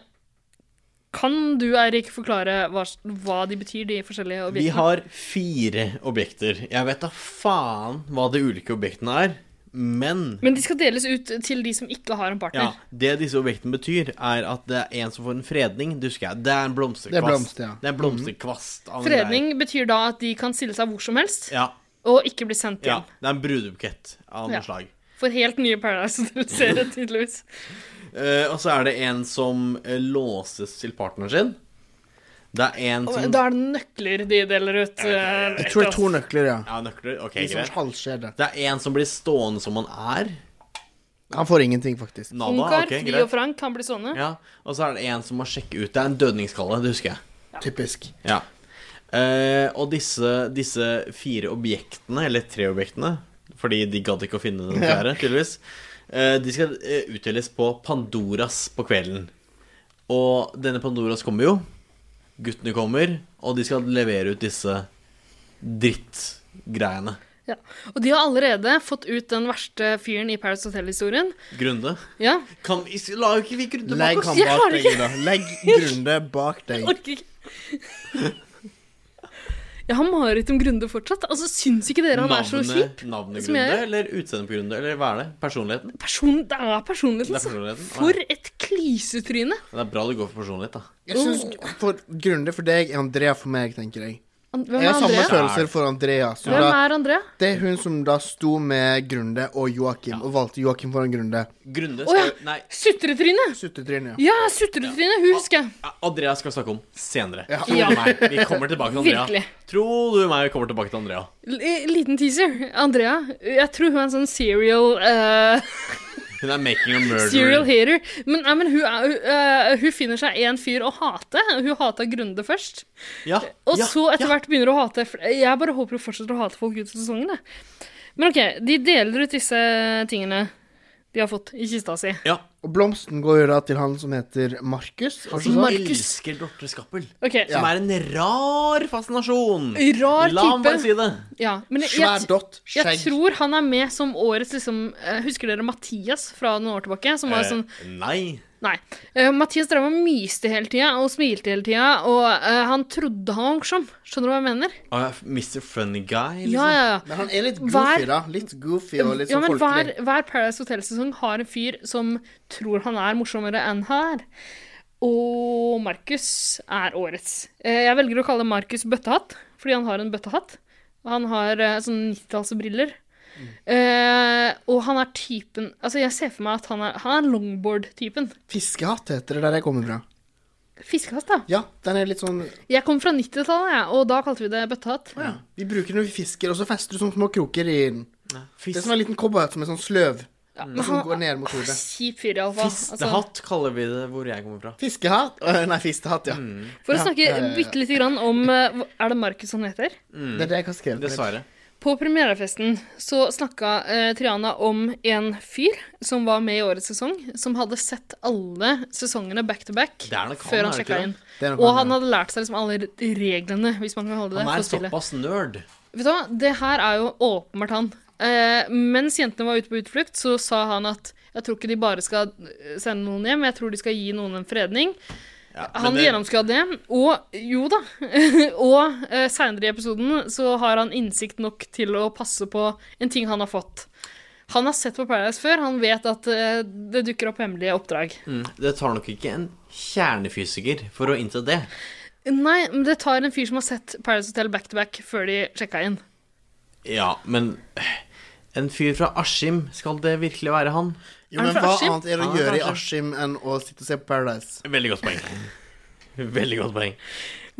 Speaker 1: kan du, Eirik, forklare hva, hva de betyr, de forskjellige
Speaker 3: Vi
Speaker 1: objektene?
Speaker 3: har fire objekter. Jeg vet da faen hva de ulike objektene er, men
Speaker 1: Men de skal deles ut til de som ikke har en
Speaker 3: ja,
Speaker 1: partner.
Speaker 3: Det disse objektene betyr, er at det er en som får en fredning. Det husker jeg. Det er en blomsterkvast.
Speaker 2: Det er blomster, ja.
Speaker 3: Det er en blomsterkvast. av en
Speaker 1: Fredning betyr da at de kan stille seg hvor som helst
Speaker 3: greie. Ja,
Speaker 1: og ikke bli sendt
Speaker 3: ja.
Speaker 1: hjem.
Speaker 3: Det er en brudebukett av noe
Speaker 1: Ja.
Speaker 3: slag.
Speaker 1: For helt nye
Speaker 3: <laughs>
Speaker 1: Paradise-serier, tydeligvis.
Speaker 3: Eh, og så er det en som eh, låses til partneren sin. Det er en
Speaker 1: Og
Speaker 3: som
Speaker 1: eh, Da er det nøkler de deler ut. eh,
Speaker 2: Jeg tror
Speaker 1: etter
Speaker 2: det er to nøkler, ja.
Speaker 3: Ja, nøkler. Ok,
Speaker 1: Liksom
Speaker 2: I sånn
Speaker 3: greit.
Speaker 2: halvskjede.
Speaker 3: Det er en som blir stående som han er.
Speaker 2: Han får ingenting,
Speaker 1: oss.
Speaker 2: faktisk.
Speaker 3: Nada,
Speaker 1: Ungkar,
Speaker 3: ok,
Speaker 1: Fri
Speaker 3: greit.
Speaker 1: og Frank kan bli sånne.
Speaker 3: Ja, og så er det en som må sjekke ut. Det er en dødningskalle, det husker jeg.
Speaker 2: Typisk.
Speaker 3: Ja. Eh, og disse, disse fire objektene, eller tre objektene, fordi de gadd ikke å finne den
Speaker 2: Ja.
Speaker 3: fjerde, tydeligvis, eh, de skal eh, utdeles på Pandoras på kvelden. Og denne Pandoras kommer jo. Guttene kommer, og de skal levere ut disse drittgreiene.
Speaker 1: Ja. Og de har allerede fått ut den verste fyren i Paradise Hotel-historien.
Speaker 3: Grunde.
Speaker 1: Ja.
Speaker 3: Kan vi, la jo ikke vi grunde
Speaker 2: Legg
Speaker 3: bak oss?
Speaker 2: han
Speaker 1: Jeg har
Speaker 2: bak deg,
Speaker 1: ikke- <laughs>
Speaker 2: da. Legg Grunde bak deg.
Speaker 1: Jeg orker ikke. Jeg har mareritt om Grunde fortsatt. Altså, Syns ikke dere han er så kjip?
Speaker 3: Navnet, navnet
Speaker 1: som jeg
Speaker 3: grunde,
Speaker 1: gjør.
Speaker 3: eller utseendet på grunde, eller hva er det? Personligheten?
Speaker 1: Person, det er personligheten,
Speaker 3: Det er
Speaker 1: altså.
Speaker 3: personligheten, ja.
Speaker 1: For et klisetryne!
Speaker 3: Det er bra det går for personlighet, da.
Speaker 2: Jeg synes for Grunde for deg er Andrea for meg, tenker jeg.
Speaker 1: An- Hvem
Speaker 2: Jeg
Speaker 1: er
Speaker 2: har samme
Speaker 1: Andrea?
Speaker 2: følelser for Andrea. så
Speaker 1: Hvem
Speaker 2: da-
Speaker 1: er Andrea?
Speaker 2: Det er hun som da sto med Grunde og Joakim, og valgte Joakim foran Grunde.
Speaker 3: Grunde
Speaker 1: Å
Speaker 3: skal
Speaker 1: ja!
Speaker 3: jo- Nei,
Speaker 1: Sutretryne!
Speaker 2: Suttetryne, ja.
Speaker 1: Ja, sutretryne! Hun husker jeg.
Speaker 3: Andrea skal vi snakke om senere.
Speaker 2: Ja.
Speaker 3: Tro
Speaker 1: Ja.
Speaker 3: du meg, vi kommer tilbake til Andrea.
Speaker 1: Virkelig.
Speaker 3: Tro du meg, vi kommer tilbake til Andrea.
Speaker 1: L- Liten teaser. Andrea. Jeg tror hun er en sånn serial eh,
Speaker 3: Hun er making a
Speaker 1: Serial
Speaker 3: murderer.
Speaker 1: hater. Men, nei, men hun, er, hun, eh, hun finner seg en fyr å hate. Hun hata Grunde først.
Speaker 3: Ja.
Speaker 1: Og
Speaker 3: ja,
Speaker 1: så etter
Speaker 3: ja.
Speaker 1: hvert begynner hun å hate fl- Jeg bare håper hun fortsetter å hate folk ut i sesongen. Jeg. Men OK, de deler ut disse tingene de har fått i kista si.
Speaker 2: Og blomsten går jo da til han som heter Markus. er det
Speaker 3: Altså,
Speaker 2: sånn?
Speaker 3: Markus elsker Dorte Skappel,
Speaker 1: Ok,
Speaker 3: som er en rar fascinasjon.
Speaker 1: Rar
Speaker 3: La ham
Speaker 1: type.
Speaker 3: bare si det.
Speaker 1: ja, men jeg,
Speaker 2: Svær
Speaker 1: jeg,
Speaker 2: dott,
Speaker 1: jeg
Speaker 2: skjegg.
Speaker 1: tror han er med som årets liksom eh, Husker dere Mathias fra noen år tilbake? Som var
Speaker 3: Eh,
Speaker 1: sånn
Speaker 3: Nei.
Speaker 1: Nei. Eh, Mathias drev og myste hele tida og smilte hele tida, og eh, han trodde han var morsom. Skjønner du hva jeg mener?
Speaker 3: Ah, ja, Mr. Funny Guy, liksom.
Speaker 1: Ja, ja, ja.
Speaker 2: Men han er litt
Speaker 1: Hver-
Speaker 2: goofy, da. Litt goofy og litt
Speaker 1: ja,
Speaker 2: sånn
Speaker 1: men hver,
Speaker 2: folkelig.
Speaker 1: hver Paradise Hotel-sesong har en fyr som tror han er morsommere enn her. Og Markus er årets. Eh, Jeg velger å kalle Markus Bøttehatt, fordi han har en bøttehatt. Han har eh, sånne 90-tallsbriller sånn Eh, og han er typen Altså, jeg ser for meg at han er, han er longboard-typen.
Speaker 2: Fiskehatt heter det der jeg kommer fra.
Speaker 1: Fiskehatt, da.
Speaker 2: Ja, den er litt sånn
Speaker 1: Jeg kom fra 90-tallet, jeg, og da kalte vi det bøttehatt.
Speaker 2: Vi bruker den når vi fisker, og så fester du sånne små kroker i den.
Speaker 3: liksom.
Speaker 2: Det er som en liten cowboyhatt som er sånn sløv.
Speaker 1: men
Speaker 2: Som
Speaker 1: han-
Speaker 2: går ned mot hodet.
Speaker 1: Kjip fyr, iallfall.
Speaker 3: Fistehatt kaller vi det hvor jeg kommer fra.
Speaker 2: Fiskehatt? Å, Nei, fistehatt, ja.
Speaker 1: For å
Speaker 2: Ja,
Speaker 1: snakke
Speaker 2: ja, ja, ja.
Speaker 1: bitte lite grann om eh, hva- Er det Markus han heter?
Speaker 2: Det er det jeg har skrevet.
Speaker 3: Dessverre.
Speaker 1: På premierefesten så snakka eh, Triana om en fyr som var med i årets sesong, som hadde sett alle sesongene back to back
Speaker 3: Det er nok han,
Speaker 1: før
Speaker 3: er
Speaker 1: han
Speaker 3: det
Speaker 1: sjekka
Speaker 3: ikke
Speaker 1: inn.
Speaker 3: det? Det er nok
Speaker 1: Og
Speaker 3: han,
Speaker 1: han hadde lært seg liksom alle reglene, hvis man kan holde det
Speaker 3: Han er
Speaker 1: for spillet.
Speaker 3: såpass nerd.
Speaker 1: Vet du hva, det her er jo åpenbart han. Eh, mens jentene var ute på utflukt, så sa han at jeg tror ikke de bare skal eh, sende noen hjem, jeg tror de skal gi noen en fredning.
Speaker 3: men
Speaker 1: han
Speaker 3: det-
Speaker 1: gjennomskua det, og jo da. <laughs> og eh, seinere i episoden så har han innsikt nok til å passe på en ting han har fått. Han har sett på Paradise før, han vet at eh, det dukker opp hemmelige oppdrag.
Speaker 3: Mm. Det tar nok ikke en kjernefysiker for å innse det.
Speaker 1: Nei, men det tar en fyr som har sett Paradise Hotel back to back før de sjekka inn.
Speaker 3: Ja, men øh, en fyr fra Askim, skal det virkelig være han?
Speaker 2: Jo, men hva annet er det å gjøre i Askim enn å sitte og se på Paradise?
Speaker 3: Veldig godt poeng. <laughs> Veldig godt poeng.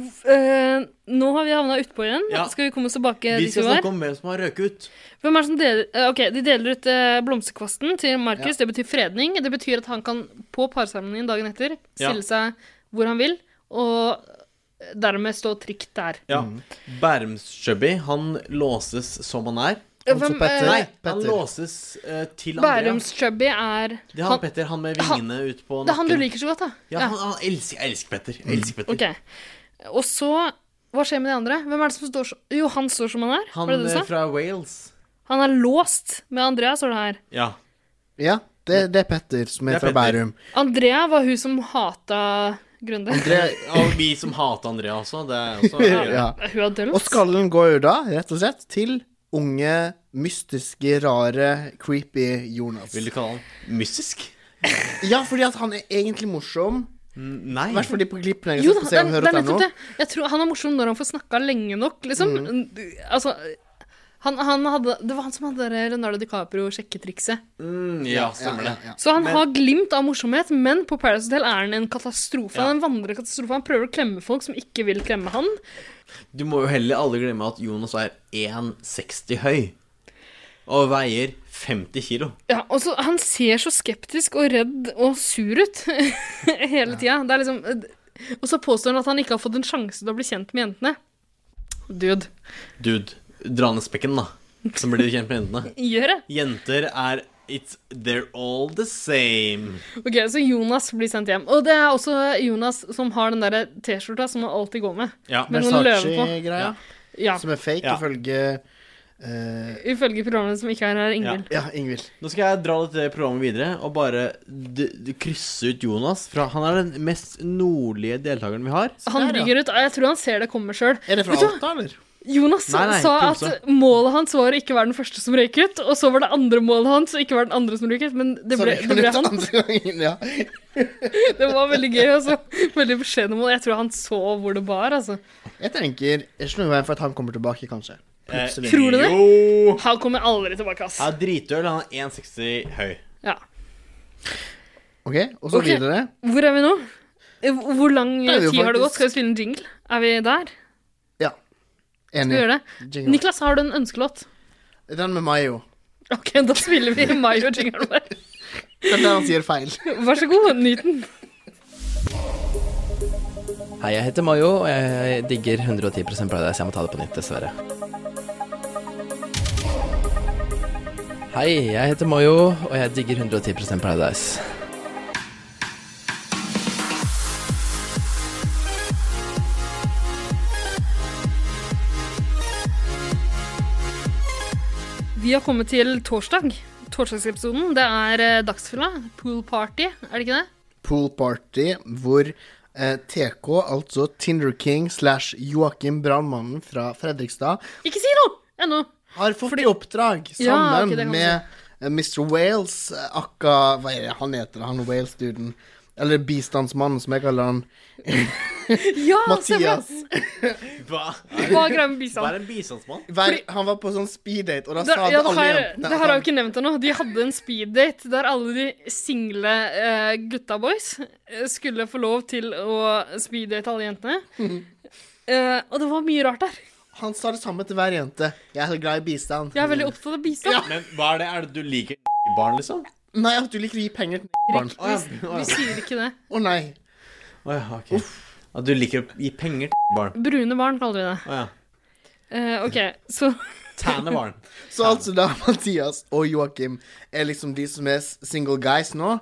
Speaker 1: Eh, nå har vi havna utpå igjen.
Speaker 3: Ja.
Speaker 1: Skal vi komme oss tilbake
Speaker 3: Vi
Speaker 1: dit vi
Speaker 3: skal
Speaker 1: var?
Speaker 3: snakke om hvem som har røket ut.
Speaker 1: Hvem er det som deler, eh, ok, De deler ut eh, blomsterkvasten til Markus.
Speaker 3: Ja.
Speaker 1: Det betyr fredning. Det betyr at han kan på parseremonien dagen etter
Speaker 3: Ja.
Speaker 1: stille seg hvor han vil, og dermed stå trygt der.
Speaker 3: Ja. Bærumsjøbby, Mm. han låses som han er.
Speaker 1: Ja, hvem, Altså Petter-
Speaker 3: Nei, han
Speaker 1: Petter.
Speaker 3: låses eh, til Andrea.
Speaker 1: Bærums Chubby er
Speaker 3: Det er han, Petter, han med
Speaker 1: han-
Speaker 3: vingene ut på
Speaker 1: Det er han du liker så godt, da.
Speaker 3: Ja, han, han elsker, jeg elsker Petter. Jeg elsker Petter.
Speaker 1: Ok. Og så Hva skjer med de andre? Hvem er det som står så Jo, han står som han er.
Speaker 3: Han
Speaker 1: var det det du
Speaker 3: eh,
Speaker 1: sa?
Speaker 3: fra Wales.
Speaker 1: Han er låst med Andrea, står det her.
Speaker 3: Ja.
Speaker 2: Ja, det, det er Petter som er,
Speaker 3: Det
Speaker 2: fra
Speaker 3: er Petter.
Speaker 2: Bærum.
Speaker 1: Andrea var hun som hata Grunde.
Speaker 3: Og vi som hater Andrea også. Det er <laughs> også
Speaker 2: Ja.
Speaker 1: Hun er dølt.
Speaker 2: Og skallen går jo da, rett og slett, til unge, mystiske, rare, creepy Jonas.
Speaker 3: Vil du kalle han mystisk?
Speaker 2: Ja, fordi at han er egentlig morsom.
Speaker 3: Nei.
Speaker 2: I hvert fall de på klippene jeg
Speaker 1: Jo
Speaker 2: har
Speaker 1: da,
Speaker 2: sett på
Speaker 1: det, er-
Speaker 2: Se og Hør
Speaker 1: det er
Speaker 2: og
Speaker 1: nettopp
Speaker 2: nå.
Speaker 1: det. Jeg tror han er morsom når han får snakka lenge nok, liksom. Du- Altså han, han hadde, det var han som hadde det Leonardo DiCaprio-sjekketrikset.
Speaker 3: Mm, ja, stemmer det.
Speaker 1: Så han
Speaker 3: Men-
Speaker 1: har glimt av morsomhet, men på Paradise Hotel er han en katastrofe.
Speaker 3: Ja.
Speaker 1: Han er en vandrende katastrofe. Han prøver å klemme folk som ikke vil klemme han.
Speaker 3: Du må jo heller aldri glemme at Jonas er 1,60 høy og veier 50 kilo.
Speaker 1: Ja, og så Han ser så skeptisk og redd og sur ut <laughs> hele tida. Det er liksom Og så påstår han at han ikke har fått en sjanse til å bli kjent med jentene. Dude,
Speaker 3: Dude, dra ned spekken, da. Som blir kjent med jentene.
Speaker 1: gjør det!
Speaker 3: Jenter er It's They're all the same.
Speaker 1: Ok, Så Jonas blir sendt hjem. Og det er også Jonas som har den der T-skjorta som han alltid går med.
Speaker 3: Ja.
Speaker 1: med noen løver på.
Speaker 2: Versace-greia,
Speaker 1: Ja.
Speaker 2: som er fake ifølge eh,
Speaker 1: Ifølge programmet som ikke er her, Ingvild.
Speaker 2: Ja, Ingvild.
Speaker 3: Nå skal jeg dra dette programmet videre og bare d d krysse ut Jonas. Fra, han er den mest nordlige deltakeren vi har.
Speaker 1: Han ligger ut, Jeg tror han ser det komme sjøl.
Speaker 2: Er det fra Alta, eller?
Speaker 1: Jonas
Speaker 3: Nei, nei,
Speaker 1: sa
Speaker 3: Tromsø.
Speaker 1: at målet hans var å ikke være den første som røyk ut, og så var det andre målet hans å ikke være den andre som røyk ut, men det ble,
Speaker 2: Sorry,
Speaker 1: det ble
Speaker 2: kan
Speaker 1: han.
Speaker 2: du ta andre gangen? Ja.
Speaker 1: Det var veldig gøy, altså. Veldig beskjedne mål. Jeg tror han så hvor det bar, altså.
Speaker 2: Jeg tenker det er ikke noe i veien for at han kommer tilbake, kanskje.
Speaker 3: Eh,
Speaker 2: Plutselig.
Speaker 1: Tror du det?
Speaker 3: Jo!
Speaker 1: Han kommer aldri tilbake, ass.
Speaker 3: Han er dritøl. Han er 1,60 høy.
Speaker 1: Ja.
Speaker 2: Ok, og så
Speaker 1: Ok.
Speaker 2: videre.
Speaker 1: Hvor er vi nå? Eh, Hvor lang
Speaker 2: Da er
Speaker 1: tid
Speaker 2: vi jo
Speaker 1: har det
Speaker 2: faktisk-
Speaker 1: gått? Skal vi spille en jingle? Er vi der?
Speaker 2: Ja.
Speaker 1: Skal vi
Speaker 2: Enig.
Speaker 1: gjøre det?
Speaker 2: Jingle.
Speaker 1: Niklas, har du en ønskelåt?
Speaker 2: Den med Mayo.
Speaker 1: Ok, da spiller vi Mayo-jingelen vår.
Speaker 2: Den der han sier feil.
Speaker 1: <laughs> Vær så god, nyt den.
Speaker 9: Hei, jeg heter Mayo, og jeg digger 110 Paradise. Jeg må ta det på nytt, dessverre. Hei, jeg heter Mayo, og jeg digger 110 Paradise.
Speaker 1: Vi har kommet til torsdag. Torsdagsepisoden. Det er eh, dagsfylla. Pool party, er det ikke det?
Speaker 2: Pool party hvor eh, TK, altså Tinder King slash Joakim Brannmannen fra Fredrikstad,
Speaker 1: Ikke si noe! Ennå.
Speaker 2: har fått i oppdrag
Speaker 1: Ja, ok,
Speaker 2: sammen
Speaker 1: det kan du
Speaker 2: med eh, Mr. Wales, eh, akka Hva er det han heter, han Wales-duden? Eller bistandsmannen, som jeg kaller han.
Speaker 1: Ja,
Speaker 2: Mathias.
Speaker 3: Hva? Sånn.
Speaker 1: Hva er greia med bistand?
Speaker 3: Hva er en bistandsmann?
Speaker 2: Vær, han var på sånn speeddate, og da
Speaker 1: Det,
Speaker 2: sa
Speaker 1: ja, det,
Speaker 2: alle
Speaker 1: har,
Speaker 2: jentene
Speaker 1: det
Speaker 2: at
Speaker 1: har jeg
Speaker 2: han-
Speaker 1: jo ikke nevnt ennå. De hadde en speeddate der alle de single eh, gutta boys eh, skulle få lov til å speeddate alle jentene.
Speaker 2: Mhm.
Speaker 1: Eh, og det var mye rart der.
Speaker 2: Han sa det samme til hver jente. Jeg er så glad i bistand.
Speaker 1: Jeg er veldig opptatt av bistand.
Speaker 3: Men hva er det? Er det du liker barn, liksom?
Speaker 2: Nei, at du liker å gi penger til barn.
Speaker 3: Å, ja. Å, ja.
Speaker 1: Vi sier ikke det.
Speaker 2: Å nei.
Speaker 3: Å ja, ok. At du liker å gi penger til barn?
Speaker 1: Brune barn kaller vi det.
Speaker 3: Å ja.
Speaker 1: Eh, OK, så
Speaker 3: Tæne barn.
Speaker 2: Så altså da <laughs> Mathias og Joakim er liksom de som er s- single guys nå.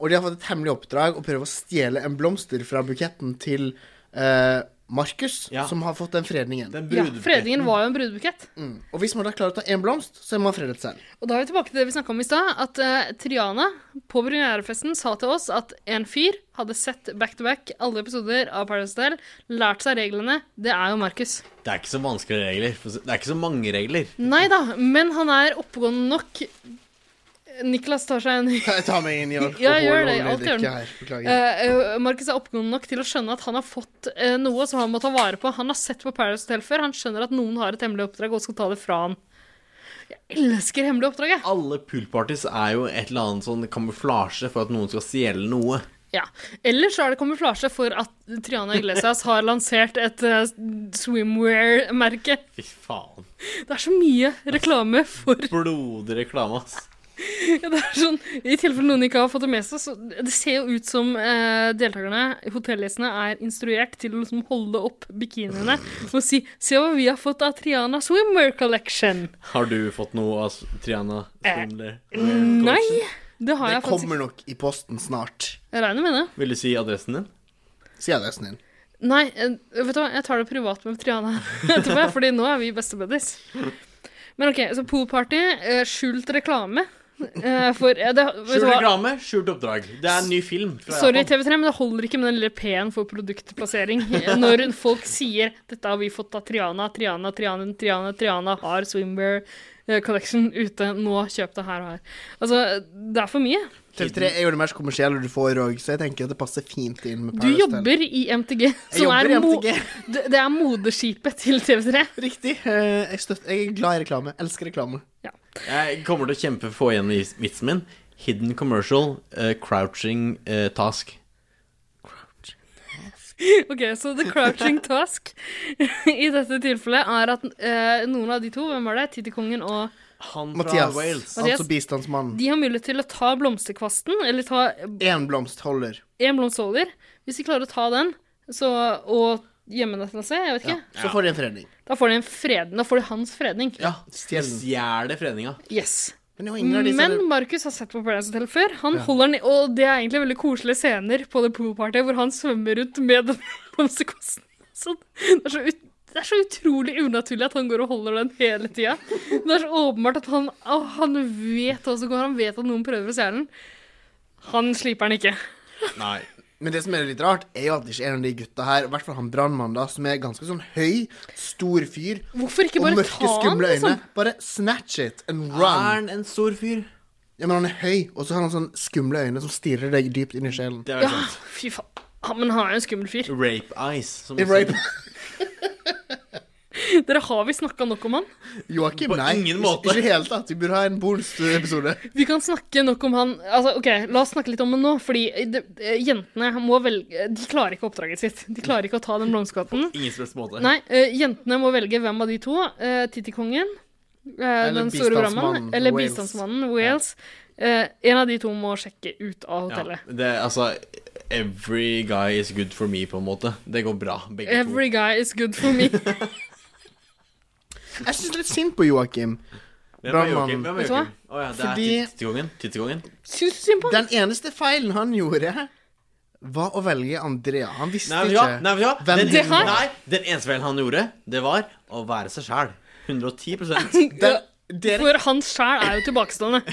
Speaker 2: Og de har fått et hemmelig oppdrag å prøve å stjele en blomster fra buketten til eh, Markus, som har fått den fredningen.
Speaker 1: ja, Fredningen var jo en brudebukett.
Speaker 2: Mm. Og hvis man da klarer å ta én blomst, så er man fredet selv.
Speaker 1: Og da er vi tilbake til det vi snakka om i stad. At eh, Triana på premierefesten sa til oss at en fyr hadde sett back to back alle episoder av Paradise Hotel, lært seg reglene. Det er jo Markus.
Speaker 3: Det er ikke så vanskelige regler. for Det er ikke så mange regler.
Speaker 1: Nei da, men han er oppegående nok. Niklas tar seg en
Speaker 2: Jeg tar meg inn i alkohol
Speaker 1: Ja, gjør det.
Speaker 2: og
Speaker 1: Alt gjør
Speaker 2: drikke
Speaker 1: den.
Speaker 2: her. Beklager.
Speaker 1: Eh, eh, Markus er oppegående nok til å skjønne at han har fått eh, noe som han må ta vare på. Han har sett på Paradise Hotel før. Han skjønner at noen har et hemmelig oppdrag og skal ta det fra han. Jeg elsker hemmelig oppdrag, jeg.
Speaker 3: Alle poolparties er jo et eller annet sånn kamuflasje for at noen skal stjele noe.
Speaker 1: Ja. Eller så er det kamuflasje for at Triana Iglesias har lansert et eh, swimwear-merke.
Speaker 3: Fy faen.
Speaker 1: Det er så mye reklame for <laughs>
Speaker 3: Blodig reklame, ass.
Speaker 1: ja, det er sånn, I tilfelle noen ikke har fått det med seg, så det ser jo ut som eh, deltakerne, hotellgjestene, er instruert til å liksom holde opp bikiniene og si 'se hva vi har fått av Triana Swimwear Collection'.
Speaker 3: Har du fått noe av Triana Swindler?
Speaker 1: Nei, det har
Speaker 2: Det
Speaker 1: jeg faktisk ikke.
Speaker 2: kommer nok i posten snart.
Speaker 1: Jeg regner med det.
Speaker 3: Vil du si adressen din?
Speaker 2: Si adressen din.
Speaker 1: Nei, eh, vet du hva, jeg tar det privat med Triana <laughs> etterpå, jeg, fordi nå er vi beste buddies. Men OK, så poolparty, eh, skjult reklame. eh, For eh, det, vet
Speaker 3: Skjult
Speaker 1: du hva?
Speaker 3: reklame, skjult oppdrag. Det er en ny film. fra
Speaker 1: Sorry,
Speaker 3: Japan.
Speaker 1: TV3, men det holder ikke med den lille P-en for produktplassering. Når folk sier 'dette har vi fått av Triana', 'Triana, Triana, Triana, Triana har Swimwear eh, Collection ute', nå kjøp det her og her. Altså, det er for mye.
Speaker 2: TV3 er jo det mest kommersielle du får òg, så jeg tenker at det passer fint inn med
Speaker 1: Du
Speaker 2: Paradise Hotel.
Speaker 1: jobber i MTG, som
Speaker 2: jobber i
Speaker 1: er mo
Speaker 2: MTG.
Speaker 1: det det er moderskipet til TV3.
Speaker 2: Riktig. Eh, Jeg, støtter, jeg er glad i reklame. Elsker reklame.
Speaker 3: Jeg kommer til å kjempe for å få igjen vis- vitsen min. Hidden commercial, eh, crouching eh, task.
Speaker 1: Ok, så the crouching task <laughs> i dette tilfellet er at eh, noen av de to, hvem var det? Tittikongen og
Speaker 3: Han
Speaker 2: Mathias,
Speaker 1: Mathias,
Speaker 2: altså bistandsmannen.
Speaker 1: de har mulighet til å ta blomsterkvasten, eller ta
Speaker 2: Én blomst holder.
Speaker 1: én blomst holder. Hvis de klarer å ta den, så, og gjemme den et eller annet sted, jeg vet
Speaker 2: Ja.
Speaker 1: ikke,
Speaker 2: Så får de en fredning.
Speaker 1: da får de en fredning. Da får de hans fredning.
Speaker 3: Ja, Stjeler fredninga.
Speaker 1: Yes.
Speaker 2: Men,
Speaker 3: ingen av disse-
Speaker 1: Markus har sett på Paradise Hotel før. Han
Speaker 3: Ja.
Speaker 1: holder den i, Og det er egentlig veldig koselige scener på det poolpartyet hvor han svømmer rundt med den <laughs> blomsterkosten. Så det, er så ut, det er så utrolig unaturlig at han går og holder den hele tida. Det er så åpenbart at han, å, han vet hva som går, han vet at noen prøver å stjele den. Han sliper den ikke.
Speaker 3: Nei.
Speaker 2: Men det som er litt rart, er jo at det ikke er en av de gutta her, i hvert fall han brannmannen, da, som er ganske sånn høy, stor fyr,
Speaker 1: Hvorfor ikke
Speaker 2: og
Speaker 1: bare
Speaker 2: mørke,
Speaker 1: ta han,
Speaker 2: skumle øyne.
Speaker 1: liksom?
Speaker 2: Bare snatch it and
Speaker 3: Er
Speaker 2: run.
Speaker 3: han en stor fyr?
Speaker 2: Ja, men han er høy, og så har han sånn skumle øyne som stirrer deg dypt inn i sjelen.
Speaker 3: Det
Speaker 1: Ja, fy faen. Ja, men han er jo en skummel fyr.
Speaker 3: Rape eyes. Som
Speaker 2: Rape.
Speaker 1: Dere har vi snakka nok om han.
Speaker 2: Joakim,
Speaker 3: På
Speaker 2: nei.
Speaker 3: ingen
Speaker 2: ikke-
Speaker 3: måte.
Speaker 2: Ikke i det hele tatt. Vi burde ha en bonusepisode.
Speaker 1: Vi kan snakke nok om han altså, Ok, La oss snakke litt om det nå. Fordi de, eh, jentene må velge De klarer ikke oppdraget sitt. De klarer ikke å ta den blomsterkatten.
Speaker 3: <laughs> Ingen som helst måte.
Speaker 1: Nei, eh, jentene må velge hvem av de to. Uh, Tittikongen, eh, den store brannmannen,
Speaker 3: bistandsmannen,
Speaker 1: eller
Speaker 3: Wales.
Speaker 1: bistandsmannen Wales. Eh, en av de to må sjekke ut av hotellet.
Speaker 3: Det er altså Every guy is good for me, på en måte. Det går bra, begge
Speaker 1: Every guy is good for
Speaker 3: <laughs>
Speaker 1: me.
Speaker 2: Jeg syns litt synd på Joakim.
Speaker 3: to. Hvem er Joakim?
Speaker 2: Brannmannen.
Speaker 3: Hvem er
Speaker 1: Vet du hva?
Speaker 3: Joakim? Å ja, det
Speaker 2: Fordi-
Speaker 3: er tidskongen. Tidskongen.
Speaker 1: Syns du synd på
Speaker 2: Den eneste feilen han gjorde, var å velge Andrea. Han visste
Speaker 3: Nei, vet du hva?
Speaker 2: ikke
Speaker 3: Nei, vet du hva?
Speaker 2: hvem
Speaker 3: Den,
Speaker 2: hun var.
Speaker 3: nei, den eneste feilen han gjorde, det var å være seg sjæl. 110
Speaker 2: <laughs>
Speaker 1: For han sjæl er jo tilbakestående.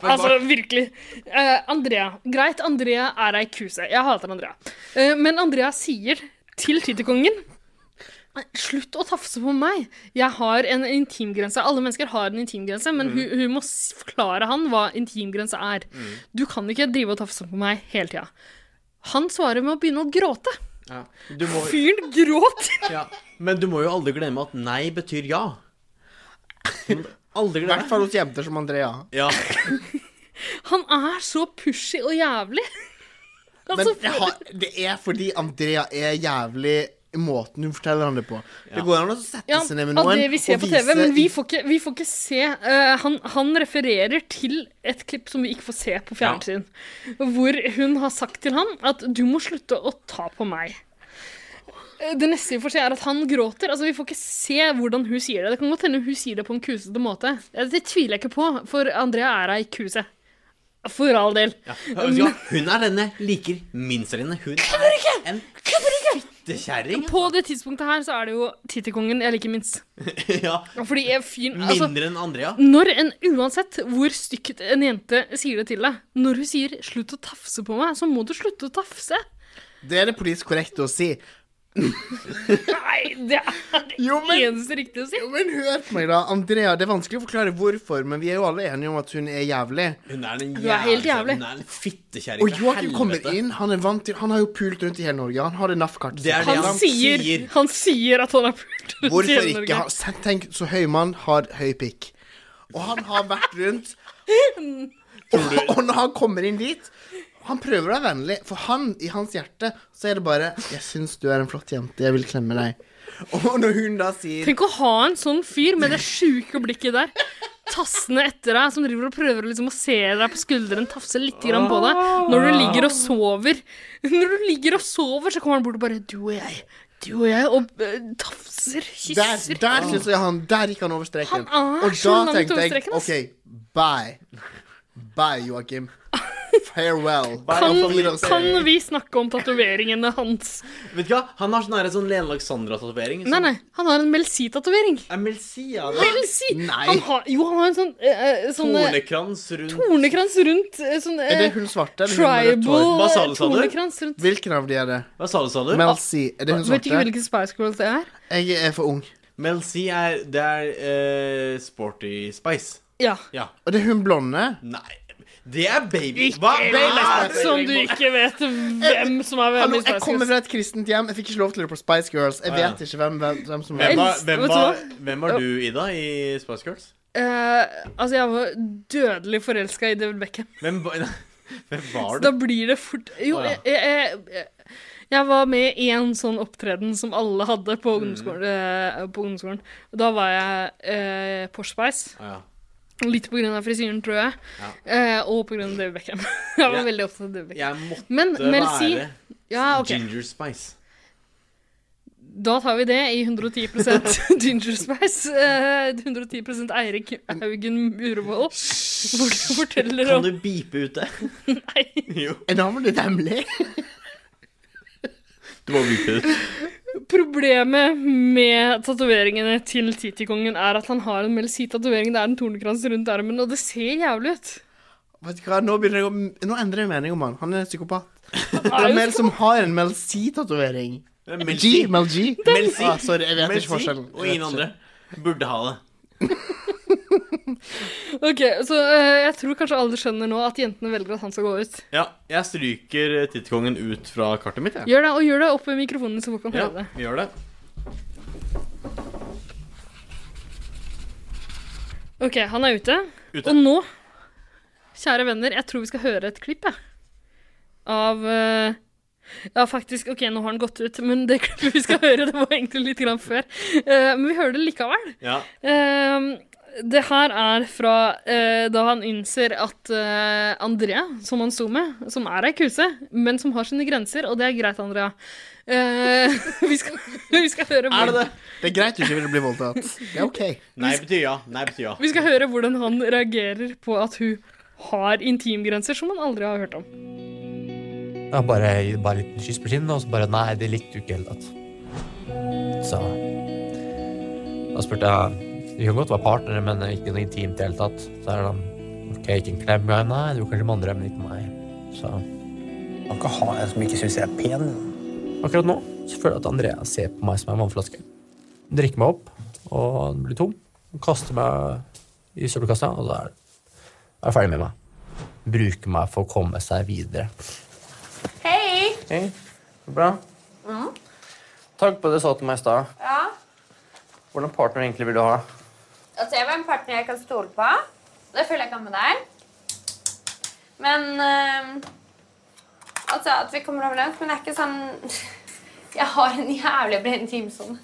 Speaker 1: altså, virkelig. Eh, Andrea. Greit, Andrea er ei kuse. Jeg hater Andrea. Eh, men Andrea sier til Titterkongen Slutt å tafse på meg! Jeg har en intimgrense. Alle mennesker har en intimgrense, men hun, hun må s- forklare han hva intimgrense er. Du kan ikke drive og tafse på meg hele tida. Han svarer med å begynne å gråte.
Speaker 3: Ja. Du må,
Speaker 1: Fyren gråt!
Speaker 3: ja. Men du må jo aldri glemme at nei betyr ja. Aldri
Speaker 2: I hvert fall hos jenter som Andrea.
Speaker 3: Ja.
Speaker 1: Han er så pushy og jævlig.
Speaker 2: Men
Speaker 1: Altså,
Speaker 2: jeg har, det er fordi Andrea er jævlig i måten hun forteller han det på. Det går an å sette
Speaker 1: ja,
Speaker 2: seg ned med
Speaker 1: av
Speaker 2: noen
Speaker 1: det vi ser
Speaker 2: og
Speaker 1: på
Speaker 2: vise
Speaker 1: TV, men vi får ikke, vi får ikke se eh, han, han refererer til et klipp som vi ikke får se på fjernsyn, hvor hun har sagt til ham at 'du må slutte å ta på meg'. Eh, Det neste vi får se, er at han gråter. Altså, Vi får ikke se hvordan hun sier det. Det kan godt hende hun sier det på en kusete måte. Eh, Det tviler jeg ikke på, for Andrea er ei kuse. For all del.
Speaker 3: Ja, hun er denne liker minst av dine. Hun er en fittekjerring.
Speaker 1: På det tidspunktet her så er det jo Tittekongen jeg liker minst.
Speaker 2: <laughs>
Speaker 3: Ja.
Speaker 1: Fordi jeg fyren altså,
Speaker 3: Mindre enn Andrea.
Speaker 1: Når en, uansett hvor stygt en jente sier det til deg, når hun sier 'slutt å tafse på meg', så må du slutte å tafse.
Speaker 2: Det er det politisk korrekte å si.
Speaker 1: Nei, det er det eneste riktige å si.
Speaker 2: Men da, Andrea, det er vanskelig å forklare hvorfor, men vi er jo alle enige om at hun er jævlig.
Speaker 3: Hun er en
Speaker 1: Du er helt jævlig.
Speaker 3: Hun er en fittekjerring.
Speaker 2: Og
Speaker 3: fra
Speaker 2: Joakim kommer
Speaker 3: helvete.
Speaker 2: inn, han er vant til Han har jo pult rundt i hele Norge. Han har det NAF-kartet.
Speaker 3: Det er det
Speaker 1: Han, sier, han sier at han har pult rundt i
Speaker 2: <laughs> Hvorfor
Speaker 1: hele Norge.
Speaker 2: ikke ha se- Tenk, så høy mann har høy pikk. Og han har vært
Speaker 1: <laughs>
Speaker 2: rundt og, og når han kommer inn dit Han prøver å være vennlig, for han, i hans hjerte, så er det bare 'Jeg syns du er en flott jente. Jeg vil klemme deg'. Og når hun da sier
Speaker 1: Tenk å ha en sånn fyr med det sjuke blikket der. Tassende etter deg, som driver og prøver liksom å se deg på skulderen, tafse litt grann på deg. Når du ligger og sover, Når du ligger og sover, så kommer han bort og bare Du og jeg, du og jeg, og eh, tafser,
Speaker 2: Der,
Speaker 1: kysser.
Speaker 2: der synes jeg han Der gikk han over streken.
Speaker 1: Han er
Speaker 2: og
Speaker 1: så
Speaker 2: da
Speaker 1: langt
Speaker 2: tenkte
Speaker 1: over
Speaker 2: jeg
Speaker 1: streken, ass.
Speaker 2: OK, bye. Bye, Joakim. Farewell.
Speaker 1: Kan,
Speaker 2: Wiedersehen.
Speaker 1: kan vi snakke om tatoveringene hans?
Speaker 3: Vet du hva? Han har sånn her, sånn Lene Alexandra-tatovering.
Speaker 1: Nei, nei, han har en Melsi-tatovering.
Speaker 3: Melsi, ja.
Speaker 1: Melsi!
Speaker 3: Nei.
Speaker 1: Han har, jo, han har en sånn, eh, eh, sånn eh,
Speaker 3: Tornekrans rundt
Speaker 1: Tornekrans rundt eh, sånn,
Speaker 2: Er det
Speaker 1: eh,
Speaker 2: hun svarte? eller hun med rødt hår?
Speaker 1: Tribal
Speaker 3: Hva sa
Speaker 1: eh,
Speaker 3: du, sa du?
Speaker 1: tornekrans rundt
Speaker 2: Hvilken av de er det?
Speaker 3: Hva sa du, sa du?
Speaker 2: Mel C. Er det hun
Speaker 1: Vet ikke
Speaker 2: svarte?
Speaker 1: hvilken Spice Girls det er?
Speaker 2: Jeg er for ung.
Speaker 3: Mel C er Det er eh, Sporty Spice.
Speaker 1: Ja.
Speaker 3: Ja.
Speaker 2: Og det er hun blonde?
Speaker 3: Nei Det er Baby Hva?
Speaker 2: Ah,
Speaker 1: Lat som du ikke vet hvem som er hvem
Speaker 2: Eh,
Speaker 1: i
Speaker 2: Hallo, jeg
Speaker 1: Spice
Speaker 2: kommer
Speaker 1: Girls.
Speaker 2: fra et kristent hjem. Jeg fikk ikke lov til å høre på Spice Girls. Jeg
Speaker 3: Ah, ja.
Speaker 2: vet ikke hvem, hvem, hvem som
Speaker 3: Hvem var,
Speaker 1: Elsk-
Speaker 3: hvem,
Speaker 1: vet du
Speaker 3: var,
Speaker 1: hva?
Speaker 3: hvem var du, Ida, i Spice Girls?
Speaker 1: Eh, altså, jeg var dødelig forelska i David Beckham.
Speaker 3: Hvem, var- <laughs> hvem
Speaker 1: Så
Speaker 3: var
Speaker 1: da
Speaker 3: du?
Speaker 1: blir det fort Jo,
Speaker 3: Å, ja.
Speaker 1: jeg, jeg, jeg, jeg var med i en sånn opptreden som alle hadde
Speaker 3: Mm.
Speaker 1: på ungdomsskolen. eh, på ungdomsskolen. Og Da var jeg eh, Porsche-Spice.
Speaker 3: Å, ja.
Speaker 1: Litt på grunn av frisyren, tror jeg. Eh, og på grunn av David Beckham. <laughs> jeg var
Speaker 3: Jeg-
Speaker 1: veldig opptatt av David Beckham.
Speaker 3: Jeg måtte
Speaker 1: Men Mel C
Speaker 3: være
Speaker 1: Ja, Ah, ok.
Speaker 3: Ginger Spice.
Speaker 1: Da tar vi det i
Speaker 3: <laughs>
Speaker 1: 110 Ginger Spice. eh, 110 Eirik Haugen Urevold. Hvor du forteller
Speaker 3: Kan
Speaker 1: om
Speaker 3: du beepe ut
Speaker 2: <laughs>
Speaker 3: det? Nei. Jo,
Speaker 2: Er navnet ditt hemmelig?
Speaker 3: du må beepe det ut.
Speaker 1: Problemet med tatoveringene til Titikongen er at han har en Melsi-tatovering. Det er en tornekrans rundt armen, og det ser jævlig ut.
Speaker 2: Vet du hva, nå, begynner jeg å, nå endrer jeg mening om han. Han er en psykopat. Det
Speaker 1: jo
Speaker 2: er mer som har en Mel C-tatovering.
Speaker 3: Mel
Speaker 2: G,
Speaker 3: C.
Speaker 2: Mel G.
Speaker 3: Mel C.
Speaker 2: Ah, sorry, jeg vet
Speaker 3: Mel
Speaker 2: ikke forskjellen.
Speaker 3: Og ingen andre burde ha det.
Speaker 1: Ok, Så eh, jeg tror kanskje alle skjønner nå at jentene velger at han skal gå ut.
Speaker 3: Ja, jeg stryker eh, tittkongen ut fra kartet mitt, jeg.
Speaker 1: Gjør det, og gjør det opp med mikrofonen, så folk kan
Speaker 3: Ja,
Speaker 1: høre det.
Speaker 3: vi gjør det.
Speaker 1: Ok, han er ute.
Speaker 3: Ute.
Speaker 1: Og nå, kjære venner, jeg tror vi skal høre et klipp, jeg. Av eh, Ja, faktisk, OK, nå har han gått ut, men det <laughs> klippet vi skal høre, det var egentlig litt grann før. Eh, men vi hører det likevel.
Speaker 3: Ja.
Speaker 1: Ehm, det her er fra eh, da han innser at eh, Andrea, som han sto med, som er ei kuse, men som har sine grenser, og det er greit, Andrea. Eh, <laughs> vi, skal, vi skal høre
Speaker 3: Er det
Speaker 1: hvordan,
Speaker 3: det?
Speaker 2: Det er greit du ikke vil bli voldtatt. Det er OK.
Speaker 3: Nei betyr ja. Nei betyr ja.
Speaker 1: vi skal høre hvordan han reagerer på at hun har intimgrenser som han aldri har hørt om. <laughs>
Speaker 10: Ja, bare, bare litt kyss på kinnet, og så bare Nei, det likte du ikke i det hele tatt. Så da spurte jeg Vi kan godt være partnere, men ikke noe intimt i det hele tatt. Så er det sånn OK, ikke en klem? Ja, nei, du kanskje med andre, men ikke med meg. Så Man kan ha en som ikke syns jeg er pen. Akkurat nå så føler jeg at Andrea ser på meg som en vannflaske. Hun drikker meg opp, og den blir tom. Hun kaster meg i søppelkassa, og da er er hun ferdig med meg. Bruker meg for å komme seg videre.
Speaker 8: Hei!
Speaker 11: riktig. Bra. Takk på det du sa til meg i stad.
Speaker 12: Ja.
Speaker 11: Hvordan partner egentlig vil du ha?
Speaker 12: Altså, jeg var en partner jeg kan stole på. Det føler jeg kan med deg. Men eh, Altså, at vi kommer overens, men det er ikke sånn <laughs> Jeg har en jævlig sånn. bred intimsone.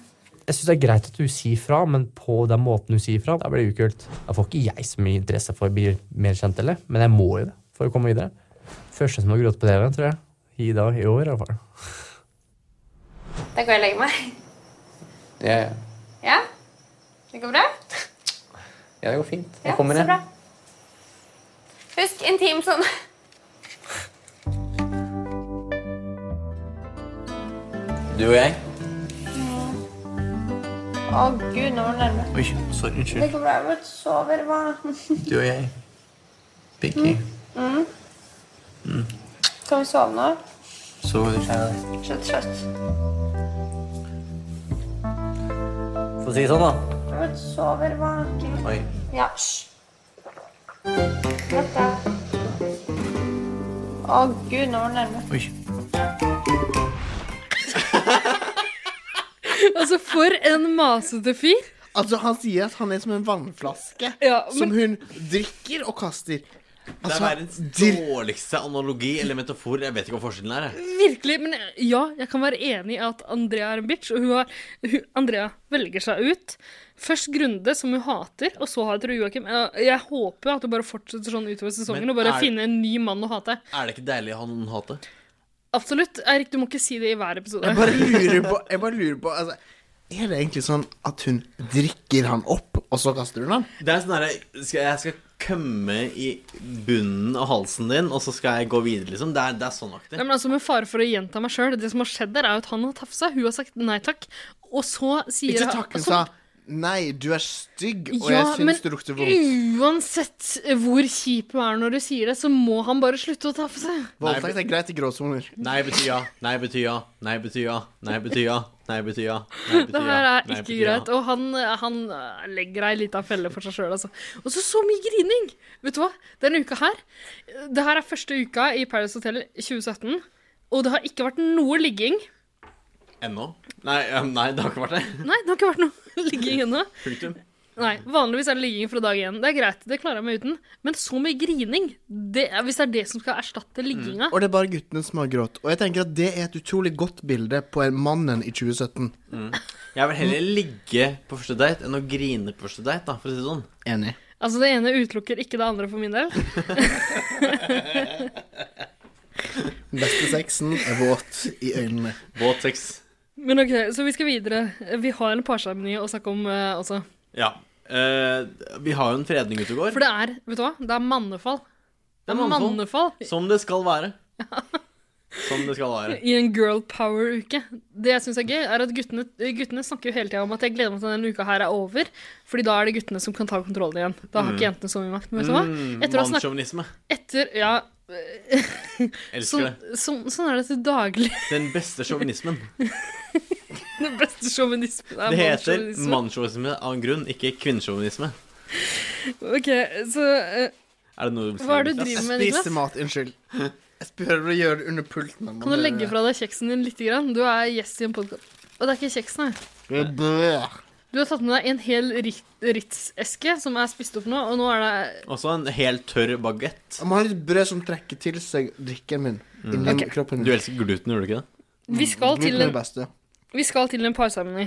Speaker 10: Jeg syns det er greit at du sier fra, men på den måten du sier fra, da blir det ukult. Da får ikke jeg så mye interesse for å bli mer kjent, eller? Men jeg må jo det for å komme videre. Første som har grått på TV, tror jeg. I dag, i år, i hvert fall.
Speaker 12: Da går jeg og legger meg.
Speaker 11: Ja, ja.
Speaker 12: Ja? Det går bra?
Speaker 11: ja, det går fint.
Speaker 12: Ja,
Speaker 11: Jeg kommer,
Speaker 12: så
Speaker 11: jeg.
Speaker 12: bra. Husk sånn. intimsone.
Speaker 3: Du og jeg.
Speaker 12: Å gud, nå var det nærme.
Speaker 3: Oi, sorry.
Speaker 12: Det
Speaker 3: Unnskyld.
Speaker 12: går bra. Jeg sover hva
Speaker 3: Du og jeg. Pinky.
Speaker 12: mm.
Speaker 3: Mm.
Speaker 12: Kan vi sove nå?
Speaker 3: Så du kjenner
Speaker 12: Så trøtt.
Speaker 11: Få si det sånn, da.
Speaker 12: Jeg sover vaken.
Speaker 11: Oi.
Speaker 12: Ja, hysj. Natta. Å gud, nå var det nærme.
Speaker 3: Oi.
Speaker 1: Altså, for en masete fyr.
Speaker 2: Altså, han sier at han er som en vannflaske
Speaker 1: Ja, men-
Speaker 2: som hun drikker og kaster.
Speaker 3: Det er
Speaker 2: Altså,
Speaker 3: verdens dårligste analogi eller metafor. Jeg vet ikke hva forskjellen er. jeg.
Speaker 1: Virkelig. Men ja, jeg kan være enig i at Andrea er en bitch. Og hun har, hun, Andrea velger seg ut. Først Grunde, som hun hater, og så hater hun Joakim. Jeg, jeg håper jo at hun bare fortsetter sånn utover sesongen
Speaker 3: Men
Speaker 1: og bare
Speaker 3: er-
Speaker 1: finner en ny mann å hate.
Speaker 3: Er det ikke deilig å ha noen hate?
Speaker 1: Absolutt. Eirik, du må ikke si det i hver episode.
Speaker 2: Jeg bare lurer på, jeg bare lurer på altså, Er det egentlig sånn at hun drikker han opp, og så kaster hun han?
Speaker 3: Det er sånn derre skal- Jeg skal kømme i bunnen av halsen din, og så skal jeg gå videre, liksom. Det er, det er sånn aktig.
Speaker 1: Nei, men altså Med fare for å gjenta meg sjøl. Det som har skjedd der, er jo at han har tafsa. Hun har sagt nei takk. Og så sier
Speaker 2: Ikke takk, hun
Speaker 1: altså,
Speaker 2: sa Nei, du er stygg, og
Speaker 1: ja,
Speaker 2: jeg
Speaker 1: men
Speaker 2: syns du lukter vondt.
Speaker 1: uansett hvor kjip hun er når du sier det, så må han bare slutte å tafse.
Speaker 2: Voldtekt er greit i gråsoner.
Speaker 3: Nei betyr ja. Nei betyr ja. Nei betyr ja. Nei betyr ja. Nei betyr ja. Nei betyr
Speaker 1: Det her
Speaker 3: ja.
Speaker 1: er
Speaker 3: Nei
Speaker 1: ikke
Speaker 3: betyr ja.
Speaker 1: greit. Og han, han eh, legger ei lita felle for seg sjøl, altså. Og så så mye grining! Vet du hva? Denne uka her eh, Det her er første uka i Paradise Hotel 2017, og det har ikke vært noe ligging.
Speaker 3: Ennå? Nei, eh, nei, det har ikke vært det.
Speaker 1: Nei, det har ikke vært noe <laughs> ligging ennå.
Speaker 3: Punktum.
Speaker 1: Nei, Vanligvis er det ligging fra dag én. Det er greit, det klarer jeg meg uten. Men så mye grining! Det, er- hvis det er det som skal erstatte ligginga
Speaker 2: Mm. Og det er bare guttene som har grått. Og jeg tenker at det er et utrolig godt bilde på en mannen i 2017.
Speaker 3: Mm. Jeg vil heller ligge på første date enn å grine på første date, da, for å si det sånn.
Speaker 2: Enig.
Speaker 1: Altså, det ene utelukker ikke det andre for min del.
Speaker 2: Beste sexen er våt i øynene.
Speaker 3: Våt sex.
Speaker 1: Men ok, så vi skal videre. Vi har en parseremoni å snakke om eh, også.
Speaker 3: Ja. Eh, vi har jo en fredning ute og går.
Speaker 1: For det er, vet du hva, det er mannefall.
Speaker 3: Det er mannefall.
Speaker 1: mannefall.
Speaker 3: Som det skal være. Som det skal
Speaker 1: <laughs>
Speaker 3: være.
Speaker 1: I en girl power-uke. Det jeg syns er gøy, er at guttene, guttene snakker jo hele tida om at jeg gleder meg til denne uka her er over, Fordi da er det guttene som kan ta kontrollen igjen. Da har
Speaker 3: Mm.
Speaker 1: ikke jentene så mye makt. Men vet du hva?
Speaker 3: Mm,
Speaker 1: Etter å ha snakket-
Speaker 3: Mannssjåvinisme.
Speaker 1: Etter Ja.
Speaker 3: Elsker
Speaker 1: Sånn, sånn, sånn er det til daglig. <laughs>
Speaker 3: Den beste sjåvinismen.
Speaker 1: Den beste sjåvinismen er
Speaker 3: Det heter
Speaker 1: mannssjåvinisme.
Speaker 3: mannssjåvinisme av en grunn, ikke kvinnesjåvinisme.
Speaker 1: Ok, så eh,
Speaker 3: Er det noe du vil si,
Speaker 1: Hva er det du
Speaker 3: Niklas?
Speaker 1: driver med, Niklas?
Speaker 2: Spise mat, unnskyld. Jeg spør å gjøre det under pulten. men man
Speaker 1: Kan du
Speaker 2: hører
Speaker 1: legge
Speaker 2: det.
Speaker 1: fra deg kjeksen din lite grann? Du er gjest i en podkast. Og det er ikke kjeks, nei.
Speaker 2: Bø.
Speaker 1: Du har tatt med deg en hel Rit- Ritz-eske som er spist opp nå, og nå er det
Speaker 3: Også en helt tørr bagett.
Speaker 2: Jeg må ha litt brød som trekker til seg drikken min. Inni
Speaker 1: Ok.
Speaker 2: kroppen min.
Speaker 3: Du elsker gluten, gjør du ikke det?
Speaker 1: Vi
Speaker 3: Mm.
Speaker 1: skal Mm. til
Speaker 2: Gluten er
Speaker 1: en,
Speaker 2: det beste.
Speaker 1: vi skal til en parseremoni.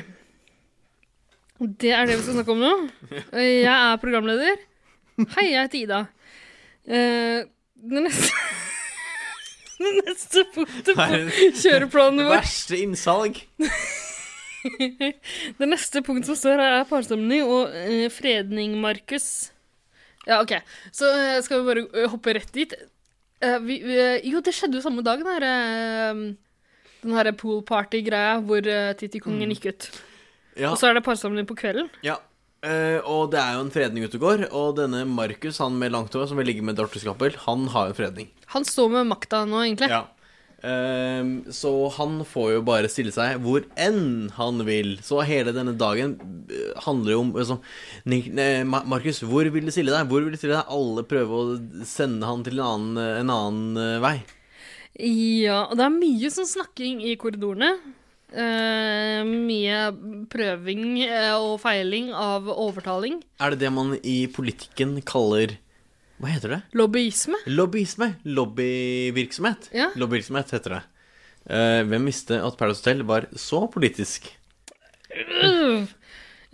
Speaker 1: Og Det er det vi skal snakke om nå. Og Jeg er programleder. Hei, jeg heter Ida. Eh, Det neste <laughs> Det neste punktet på kjøreplanen vår
Speaker 3: Verste innsalg.
Speaker 1: Det neste punktet som står her, er parstemning og eh, fredning, Markus. Ja, OK. Så eh, skal vi bare eh, hoppe rett dit. Eh, vi, vi, jo, det skjedde jo samme dag, den herre den her pool party-greia hvor uh, Titti-kongen gikk ut.
Speaker 3: Ja.
Speaker 1: Og så er det parsamling på kvelden.
Speaker 3: Ja. Eh, og det er jo en fredning ute og går, og denne Markus, han med langt hår som vil ligge med Dorthe Skappel, han har jo en fredning.
Speaker 1: Han står med makta nå, egentlig.
Speaker 3: <laughs> Ja. Ehm, så han får jo bare stille seg hvor enn han vil. Så hele denne dagen eh, handler jo om altså, Nik- eh, Ma- Markus, hvor vil du stille deg? Hvor vil du stille deg? Alle prøver å sende han til en annen, en annen eh, vei.
Speaker 1: Ja, og det er mye sånn snakking i korridorene. Eh, mye prøving eh, og feiling av overtaling.
Speaker 3: Er det det man i politikken kaller Hva heter det?
Speaker 1: Lobbyisme.
Speaker 3: Lobbyisme. Lobbyvirksomhet.
Speaker 1: Ja.
Speaker 3: Lobbyvirksomhet heter det. Eh, hvem visste at Paradise Hotel var så politisk?
Speaker 1: Øh,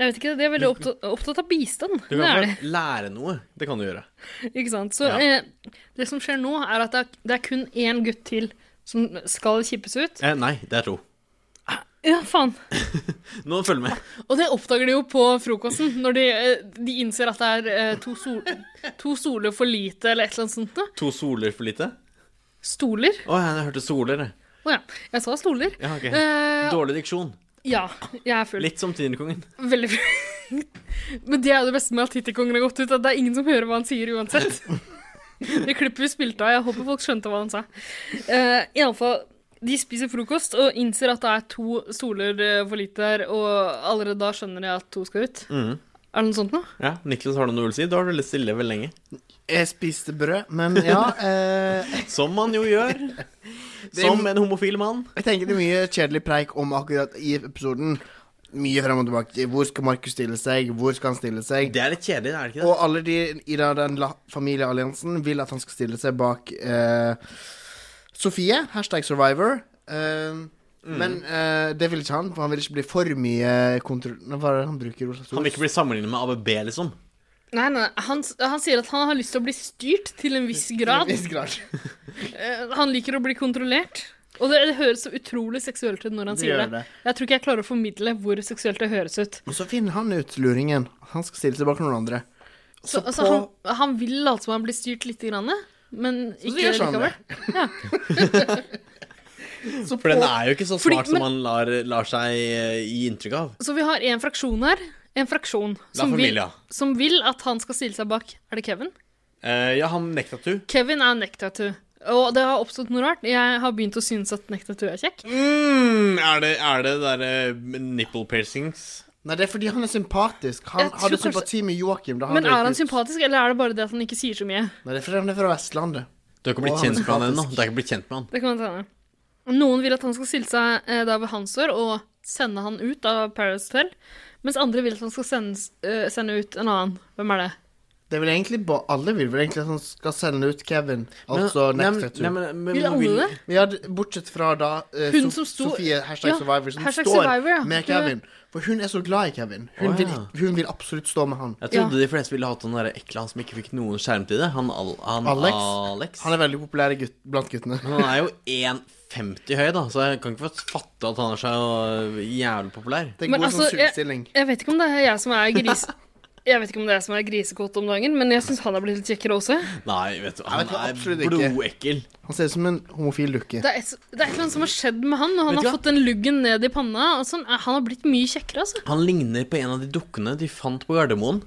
Speaker 1: Jeg vet ikke, De er veldig opptatt, opptatt av bistand.
Speaker 3: Du
Speaker 1: Det
Speaker 3: kan
Speaker 1: er
Speaker 3: få lære noe. Det kan du gjøre.
Speaker 1: de. <laughs> Ikke sant? Så
Speaker 3: Ja.
Speaker 1: eh, det som skjer nå, er at det er, det er kun én gutt til som skal kippes ut.
Speaker 3: Eh, nei, det er to.
Speaker 1: Ja, faen.
Speaker 3: Nå følg med.
Speaker 1: Og det oppdager de jo på frokosten, når de, eh, de innser at det er eh, to, sol, to stoler for lite, eller et eller annet sånt. Da.
Speaker 3: To soler for lite?
Speaker 1: Stoler.
Speaker 3: Å ja, jeg hørte soler, jeg.
Speaker 1: Å ja. Jeg sa stoler.
Speaker 3: Ja, ok.
Speaker 1: Eh,
Speaker 3: Dårlig diksjon.
Speaker 1: Ja, jeg er full.
Speaker 3: Litt som Tinerkongen.
Speaker 1: Veldig full. <laughs> Men det er jo det beste med at Tittikongen har gått ut, at det er ingen som hører hva han sier uansett. Det klippet vi spilte av, jeg håper folk skjønte hva han sa. Uh, Iallfall, de spiser frokost og innser at det er to stoler eh, for lite her, og allerede da skjønner de at to skal ut.
Speaker 3: Mhm.
Speaker 1: Er det noe sånt nå?
Speaker 3: Ja, Niklas, har du noe du vil si? Da har du lest stille veldig lenge.
Speaker 2: Jeg spiste brød, men
Speaker 1: <laughs>
Speaker 2: ja eh,
Speaker 3: Som man jo <laughs> gjør.
Speaker 2: Det er-
Speaker 3: Som en homofil mann.
Speaker 2: Jeg tenker det er mye kjedelig preik om akkurat i episoden. Mye frem og tilbake. Hvor skal Markus stille seg? Hvor skal han stille seg?
Speaker 3: Det er litt kjedelig, er det ikke det?
Speaker 2: Og alle de i da den la- familiealliansen vil at han skal stille seg bak eh, Sofie, hashtag survivor. Eh,
Speaker 3: Mm.
Speaker 2: Men eh, det vil ikke han, for han vil ikke bli for mye kontroll... Hva er det han bruker? Hva slags
Speaker 3: Han vil
Speaker 2: ord?
Speaker 3: ikke bli sammenlignet med ABB, liksom.
Speaker 1: Nei, nei, han, han sier at han har lyst til å bli styrt til en viss
Speaker 2: <laughs>
Speaker 1: grad.
Speaker 2: Til en viss grad.
Speaker 1: Eh, han liker å bli kontrollert. Og det, det høres så utrolig seksuelt ut når han
Speaker 2: Det
Speaker 1: sier
Speaker 2: gjør
Speaker 1: det.
Speaker 2: det.
Speaker 1: Jeg tror ikke jeg klarer å formidle hvor seksuelt det høres ut.
Speaker 2: Og så finner han ut, luringen. Han skal stille seg bak noen andre.
Speaker 1: Så,
Speaker 2: Så
Speaker 1: altså,
Speaker 2: på-
Speaker 1: han, han vil late som han blir styrt lite grann, men ikke
Speaker 2: gjør han sånn,
Speaker 1: likevel.
Speaker 2: det. <laughs>
Speaker 3: For den er jo ikke så
Speaker 1: Fordi-
Speaker 3: smart som
Speaker 1: men-
Speaker 3: han lar, lar seg eh, gi inntrykk av.
Speaker 1: Så vi har en fraksjon her. En fraksjon
Speaker 3: La
Speaker 1: som vil,
Speaker 3: Familia.
Speaker 1: som vil at han skal stille seg bak. Er det Kevin?
Speaker 3: Eh, ja, han nekta du.
Speaker 1: Kevin er Nektatu. Og det har oppstått noe rart. Jeg har begynt å synes at Nektatu er kjekk.
Speaker 3: Mm, er det, er det derre nipple piercings?
Speaker 2: Nei, det er fordi han er sympatisk. Han
Speaker 1: Jeg tror
Speaker 2: hadde
Speaker 1: kanskje-
Speaker 2: sympati med Joakim da han
Speaker 1: Men er
Speaker 2: røyk
Speaker 1: han
Speaker 2: ut.
Speaker 1: sympatisk, eller er det bare det at han ikke sier så mye?
Speaker 2: Nei, det er fordi han er fra Vestlandet.
Speaker 3: Du har ikke blitt
Speaker 2: Å, han
Speaker 3: kjent
Speaker 2: er
Speaker 3: med han ennå.
Speaker 2: sympatisk.
Speaker 3: Du har ikke blitt kjent med han.
Speaker 1: Det kan hende. Noen vil at han skal stille seg eh, der ved hans dør og sende han ut av Paradise Hotel, mens andre vil at han skal sendes, eh, sende ut en annen. Hvem er det?
Speaker 2: Det er vel egentlig ba alle vil vel egentlig at han skal sende ut Kevin. Altså
Speaker 3: nei,
Speaker 2: Next Tattoo.
Speaker 3: nei, men- men
Speaker 1: Vil alle vil- det?
Speaker 2: Ja, d- bortsett fra da eh,
Speaker 1: Hun
Speaker 2: Sof-
Speaker 1: som sto-
Speaker 2: Sofie, hashtag
Speaker 1: Ja,
Speaker 2: survivor, som
Speaker 1: hashtag
Speaker 2: står
Speaker 1: survivor, ja.
Speaker 2: med
Speaker 1: Hun er-
Speaker 2: Kevin. For hun er så glad i Kevin. Hun,
Speaker 3: Å,
Speaker 2: vil,
Speaker 3: ja.
Speaker 2: hun vil absolutt stå med han.
Speaker 3: Jeg trodde de fleste ville hatt han derre ekle han som ikke fikk noen skjermtid. Han, Al- han
Speaker 2: Alex.
Speaker 3: Alex.
Speaker 2: Han er veldig populær i gutt, blant guttene.
Speaker 3: Men han er jo 1,50 høy, da, så jeg kan ikke få fatte at han er så jævlig populær.
Speaker 2: Det er god sånn sugestilling.
Speaker 1: altså, jeg, jeg vet ikke om det er jeg som er gris... <laughs> Jeg vet ikke om det er jeg som er grisekåt om dagen, men jeg syns han har blitt litt kjekkere også.
Speaker 3: Nei, vet du,
Speaker 2: Jeg
Speaker 3: han
Speaker 2: vet ikke,
Speaker 3: er
Speaker 2: absolutt ikke.
Speaker 3: blodekkel.
Speaker 2: Han ser ut som en homofil dukke.
Speaker 1: Det er, et, det er et eller annet som har skjedd med han, og han
Speaker 3: Vet du
Speaker 1: har
Speaker 3: hva?
Speaker 1: fått den luggen ned i panna. Og sånn. Eh, Han har blitt mye kjekkere, altså.
Speaker 3: Han ligner på en av de dukkene de fant på Gardermoen.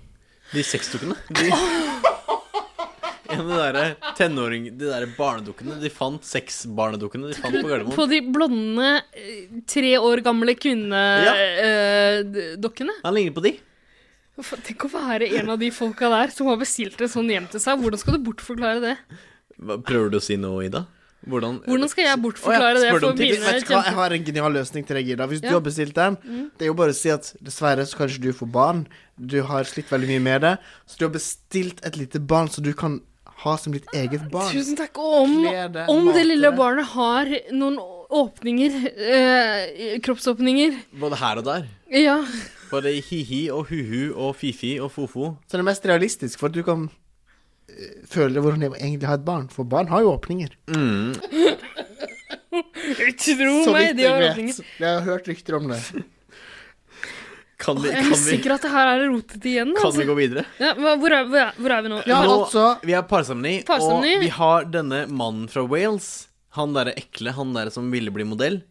Speaker 3: De sexdukkene. De...
Speaker 1: <laughs>
Speaker 3: En av de derre tenåring... De derre barnedukkene. De fant seks barnedukkene de fant på
Speaker 1: På
Speaker 3: Gardermoen.
Speaker 1: de blonde, eh, tre år gamle eh, kvinnedokkene.
Speaker 3: Han ligner på de.
Speaker 1: Tenk å være en av de folka der som har bestilt en sånn hjem til seg. Hvordan skal du bortforklare det?
Speaker 3: Hva- Prøver du å si noe, Ida? Hvordan
Speaker 1: Hvordan skal jeg bortforklare det
Speaker 3: Å ja, spør du om
Speaker 1: for
Speaker 3: tips?
Speaker 1: mine
Speaker 2: Vet du hva, jeg
Speaker 1: kjempe...
Speaker 2: har en genial løsning til deg, Ida. Hvis
Speaker 1: Ja.
Speaker 2: du har bestilt den,
Speaker 1: Mm.
Speaker 2: det er jo bare å si at dessverre så kan ikke du få barn. Du har slitt veldig mye med det. Så du har bestilt et lite barn som du kan ha som ditt eget barn.
Speaker 1: Ah, Tusen takk. Og om,
Speaker 2: Kle det,
Speaker 1: om
Speaker 2: mate
Speaker 1: det lille
Speaker 3: eh.
Speaker 2: det.
Speaker 1: barnet har noen åpninger, eh, kroppsåpninger
Speaker 3: Både her og der.
Speaker 1: Ja.
Speaker 3: Både hi-hi og hu-hu og fifi og fo-fo.
Speaker 2: Så det er mest realistisk, for at du kan eh, føle hvordan det er å egentlig ha et barn. For barn har jo åpninger.
Speaker 3: Mm.
Speaker 1: Tro
Speaker 2: Så
Speaker 1: meg,
Speaker 2: vidt
Speaker 1: de
Speaker 2: jeg
Speaker 1: har
Speaker 2: vet.
Speaker 1: åpninger.
Speaker 2: Jeg har hørt rykter om det.
Speaker 3: Kan vi,
Speaker 1: Jeg
Speaker 3: kan vi,
Speaker 1: mistenker at det her er rotete igjen.
Speaker 3: kan vi
Speaker 1: Altså.
Speaker 3: gå videre?
Speaker 1: Ja, hva- hvor, er, hvor, er, hvor er vi nå?
Speaker 3: nå,
Speaker 1: Nå-
Speaker 3: Vi er parsemni, og
Speaker 1: Parsemni.
Speaker 3: vi har denne mannen fra Wales. Han derre ekle, han derre som ville bli modell.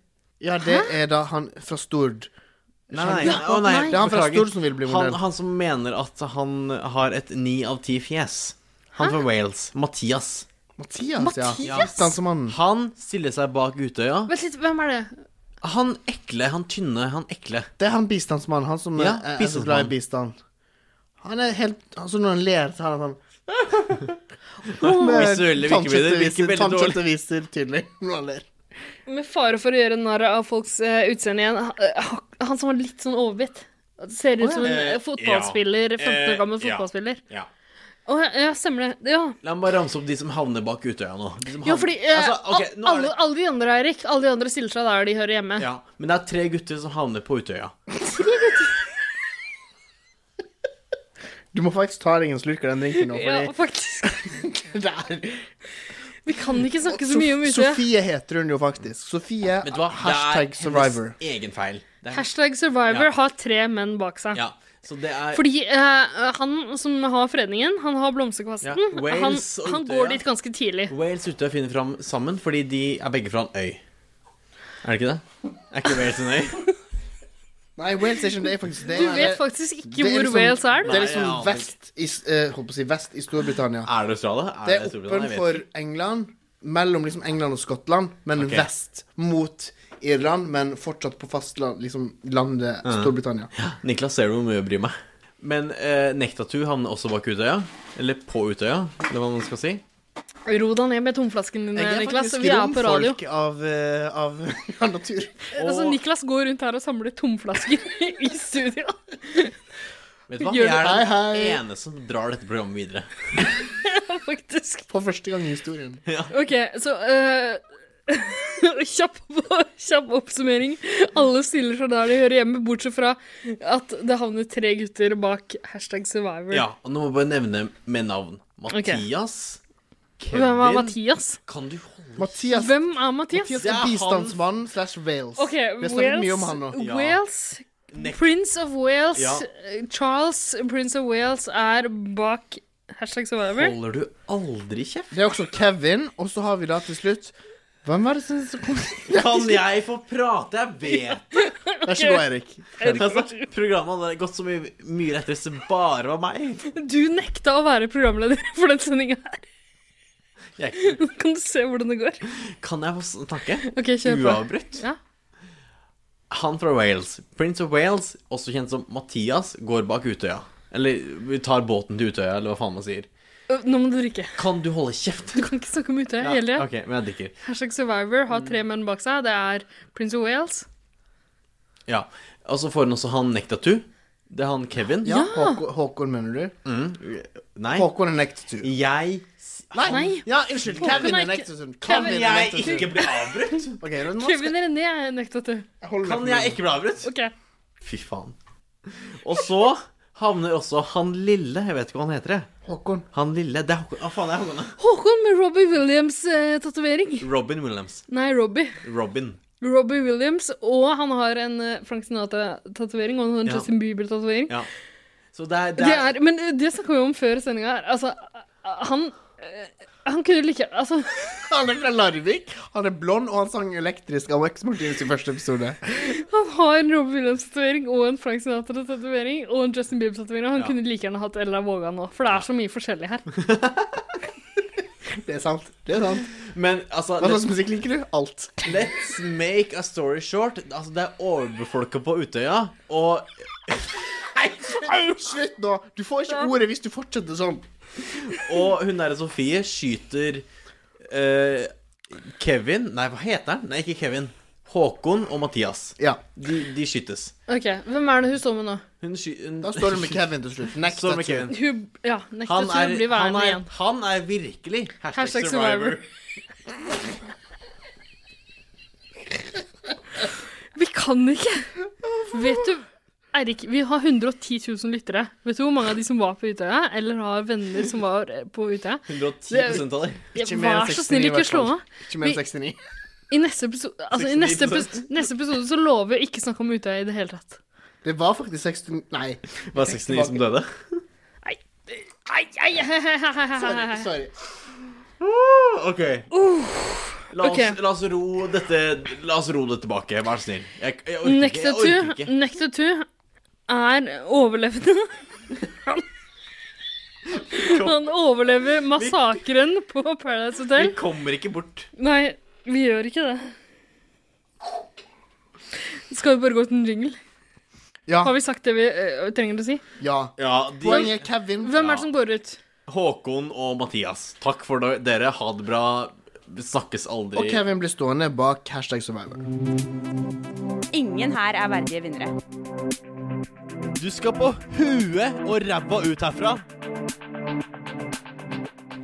Speaker 2: Ja, det er da han fra Stord.
Speaker 3: Nei,
Speaker 2: Skjønner
Speaker 3: nei,
Speaker 2: du?
Speaker 3: å, nei,
Speaker 2: Det er han fra
Speaker 3: beklager.
Speaker 2: Stord som vil bli modell.
Speaker 3: Han, han som mener at han har et ni av ti fjes. Han fra Wales. Mathias.
Speaker 2: Mathias, ja.
Speaker 3: Mathias?
Speaker 2: Dansemannen.
Speaker 3: Han stiller seg bak Utøya.
Speaker 1: Vent litt, hvem er det?
Speaker 3: Han ekle, han tynne, han ekle.
Speaker 2: Det er han bistandsmannen, han som
Speaker 3: Ja,
Speaker 1: <laughs>
Speaker 2: er, er så glad i bistand. Han er helt Altså, når han ler, så har han sånn
Speaker 3: Visuelle virkemidler virker veldig dårlig.
Speaker 2: Tannkjøttet viser tydelig <laughs> når han ler.
Speaker 1: Med fare for å gjøre narr av folks eh, utseende igjen, ha- eh, ha- han som var litt sånn overbitt. Ser ut
Speaker 3: Å, ja.
Speaker 1: som en eh,
Speaker 3: Eh,
Speaker 1: fotballspiller, 15
Speaker 3: ja.
Speaker 1: år gammel
Speaker 3: Eh, ja.
Speaker 1: fotballspiller.
Speaker 3: Ja.
Speaker 1: Å, ja, ja, stemmer det. Ja.
Speaker 3: La meg bare ramse opp de som havner bak Utøya nå. De som
Speaker 1: Ja,
Speaker 3: havner-
Speaker 1: fordi eh,
Speaker 3: altså, ok,
Speaker 1: al-
Speaker 3: nå er
Speaker 1: alle,
Speaker 3: det...
Speaker 1: alle de andre, Eirik, alle de andre stiller seg der de hører hjemme.
Speaker 3: Ja, men det er tre gutter som havner på Utøya.
Speaker 2: Du må faktisk ta deg en slurk av den drinken nå,
Speaker 1: Ja,
Speaker 2: <laughs> fordi
Speaker 1: faktisk. Vi kan ikke snakke
Speaker 3: <laughs>
Speaker 1: så
Speaker 2: Sof-
Speaker 1: mye om Utøya.
Speaker 2: Sofie heter hun jo faktisk. Sofie,
Speaker 3: Vet du hva?
Speaker 2: hashtag survivor.
Speaker 3: Det er hennes egen feil. Det er...
Speaker 1: Hashtag survivor
Speaker 3: Ja.
Speaker 1: har tre menn bak seg.
Speaker 3: Ja, så det er...
Speaker 1: Fordi eh, han som har fredningen, han har blomsterkvasten.
Speaker 3: Ja, Wales
Speaker 1: han
Speaker 3: og
Speaker 1: han
Speaker 3: Utøya.
Speaker 1: går dit ganske tidlig.
Speaker 3: Wales og Utøya finner fram sammen fordi de er begge fra en øy. Er det ikke det? Er ikke Wales en øy?
Speaker 2: Nei, Wales er ikke det, er faktisk det.
Speaker 1: Du
Speaker 2: er-
Speaker 1: vet faktisk ikke
Speaker 2: det
Speaker 1: hvor
Speaker 3: liksom
Speaker 1: Wales er, du.
Speaker 2: Det er
Speaker 1: Nei, jeg
Speaker 2: liksom
Speaker 1: aner
Speaker 2: vest i, s- eh, holdt på å si, vest i Storbritannia.
Speaker 3: Er det Australia? Er
Speaker 2: Det er
Speaker 3: Storbritannia? Jeg vet
Speaker 2: oppenfor
Speaker 3: ikke.
Speaker 2: England, mellom liksom England og Skottland, men
Speaker 3: Ok.
Speaker 2: vest mot Irland, men fortsatt på fastland, liksom landet
Speaker 3: Ja.
Speaker 2: Storbritannia.
Speaker 3: Niklas, ser du hvor mye jeg bryr meg? Men eh, Nektatu havner også bak Utøya. Eller på Utøya, eller hva man skal si.
Speaker 1: Ro deg ned med tomflasken din, Niklas. Vi er på radio.
Speaker 2: romfolk av, eh, av, <laughs> av natur.
Speaker 1: Altså, Niklas går rundt her og samler tomflasker <laughs> i studio.
Speaker 3: Vet du hva?
Speaker 1: Gjør
Speaker 3: Jeg er den
Speaker 1: det. Hei, hei.
Speaker 3: ene som drar dette programmet videre.
Speaker 1: Faktisk.
Speaker 2: For første gang i historien.
Speaker 3: Ja.
Speaker 1: OK, så eh, <laughs> kjapp, kjapp oppsummering. Alle stiller seg der de hører hjemme, bortsett fra at det havner tre gutter bak hashtag survivor.
Speaker 3: Ja, og nå må jeg bare nevne med navn. Mathias. Kevin.
Speaker 1: Hvem er Mathias?
Speaker 3: Kan du
Speaker 2: Mathias,
Speaker 1: Hvem er Mathias?
Speaker 2: Mathias er bistandsmann slash Wales.
Speaker 1: OK,
Speaker 2: Vi har snakket mye om han nå.
Speaker 1: Wales, Wales Prince of Wales
Speaker 3: Ja.
Speaker 1: eh, Charles, Prince of Wales, er bak hashtag survivor.
Speaker 3: Holder du aldri kjeft?
Speaker 2: Det er også Kevin, og så har vi da til slutt Hvem var det som som <laughs> kom
Speaker 3: Kan jeg få prate? Jeg vet det.
Speaker 2: Vær så god, Erik.
Speaker 3: Altså, programmet hadde gått så mye, mye lettere hvis det bare var meg.
Speaker 1: Du nekta å være programleder <laughs> for den sendinga her.
Speaker 3: Jeg,
Speaker 1: Nå kan du se hvordan det går.
Speaker 3: kan jeg få snakke?
Speaker 1: Ok, kjør på.
Speaker 3: Uavbrutt.
Speaker 1: Ja.
Speaker 3: Han fra Wales, Prince of Wales, også kjent som Mathias, går bak Utøya. Eller vi tar båten til Utøya, eller hva faen man sier.
Speaker 1: Ø, Nå må du drikke.
Speaker 3: Kan du holde kjeft?
Speaker 1: Du kan ikke snakke om Utøya hele tida.
Speaker 3: ok, men jeg drikker.
Speaker 1: Hashtag Survivor har tre menn bak seg. Det er Prince of Wales.
Speaker 3: Ja. Og så får han også han Nektatu. Det er han Kevin.
Speaker 2: Ja, Håkon, Håkon mener du?
Speaker 3: Mm. Nei.
Speaker 2: Håkon er Nektatu.
Speaker 3: Jeg
Speaker 2: Nei. Ja, unnskyld.
Speaker 1: Håkon
Speaker 2: Kevin
Speaker 1: er
Speaker 2: er
Speaker 1: ikke-
Speaker 2: Nektatu.
Speaker 1: Kan jeg ikke bli
Speaker 3: avbrutt?
Speaker 2: Ok, nå skal
Speaker 1: Kevin René er nekta til.
Speaker 3: Kan jeg ikke bli avbrutt?
Speaker 1: Ok.
Speaker 3: Fy faen. Og så havner også han lille, jeg vet ikke hva han heter. jeg.
Speaker 2: Håkon.
Speaker 3: Han lille, det er Håkon. Hva faen det er Håkon? da?
Speaker 1: Håkon med Robbie Williams-tatovering.
Speaker 3: Robin Williams.
Speaker 1: Nei, Robbie.
Speaker 3: Robin.
Speaker 1: Robbie Williams, og han har en eh, Frank Sinatra-tatovering og han har en
Speaker 3: Ja.
Speaker 1: Justin Bieber-tatovering.
Speaker 3: Ja. Så det er,
Speaker 1: Det er, men eh, det snakka vi om før sendinga her. Altså, han eh, Han kunne like Altså
Speaker 2: Han er fra Larvik, han er blond, og han sang elektrisk av Wax Martinus i første episode.
Speaker 1: Han har en Robin Williams-tatovering og en Frank Sinatra-tatovering og en Justin Bieber-tatovering. og Han
Speaker 2: Ja.
Speaker 1: kunne like gjerne hatt Ella Vågan nå, for det er så mye forskjellig her.
Speaker 2: Det er sant. Det er sant.
Speaker 3: Men altså
Speaker 2: Hva slags musikk liker du? Alt.
Speaker 3: Let's make a story short. Altså, det er overbefolka på Utøya, og
Speaker 2: Au, Slutt nå! Du får ikke ordet hvis du fortsetter sånn.
Speaker 3: Og hun derre Sofie skyter eh, Kevin Nei, hva heter han? Nei, ikke Kevin. Håkon og Mathias. De, de skytes.
Speaker 1: Ok, Hvem er det hun står med nå?
Speaker 3: Hun sky, hun,
Speaker 2: Da står det
Speaker 3: <laughs>
Speaker 2: med Kevin til slutt. Nektet
Speaker 3: Står det med
Speaker 2: til.
Speaker 3: Kevin.
Speaker 1: Hun ja,
Speaker 3: Han
Speaker 1: nektet
Speaker 3: er,
Speaker 1: hun å bli
Speaker 3: han,
Speaker 1: værende
Speaker 3: er,
Speaker 1: igjen.
Speaker 3: han er virkelig hashtag,
Speaker 1: Hashtag
Speaker 3: survivor. <laughs>
Speaker 1: Vi kan ikke! Vet du Eirik, vi har 110 000 lyttere. Vet du hvor mange av de som var på Utøya, eller har venner som var eh, på Utøya?
Speaker 3: 110% av dem.
Speaker 1: Ja,
Speaker 2: Ikke mer enn
Speaker 1: Vær så snill,
Speaker 2: 69
Speaker 1: ikke slå
Speaker 2: i hvert
Speaker 1: av.
Speaker 2: fall. Ikke mer enn
Speaker 1: Vi-
Speaker 2: 69.
Speaker 1: I neste episode, altså, i neste episode, neste episode så lover vi å ikke snakke om Utøya i det hele tatt.
Speaker 2: Det var faktisk 69 Nei.
Speaker 3: Var 69 som døde?
Speaker 1: Ai, ai,
Speaker 2: Sorry. sorry.
Speaker 3: Ah, <laughs> OK. La
Speaker 1: Uh,
Speaker 3: oss,
Speaker 1: ok.
Speaker 3: la, oss ro dette, la oss ro det tilbake, vær så snill. Jeg, jeg orker ikke. Jeg orker
Speaker 1: Nektatu
Speaker 3: ikke.
Speaker 1: Nektatu er overlevende. Han, han overlever massakren på Paradise
Speaker 3: Vi
Speaker 1: Hotel.
Speaker 3: kommer ikke bort.
Speaker 1: Nei, vi gjør ikke det. Skal vi bare gå til en jingle?
Speaker 2: Ja.
Speaker 1: Har vi sagt det vi eh, trenger å si?
Speaker 2: Ja.
Speaker 3: Ja, de,
Speaker 2: Poenget er Kevin.
Speaker 1: Hvem er det som går ut?
Speaker 3: Håkon og Mathias, takk for de- dere. Ha det bra. Vi snakkes aldri.
Speaker 2: Og Kevin blir stående bak hashtag survivor.
Speaker 13: Ingen her er verdige vinnere.
Speaker 3: Du skal på huet og ræva ut herfra.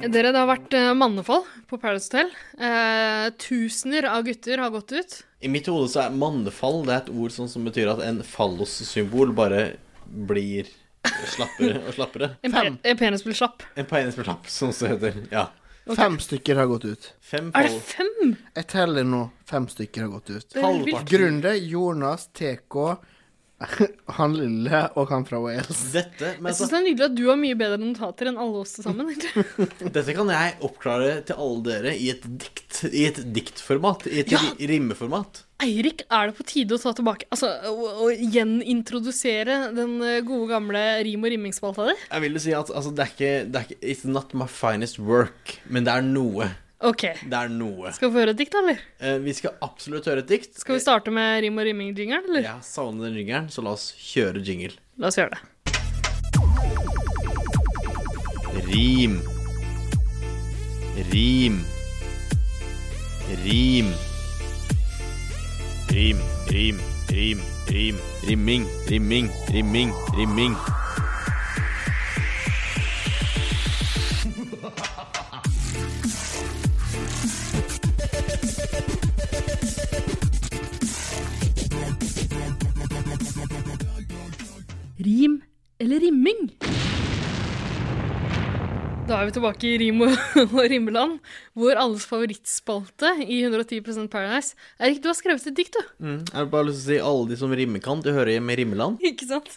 Speaker 1: Dere, det har vært eh, mannefall på Paradise Hotel. Eh, tusener av gutter har gått ut.
Speaker 3: I mitt hode så er mannefall det er et ord sånn som betyr at en fallossymbol bare blir slappere og slappere.
Speaker 1: En, pe en penis blir slapp.
Speaker 3: En penis blir slapp, som det heter. Ja.
Speaker 2: Fem stykker har gått ut.
Speaker 3: Fem
Speaker 1: Er det fem?
Speaker 2: Jeg teller nå. Fem stykker har gått ut.
Speaker 1: Det er vilt.
Speaker 2: Grunde, Jonas, TK, <laughs> han lille og han fra Wales.
Speaker 3: Dette, altså,
Speaker 1: Jeg syns det er nydelig at du har mye bedre notater enn alle oss til sammen. egentlig.
Speaker 3: Dette kan jeg oppklare til alle dere i et dikt. I et diktformat. I et ri- rimeformat.
Speaker 1: Eirik, er det på tide å ta tilbake Altså, å, å gjenintrodusere den eh, gode gamle rim- og rimmingsspalta di?
Speaker 3: Jeg vil jo si at altså, det, er ikke, det er ikke It's not my finest work, men det er noe.
Speaker 1: OK.
Speaker 3: Det er noe.
Speaker 1: Skal vi få høre et dikt, da, eller?
Speaker 3: Eh, vi skal absolutt høre et dikt.
Speaker 1: Skal vi starte med rim- og rimming-jingeren, eller?
Speaker 3: Jeg savner den jingeren, så la oss kjøre jingle.
Speaker 1: La oss gjøre det.
Speaker 3: Rim. Rim. Rim. Rim, rim, rim, rim. Rimming, rimming, rimming, rimming.
Speaker 1: Rim eller rimming? Da er vi tilbake i rim og, <laughs> og rimeland, hvor alles favorittspalte i 110 Paradise Erik, du har skrevet et dikt, du.
Speaker 3: Mm. Jeg har bare lyst til å si alle de som rimmer kan, du hører hjemme i Rimmeland.
Speaker 1: <laughs> Ikke sant?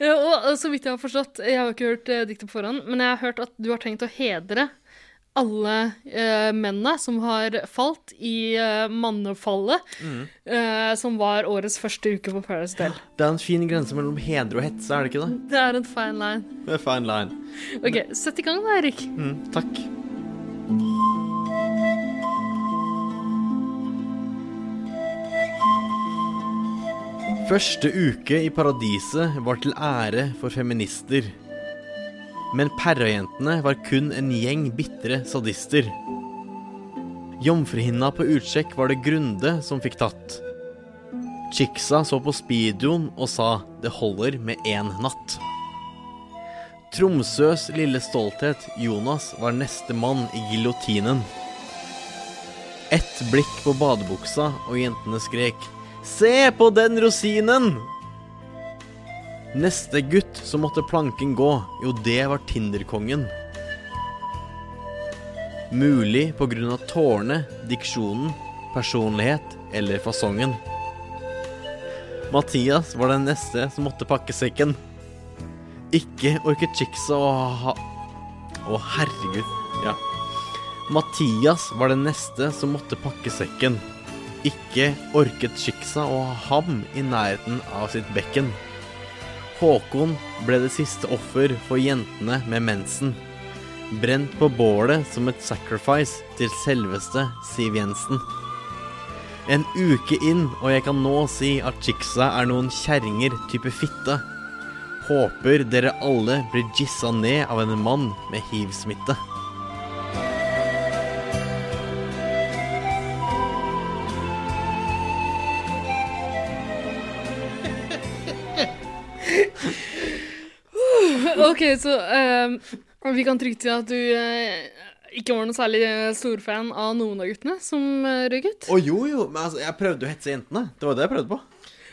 Speaker 1: Ja, Og eh, så vidt jeg har forstått, jeg har jo ikke hørt eh, diktet på forhånd, men jeg har hørt at du har tenkt å hedre alle eh, mennene som har falt i eh, mannefallet,
Speaker 3: Mm.
Speaker 1: eh, som var årets første uke på Paradise Hotel.
Speaker 3: Det er en fin grense mellom hedre og hetse, er det ikke det?
Speaker 1: Det er en fine line.
Speaker 3: Det er fine line.
Speaker 1: OK, sett i gang da, Erik.
Speaker 3: takk. Første uke i paradiset var til ære for feminister. Men perrajentene var kun en gjeng bitre sadister. Jomfruhinna på utsjekk var det Grunde som fikk tatt. Chicksa så på speedoen og sa 'det holder med én natt'. Tromsøs lille stolthet, Jonas, var neste mann i giljotinen. Ett blikk på badebuksa, og jentene skrek 'Se på den rosinen!' Neste gutt som måtte planken gå, jo det var Tinderkongen. Mulig på grunn av tårene, diksjonen, personlighet eller fasongen. Mathias var den neste som måtte pakke sekken. Ikke orket chicksa å ha Å, herregud. Ja. Mathias var den neste som måtte pakke sekken. Ikke orket chicksa å ha ham i nærheten av sitt bekken. Håkon ble det siste offer for jentene med mensen. Brent på bålet som et sacrifice til selveste Siv Jensen. En uke inn, og jeg kan nå si at chicksa er noen kjerringer type fitte. Håper dere alle blir jissa ned av en mann med hiv-smitte.
Speaker 1: <laughs> OK, så ehm, vi kan trygt si at du eh, ikke var noen særlig eh, stor fan av noen av guttene som uh, røyk ut.
Speaker 3: Å jo, jo, men altså, jeg prøvde å hetse jentene. Det var det jeg prøvde på.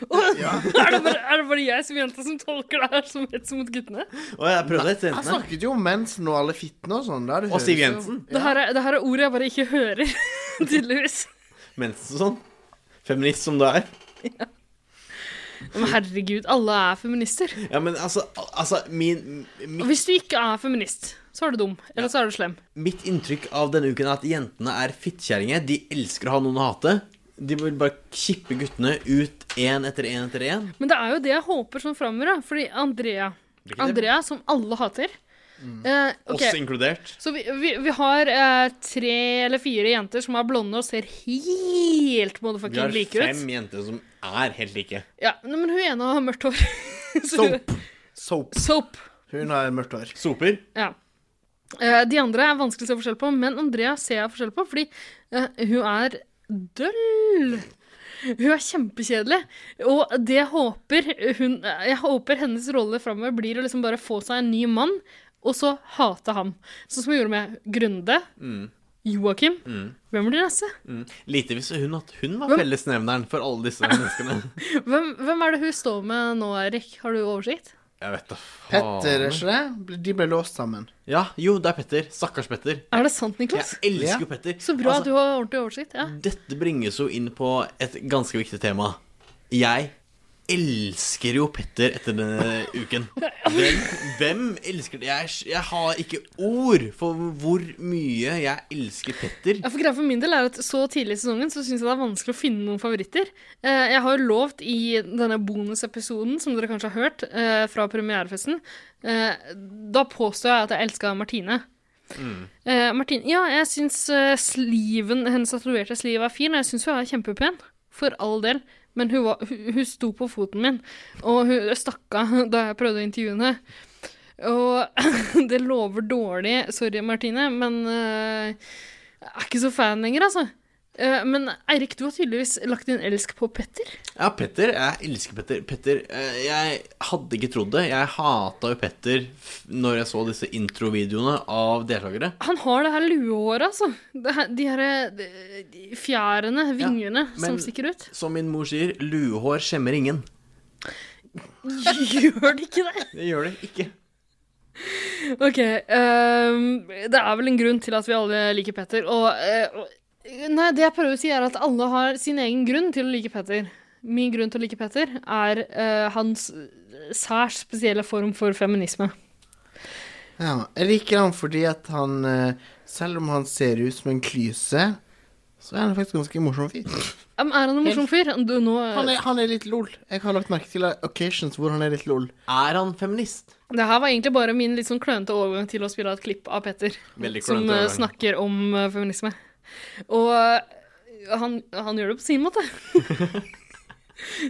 Speaker 1: <laughs> er, det bare, er det bare jeg som jente som tolker det her som hets mot guttene?
Speaker 3: Og jeg prøvde å hetse
Speaker 2: Jeg
Speaker 3: jentene.
Speaker 2: snakket jo om mensen og alle fittene og sånn. der, det
Speaker 3: Og Siv
Speaker 2: høres jo-
Speaker 3: Jensen.
Speaker 1: Det, her er, det her er ord jeg bare ikke hører, <laughs> tydeligvis.
Speaker 3: Mensen og sånn. Feminist som du er.
Speaker 1: Men herregud, alle er feminister.
Speaker 3: Ja, men altså, al- altså min,
Speaker 1: Og
Speaker 3: mi-
Speaker 1: hvis du ikke er feminist, så er du dum. Eller så er du slem.
Speaker 3: mitt inntrykk av denne uken er at jentene er fittkjerringer. De elsker å ha noen å hate. De vil bare kippe guttene ut én etter én etter én.
Speaker 1: Men det er jo det jeg håper sånn framover, da. Fordi Andrea,
Speaker 3: Hvilken
Speaker 1: Andrea som alle hater eh, ok.
Speaker 3: Mm. Oss inkludert.
Speaker 1: Så vi, vi, vi har eh, tre eller fire jenter som er blonde og ser helt
Speaker 3: Vi
Speaker 1: motherfucking
Speaker 3: har
Speaker 1: like ut.
Speaker 3: fem jenter som er helt like.
Speaker 1: Ja, nei, men hun ene har mørkt hår. <laughs> Så hun-
Speaker 2: Soap.
Speaker 1: Soap.
Speaker 2: Hun har mørkt hår.
Speaker 3: Soper.
Speaker 1: Ja. Eh, De andre er vanskelig å se forskjell på, men Andrea ser jeg forskjell på, fordi eh, hun er døll. Hun er kjempekjedelig, og det jeg håper hun, Jeg håper hennes rolle framover blir å liksom bare få seg en ny mann, og så hate ham. Sånn som hun gjorde med Grunde,
Speaker 3: Mm.
Speaker 1: Joakim.
Speaker 3: Mm.
Speaker 1: Hvem blir neste?
Speaker 3: Mm. Lite visste hun at hun var
Speaker 1: Hvem-
Speaker 3: fellesnevneren for alle disse <laughs> menneskene.
Speaker 1: Hvem, hvem er det hun står med nå, Erik? Har du oversikt?
Speaker 3: Jeg vet da
Speaker 2: Petter, er ikke det? De ble låst sammen.
Speaker 3: Ja, jo, det er Petter. Stakkars Petter.
Speaker 1: Er det sant, Niklas?
Speaker 3: Jeg elsker jo Petter.
Speaker 1: Så bra
Speaker 3: Altså-
Speaker 1: at du har ordentlig oversikt. ja.
Speaker 3: Dette bringes jo inn på et ganske viktig tema. Jeg elsker jo Petter etter denne uken. Hvem, hvem elsker det? Jeg, jeg har ikke ord for hvor mye jeg elsker Petter.
Speaker 1: Ja, for greia for min del er at Så tidlig i sesongen så syns jeg det er vanskelig å finne noen favoritter. Eh, Jeg har jo lovt i denne bonusepisoden, som dere kanskje har hørt, eh, fra premierefesten eh, Da påstår jeg at jeg elska Martine. Eh, Martine, ja, jeg syns eh, sliven, hennes tatoverte sliv er fin, og jeg syns hun er kjempepen. For all del. Men hun, var, hun, hun sto på foten min, og hun stakk av <laughs> da jeg prøvde å intervjue henne. Og <laughs> det lover dårlig. Sorry, Martine, men eh, jeg er ikke så fan lenger, altså. Eh, men Eirik, du har tydeligvis lagt din elsk på Petter.
Speaker 3: Ja, Petter. Jeg elsker Petter. Petter, eh, Jeg hadde ikke trodd det. Jeg hata jo Petter f- når jeg så disse introvideoene av deltakere.
Speaker 1: Han har det her luehåret, altså. Det her, de her eh, de fjærene, vingene, som
Speaker 3: men-
Speaker 1: stikker ut. <laughs>
Speaker 3: Som min mor sier, luehår skjemmer ingen.
Speaker 1: Gjør det ikke det? <laughs>
Speaker 3: Det gjør det ikke.
Speaker 1: Ok, ehm, det er vel en grunn til at vi alle liker Petter, og eh, og- Nei, det jeg prøver å si, er at alle har sin egen grunn til å like Petter. Min grunn til å like Petter er eh, hans særs spesielle form for feminisme.
Speaker 2: Ja, jeg liker han fordi at han eh, Selv om han ser ut som en klyse, så er han faktisk en ganske morsom fyr.
Speaker 1: Ja, men Er han en morsom fyr? Du, nå,
Speaker 2: Han er, han er litt lol. Jeg har lagt merke til occasions hvor han er litt lol.
Speaker 3: Er han feminist?
Speaker 1: Det her var egentlig bare min litt sånn klønete overgang til å spille et klipp av Petter.
Speaker 3: Veldig klønete
Speaker 1: Som eh,
Speaker 3: overgang.
Speaker 1: snakker om eh, feminisme. Og eh, han, han gjør det på sin
Speaker 3: <laughs>
Speaker 1: måte.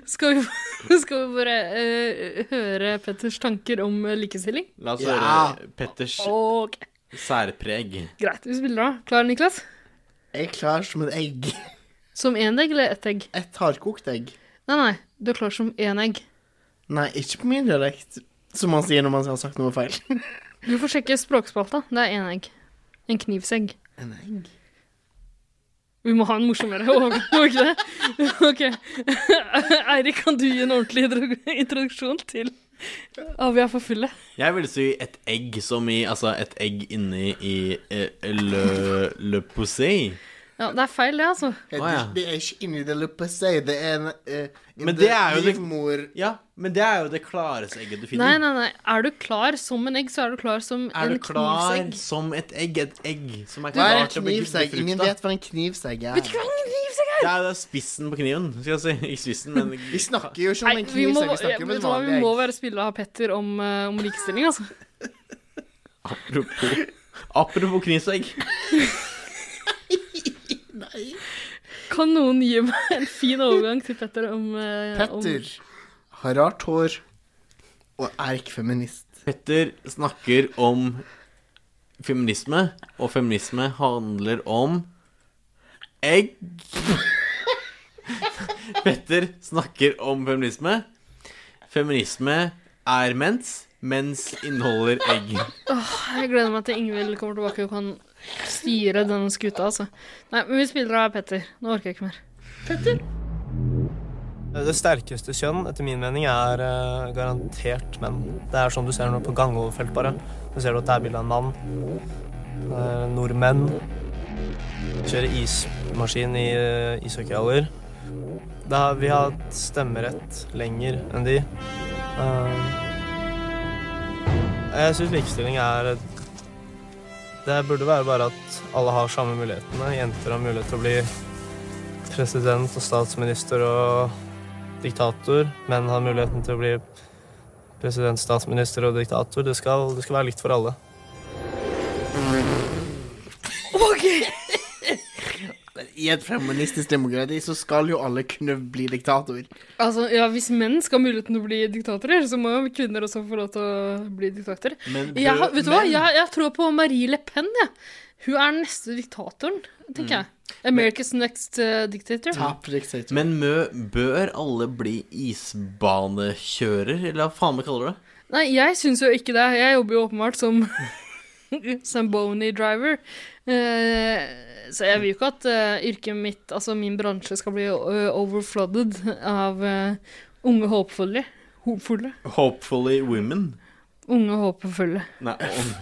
Speaker 1: skal, vi, <laughs> skal vi bare eh, høre Petters tanker om eh, likestilling?
Speaker 3: La oss
Speaker 1: Ja.
Speaker 3: høre Petters
Speaker 1: Ok,
Speaker 3: særpreg.
Speaker 1: Greit, vi spiller da. Klar, Niklas?
Speaker 2: Jeg er klar som et egg. <laughs>
Speaker 1: Som én egg eller ett egg?
Speaker 2: Et hardkokt egg.
Speaker 1: Nei, nei, du er klar som én egg.
Speaker 2: Nei, ikke på min dialekt, som han sier når man har sagt noe feil.
Speaker 1: Du får sjekke språkspalta. Det er én egg. En knivsegg.
Speaker 2: En egg.
Speaker 1: Vi må ha en morsommere <laughs> overgang, må vi ikke det? <laughs> Ok. Eirik, kan du gi en ordentlig intro- introduksjon til Å, vi er for fulle.
Speaker 3: Jeg vil si et egg som i Altså et egg inni i eh, le, le poussé.
Speaker 1: Ja, det er feil, det, altså.
Speaker 2: Det,
Speaker 3: Å, ja.
Speaker 2: <laughs> det er ikke inni det luppet, sier det er en eh, in
Speaker 3: Men
Speaker 2: the
Speaker 3: det er jo det-
Speaker 2: livmor.
Speaker 3: Ja, men det er jo det klareste egget du
Speaker 1: Nei,
Speaker 3: finner.
Speaker 1: nei, nei. Er du klar som en egg, så er du klar som
Speaker 3: Er
Speaker 1: en
Speaker 3: du klar
Speaker 1: knivsegg.
Speaker 3: som et egg? Et egg som er
Speaker 2: Hva er
Speaker 3: klar
Speaker 2: en
Speaker 3: til å bli
Speaker 2: knivsegg?
Speaker 3: befruktet?
Speaker 2: Ingen vet hva en knivsegg er.
Speaker 1: Vet du hva en knivsegg
Speaker 3: Det
Speaker 1: er?
Speaker 3: er jo spissen på kniven, skal jeg si. Ikke
Speaker 1: <laughs>
Speaker 3: spissen, men Vi
Speaker 2: snakker jo
Speaker 1: Nei, vi må, vet du hva, vi må være spille av Petter om, eh, om likestilling, altså.
Speaker 3: Apropos, apropos knivsegg.
Speaker 1: Kan noen gi meg en fin overgang til Petter om eh, om-
Speaker 2: Petter har rart hår og er ikke feminist.
Speaker 3: Petter snakker om feminisme, og feminisme handler om egg. <laughs> Petter snakker om feminisme. Feminisme er mens, mens inneholder egg.
Speaker 1: Åh, jeg gleder meg til Ingvild kommer tilbake og kan styre denne skuta, altså. Nei, men vi spiller av Petter. Nå orker jeg ikke mer.
Speaker 14: Det sterkeste kjønn, etter min mening, er eh, garantert menn. Det er sånn du ser noe på gangoverfelt, bare. Du ser du at det er bilde av en mann. Eh, nordmenn. Kjører ismaskin i uh, ishockeyhaller. Det har- Vi har hatt stemmerett lenger enn de. Eh, jeg syns likestilling er Det burde være bare at alle har samme mulighetene. Jenter har mulighet til å bli president og statsminister og diktator. Menn har muligheten til å bli president, statsminister og diktator. Det skal, det skal være likt for alle.
Speaker 1: OK!
Speaker 2: i et feministisk demokrati så skal jo alle kunne bli diktator.
Speaker 1: Altså, ja, Hvis menn skal ha muligheten til å bli diktatorer, så må jo kvinner også få lov til å bli diktatorer.
Speaker 2: Men
Speaker 1: Jeg, har-
Speaker 2: bør
Speaker 1: vet du hva?
Speaker 2: menn-
Speaker 1: Jeg, jeg tror på Marie Le Pen. jeg. Hun er den neste diktatoren, tenker jeg. America's next eh, dictator.
Speaker 3: Men mø, bør alle bli isbanekjører, eller hva faen vi kaller det?
Speaker 1: Nei, jeg syns jo ikke det. Jeg jobber jo åpenbart som <laughs> Zamboni driver. Eh, så jeg vil jo ikke at eh, yrket mitt, altså min bransje, skal bli eh, overflooded av eh, unge håpefulle. Håpefulle.
Speaker 3: Hopefully women.
Speaker 1: Unge håpefulle. <laughs>
Speaker 3: Nei, om.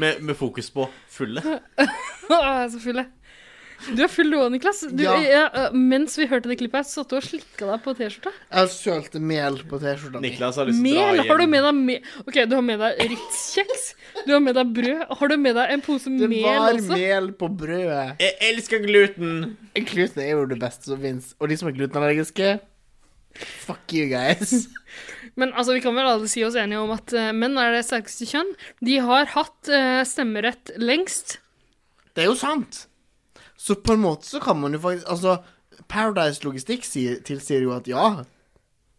Speaker 3: med, med fokus på fulle.
Speaker 1: Ah, så full jeg. Du er full du òg, Niklas. Du,
Speaker 2: Ja.
Speaker 1: jeg, eh, mens vi hørte det klippet, her, så satt du og slikka deg på T-skjorta.
Speaker 2: Jeg sølte mel på T-skjorta mi.
Speaker 3: Niklas har
Speaker 1: Mel? Har du med deg mel? Ok, du har med deg Ritz-kjeks. Du har med deg brød. Har du med deg en pose
Speaker 2: Det
Speaker 1: mel
Speaker 2: var
Speaker 1: også?
Speaker 2: mel på brødet.
Speaker 3: Jeg elsker gluten.
Speaker 2: Gluten er jo det beste som fins. Og de som er glutenallergiske Fuck you guys.
Speaker 1: Men altså, vi kan vel alle si oss enige om at eh, menn er det sterkeste kjønn. De har hatt eh, stemmerett lengst.
Speaker 2: Det er jo sant. Så på en måte så kan man jo faktisk Altså, Paradise Logistikk sier, tilsier jo at ja,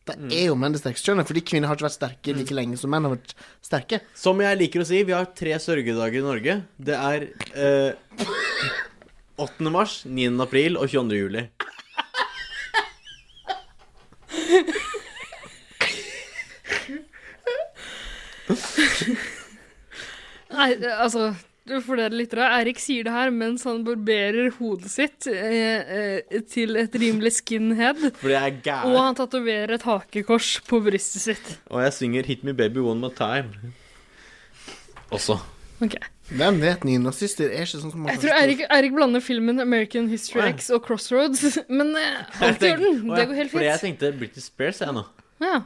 Speaker 2: det er jo menn det sterkeste kjønnet, fordi kvinner har ikke vært sterke like lenge som menn har vært sterke.
Speaker 3: Som jeg liker å si, vi har tre sørgedager i Norge. Det er eh, 8. mars, 9. april og 22. juli.
Speaker 1: Nei, det- altså for dere lyttere, Eirik sier det her mens han barberer hodet sitt eh, eh, til et rimelig skinhead.
Speaker 3: For jeg er
Speaker 1: Og
Speaker 3: gæren.
Speaker 1: han tatoverer et hakekors på brystet sitt.
Speaker 3: Og jeg synger 'Hit me baby one more time'. Også.
Speaker 1: Ok.
Speaker 2: Hvem vet, nynazister er ikke sånn som man
Speaker 1: Jeg tror
Speaker 2: forstår.
Speaker 1: Eirik, Eirik blander filmen American History X og Crossroads, <laughs> men eh, alt i orden. Det går helt
Speaker 3: Fordi jeg
Speaker 1: fint.
Speaker 3: tenkte Britney Spears, jeg nå.
Speaker 1: Ja.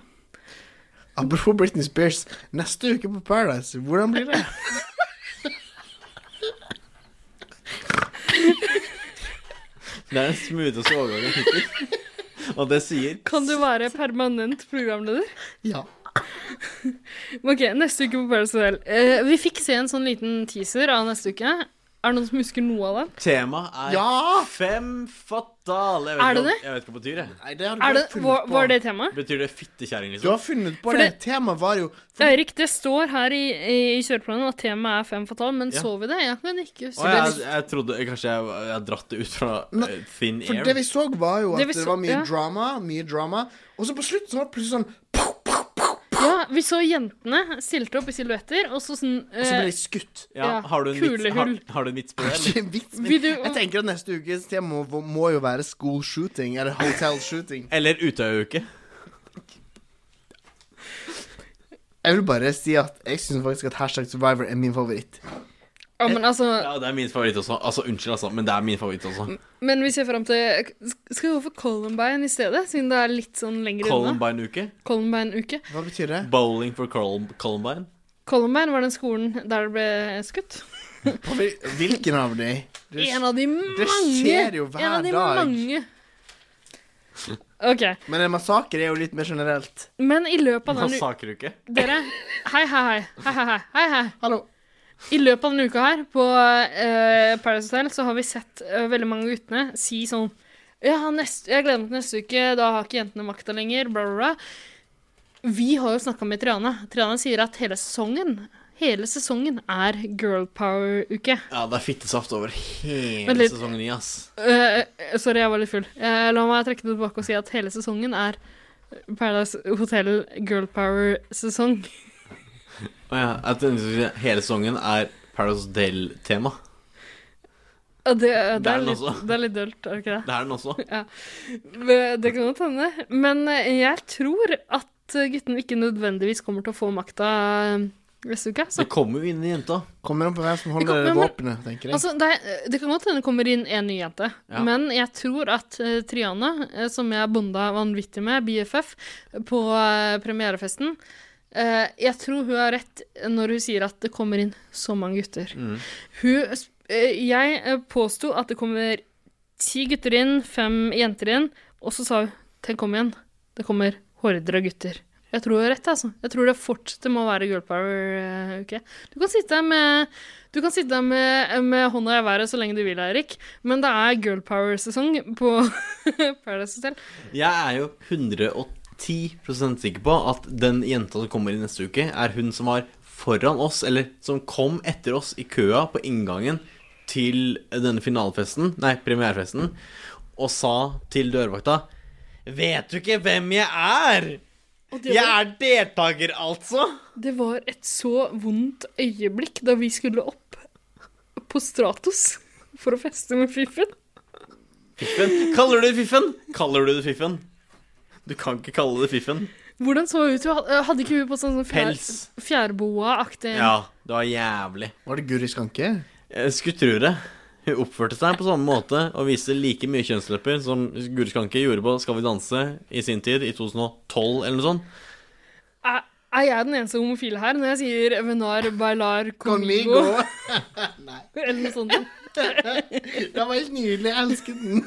Speaker 2: Apropos Britney Spears, neste uke på Paradise, hvordan blir det?
Speaker 3: Det er den smootheste overgangen hittil.
Speaker 1: <laughs>
Speaker 3: Og det sier
Speaker 1: Kan du være permanent programleder?
Speaker 2: Ja.
Speaker 1: Ok, neste uke på Paradise Hotel. Eh, vi fikk se en sånn liten teaser av neste uke. Er det noen som husker noe av den?
Speaker 3: Temaet er
Speaker 1: Ja!
Speaker 3: fem fatale Jeg vet
Speaker 1: Er det
Speaker 3: ikke hva-
Speaker 1: det?
Speaker 3: Jeg vet ikke hva det betyr, jeg.
Speaker 1: Er det, var, var det temaet?
Speaker 3: Betyr det fittekjerring, liksom?
Speaker 2: Du har funnet på
Speaker 1: For
Speaker 2: det.
Speaker 1: det-
Speaker 2: Temaet var jo
Speaker 1: Eirik, det står her i, i, i kjøreplanen at temaet er fem fatal, men
Speaker 3: Ja.
Speaker 1: så vi det? Jeg kan ikke huske
Speaker 3: Å, jeg,
Speaker 1: det.
Speaker 3: jeg trodde kanskje jeg, jeg har dratt det ut fra
Speaker 2: Nei,
Speaker 3: eh, thin
Speaker 2: For
Speaker 3: air.
Speaker 2: det vi så, var jo at
Speaker 1: Det
Speaker 2: det,
Speaker 1: vi så-
Speaker 2: var mye
Speaker 1: ja.
Speaker 2: drama, mye drama. Og så på slutt så var det plutselig sånn
Speaker 1: Ja, vi så jentene stilte opp i silhuetter, og så sånn
Speaker 2: Og så
Speaker 1: eh,
Speaker 2: ble de skutt. <laughs>
Speaker 3: ja, har, du en vits, har,
Speaker 1: Kulehull.
Speaker 3: har du en vits på det?
Speaker 2: Ikke
Speaker 3: eller?
Speaker 2: en vits, men
Speaker 1: Vil du-
Speaker 2: jeg tenker at neste ukes tema må, må jo være school shooting, eller hotel shooting.
Speaker 3: Eller Utøya-uke?
Speaker 2: Jeg vil bare si at jeg syns faktisk at hashtag survivor er min favoritt.
Speaker 1: Ja, men altså
Speaker 3: Ja, det er min favoritt også. Altså, Unnskyld, altså, men det er min favoritt også.
Speaker 1: Men vi ser fram til Skal vi gå for Columbine i stedet, siden det er litt sånn lenger unna?
Speaker 3: Columbine-uke?
Speaker 1: Columbine-uke.
Speaker 2: Hva betyr det?
Speaker 3: Bowling for Colum- Columbine?
Speaker 1: Columbine var den skolen der det ble skutt.
Speaker 2: På hvil- Hvilken av de? Det-
Speaker 1: En av de mange!
Speaker 2: skjer jo hver
Speaker 1: en av de
Speaker 2: dag.
Speaker 1: Mange. OK.
Speaker 2: Men en massakre er jo litt mer generelt.
Speaker 1: Men i løpet av den u-
Speaker 3: Massakruke?
Speaker 1: Dere, hei, hei, hei. Hei, hei, hei. hei, hei.
Speaker 2: Hallo.
Speaker 1: I løpet av denne uka her på eh, Paradise Hotel så har vi sett eh, veldig mange av guttene si sånn Ja, neste, jeg gleder meg til neste uke, da har ikke jentene makta lenger, bla, bla, bla. Vi har jo snakka med Triane. Triane sier at hele sesongen Hele sesongen er girl power-uke.
Speaker 3: Ja, det er fittesaft over hele
Speaker 1: Men litt-
Speaker 3: sesongen i, ass.
Speaker 1: Eh, sorry, jeg var litt full. Eh, la meg trekke det tilbake og si at hele sesongen er Paradise Hotel girl power-sesong.
Speaker 3: Å ja, jeg tenkte du skulle si hele sesongen er Paradise Del-tema.
Speaker 1: Ja, Det, eh, det,
Speaker 3: Det er
Speaker 1: er
Speaker 3: den
Speaker 1: litt,
Speaker 3: også.
Speaker 1: det er litt dølt, er det ikke det?
Speaker 3: Det er den også.
Speaker 1: Ja. Men eh, Det kan godt hende. Men eh, jeg tror at gutten ikke nødvendigvis kommer til å få makta eh, neste uke. Så.
Speaker 3: Det kommer jo inn i jenta.
Speaker 2: Kommer an på hvem som
Speaker 1: Det
Speaker 2: holder
Speaker 1: kom-
Speaker 2: våpenet, tenker jeg.
Speaker 1: Altså, det, er- det kan godt hende det kommer inn en ny jente,
Speaker 2: Ja.
Speaker 1: men jeg tror at eh, Triana, eh, som jeg bonda vanvittig med, BFF, på eh, premierefesten eh, Jeg tror hun har rett når hun sier at det kommer inn så mange gutter. Hun, eh, jeg eh, påsto at det kommer ti gutter inn, fem jenter inn, og så sa hun Tenk om igjen, det kommer horder av gutter. Jeg tror du har rett, altså. Jeg tror det fortsetter med å være girl power-uke. Du kan sitte her med, du kan sitte her med, med hånda i været så lenge du vil, Eirik, men det er girl power-sesong på <laughs> Paradise Hotel.
Speaker 3: Jeg er jo 110 sikker på at den jenta som kommer i neste uke, er hun som var foran oss, eller som kom etter oss i køa på inngangen til denne finalefesten, nei, premierefesten, og sa til dørvakta Vet du ikke hvem jeg er? Jeg er deltaker, altså!
Speaker 1: Det var et så vondt øyeblikk da vi skulle opp på Stratos for å feste med Fiffen.
Speaker 3: Fiffen. Kaller du det fiffen? Kaller du det fiffen? Du kan ikke kalle det fiffen.
Speaker 1: Hvordan så hun ut? Hun had- Hadde ikke hun på sånn sånn fjær,
Speaker 3: Pels.
Speaker 1: fjærboa-aktig
Speaker 3: Ja, det var jævlig.
Speaker 2: Var det Guri Skanke?
Speaker 3: Jeg skulle tro det. Eh, Hun oppførte seg på samme måte og viste like mye kjønnslepper som Guri Skanke gjorde på Skal vi danse i sin tid, i 2012 eller noe sånt.
Speaker 1: Er, er jeg den eneste homofile her når jeg sier Venar bailar conmigo?
Speaker 2: Conmigo.
Speaker 1: <laughs> Eller noe sånt.
Speaker 2: Den var helt nydelig. Jeg elsket den.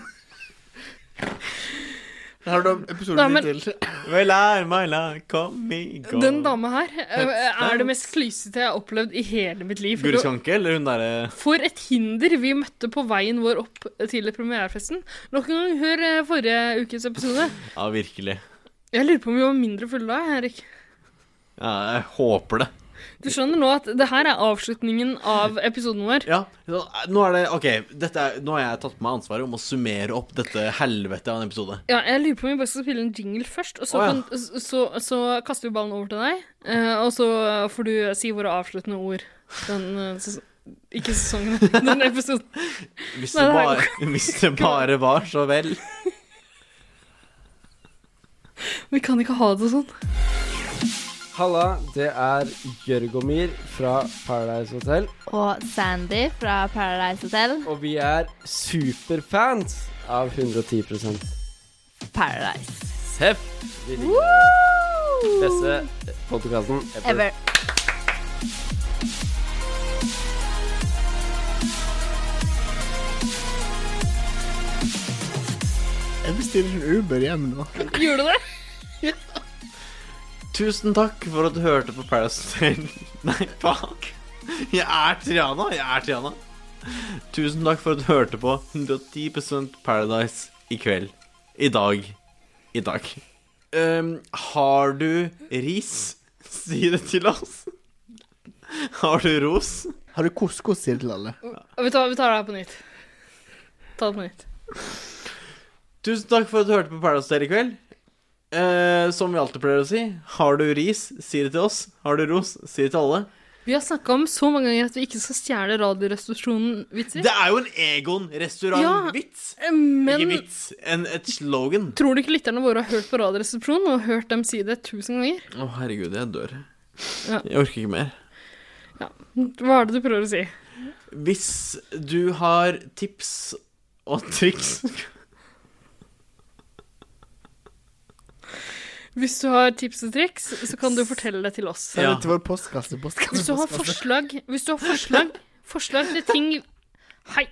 Speaker 2: Der har du episoden
Speaker 1: Nei, men-
Speaker 2: din til.
Speaker 3: Vel er, my love, come me, go.
Speaker 1: Den dama her eh, er det mest klysete jeg har opplevd i hele mitt liv.
Speaker 3: Guri Skanke, eller hun derre
Speaker 1: For et hinder vi møtte på veien vår opp til premierefesten. Nok en gang, hør eh, forrige ukes episode.
Speaker 3: Ja, virkelig.
Speaker 1: Jeg lurer på om vi var mindre fulle da, Erik.
Speaker 3: Ja, jeg håper det.
Speaker 1: Du skjønner nå at det her er avslutningen av episoden vår.
Speaker 3: Ja, eh, Nå er det OK, dette er, nå har jeg tatt på meg ansvaret om å summere opp dette helvetet av en episode.
Speaker 1: jeg lurer på om vi bare skal spille en jingle først, og så,
Speaker 3: Å, ja.
Speaker 1: kan, så, så, så kaster vi ballen over til deg. eh, og så får du si våre avsluttende ord. Den, eh, ses ikke sesongen, <laughs> den episoden.
Speaker 3: Hvis
Speaker 1: Nei,
Speaker 3: det,
Speaker 1: det her
Speaker 3: bare,
Speaker 1: går-
Speaker 3: <laughs> hvis det bare var så vel.
Speaker 1: Vi kan ikke ha det sånn.
Speaker 11: Halla, det er Jørgomir fra Paradise Hotel.
Speaker 15: Og Sandy fra Paradise Hotel.
Speaker 11: Og vi er superfans av 110
Speaker 15: Paradise.
Speaker 11: Seff! Vi liker dere. Beste podkasten ever.
Speaker 15: Ever.
Speaker 2: Jeg bestiller en Uber hjem nå.
Speaker 1: Gjorde du det?
Speaker 3: Tusen takk for at du hørte på Paradise Hotel. <laughs> Nei, fuck. Jeg er Triana. Jeg er Triana. Tusen takk for at du hørte på 110 Paradise i kveld. I dag. I dag. Øhm, har du ris, <laughs> si det til oss. Har du ros?
Speaker 2: Har du couscous sier til alle?
Speaker 1: Vi tar, vi tar det her på nytt. Ta det på nytt.
Speaker 3: Tusen takk for at du hørte på Paradise Hotel i kveld. Eh, som vi alltid pleier å si, har du ris, si det til oss. Har du ros, si det til alle.
Speaker 1: Vi har snakka om så mange ganger at vi ikke skal stjele Radioresepsjonen-vitser.
Speaker 3: Det er jo en Egon-restaurant-vits.
Speaker 1: Ja, Eh, men
Speaker 3: Ikke vits, en, et slogan.
Speaker 1: tror du ikke lytterne våre har hørt på Radioresepsjonen og hørt dem si det tusen ganger?
Speaker 3: Å, herregud, jeg dør.
Speaker 1: Ja.
Speaker 3: Jeg orker ikke mer.
Speaker 1: Hva er det du prøver å si?
Speaker 3: Hvis du har tips og
Speaker 1: <laughs>
Speaker 3: triks
Speaker 1: Hvis du har tips og triks, så kan du fortelle det til oss.
Speaker 2: Send det til vår postkasse. postkasse,
Speaker 1: Hvis du har
Speaker 2: postkasse.
Speaker 1: forslag, hvis du har forslag, forslag til ting Hei!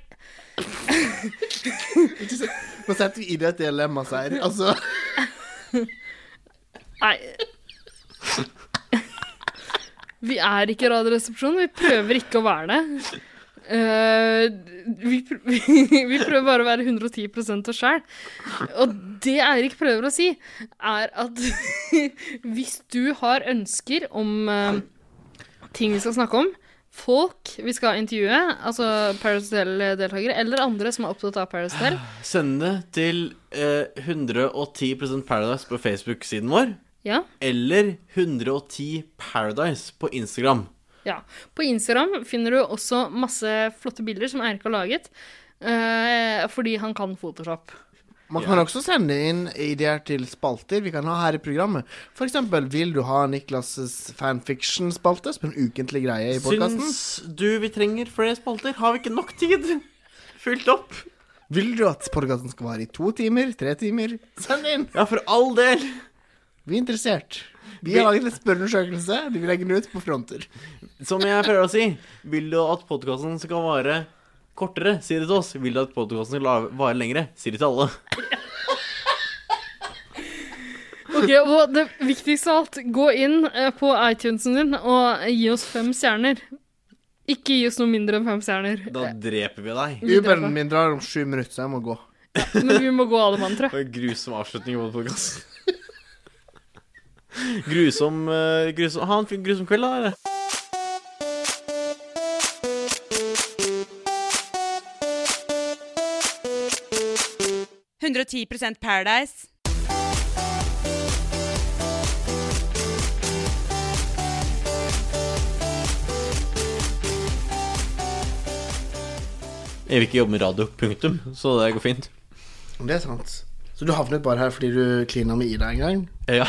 Speaker 2: Nå setter vi inn et dilemma her. Altså,
Speaker 1: Nei. Vi er ikke Radioresepsjonen. Vi prøver ikke å være det. Eh, vi, pr <laughs> vi prøver bare å være 110 oss sjæl. Og det Eirik prøver å si, er at <laughs> hvis du har ønsker om eh, ting vi skal snakke om, folk vi skal intervjue, altså Paradise Hotel-deltakere, eller andre som er opptatt av Paradise Hotel
Speaker 3: Send det til eh, 110 Paradise på Facebook-siden vår.
Speaker 1: Ja.
Speaker 3: Eller 110 Paradise på Instagram.
Speaker 1: Ja. På Instagram finner du også masse flotte bilder som Eirik har laget. eh, fordi han kan Photoshop.
Speaker 2: man kan også sende inn ideer til spalter vi kan ha her i programmet. For eksempel, vil du ha Niklas' fanfiction-spalte som en ukentlig greie i podkasten?
Speaker 3: Syns du vi trenger flere spalter? Har vi ikke nok tid? Fylt opp?
Speaker 2: Vil du at podkasten skal vare i to timer? Tre timer? Send inn!
Speaker 3: Ja, for all del.
Speaker 2: Vi er interessert. Vi har laget en spørreundersøkelse. Vi legger den ut på fronter.
Speaker 3: Som jeg prøver å si, vil du at podkasten skal vare kortere, si det til oss. Vil du at podkasten skal la- vare lengre, si det til alle.
Speaker 1: Ok, og det viktigste av alt, gå inn eh, på iTunesen din og gi oss fem stjerner. Ikke gi oss noe mindre enn fem stjerner. Eh,
Speaker 3: Da dreper vi deg.
Speaker 2: Uberen min drar om sju minutter, så jeg må gå.
Speaker 1: Men vi må gå alle mann, tror jeg.
Speaker 3: Det var en grusom avslutning på podkasten. grusom, eh, grusom Ha en fin- grusom kveld, da. eller?
Speaker 13: Paradise. 110 Paradise.
Speaker 3: Jeg vil ikke jobbe med radio, punktum. Så det går fint. <laughs>
Speaker 2: Det er sant. Så du havnet bare her fordi du klina med Ida en gang?
Speaker 3: Ja.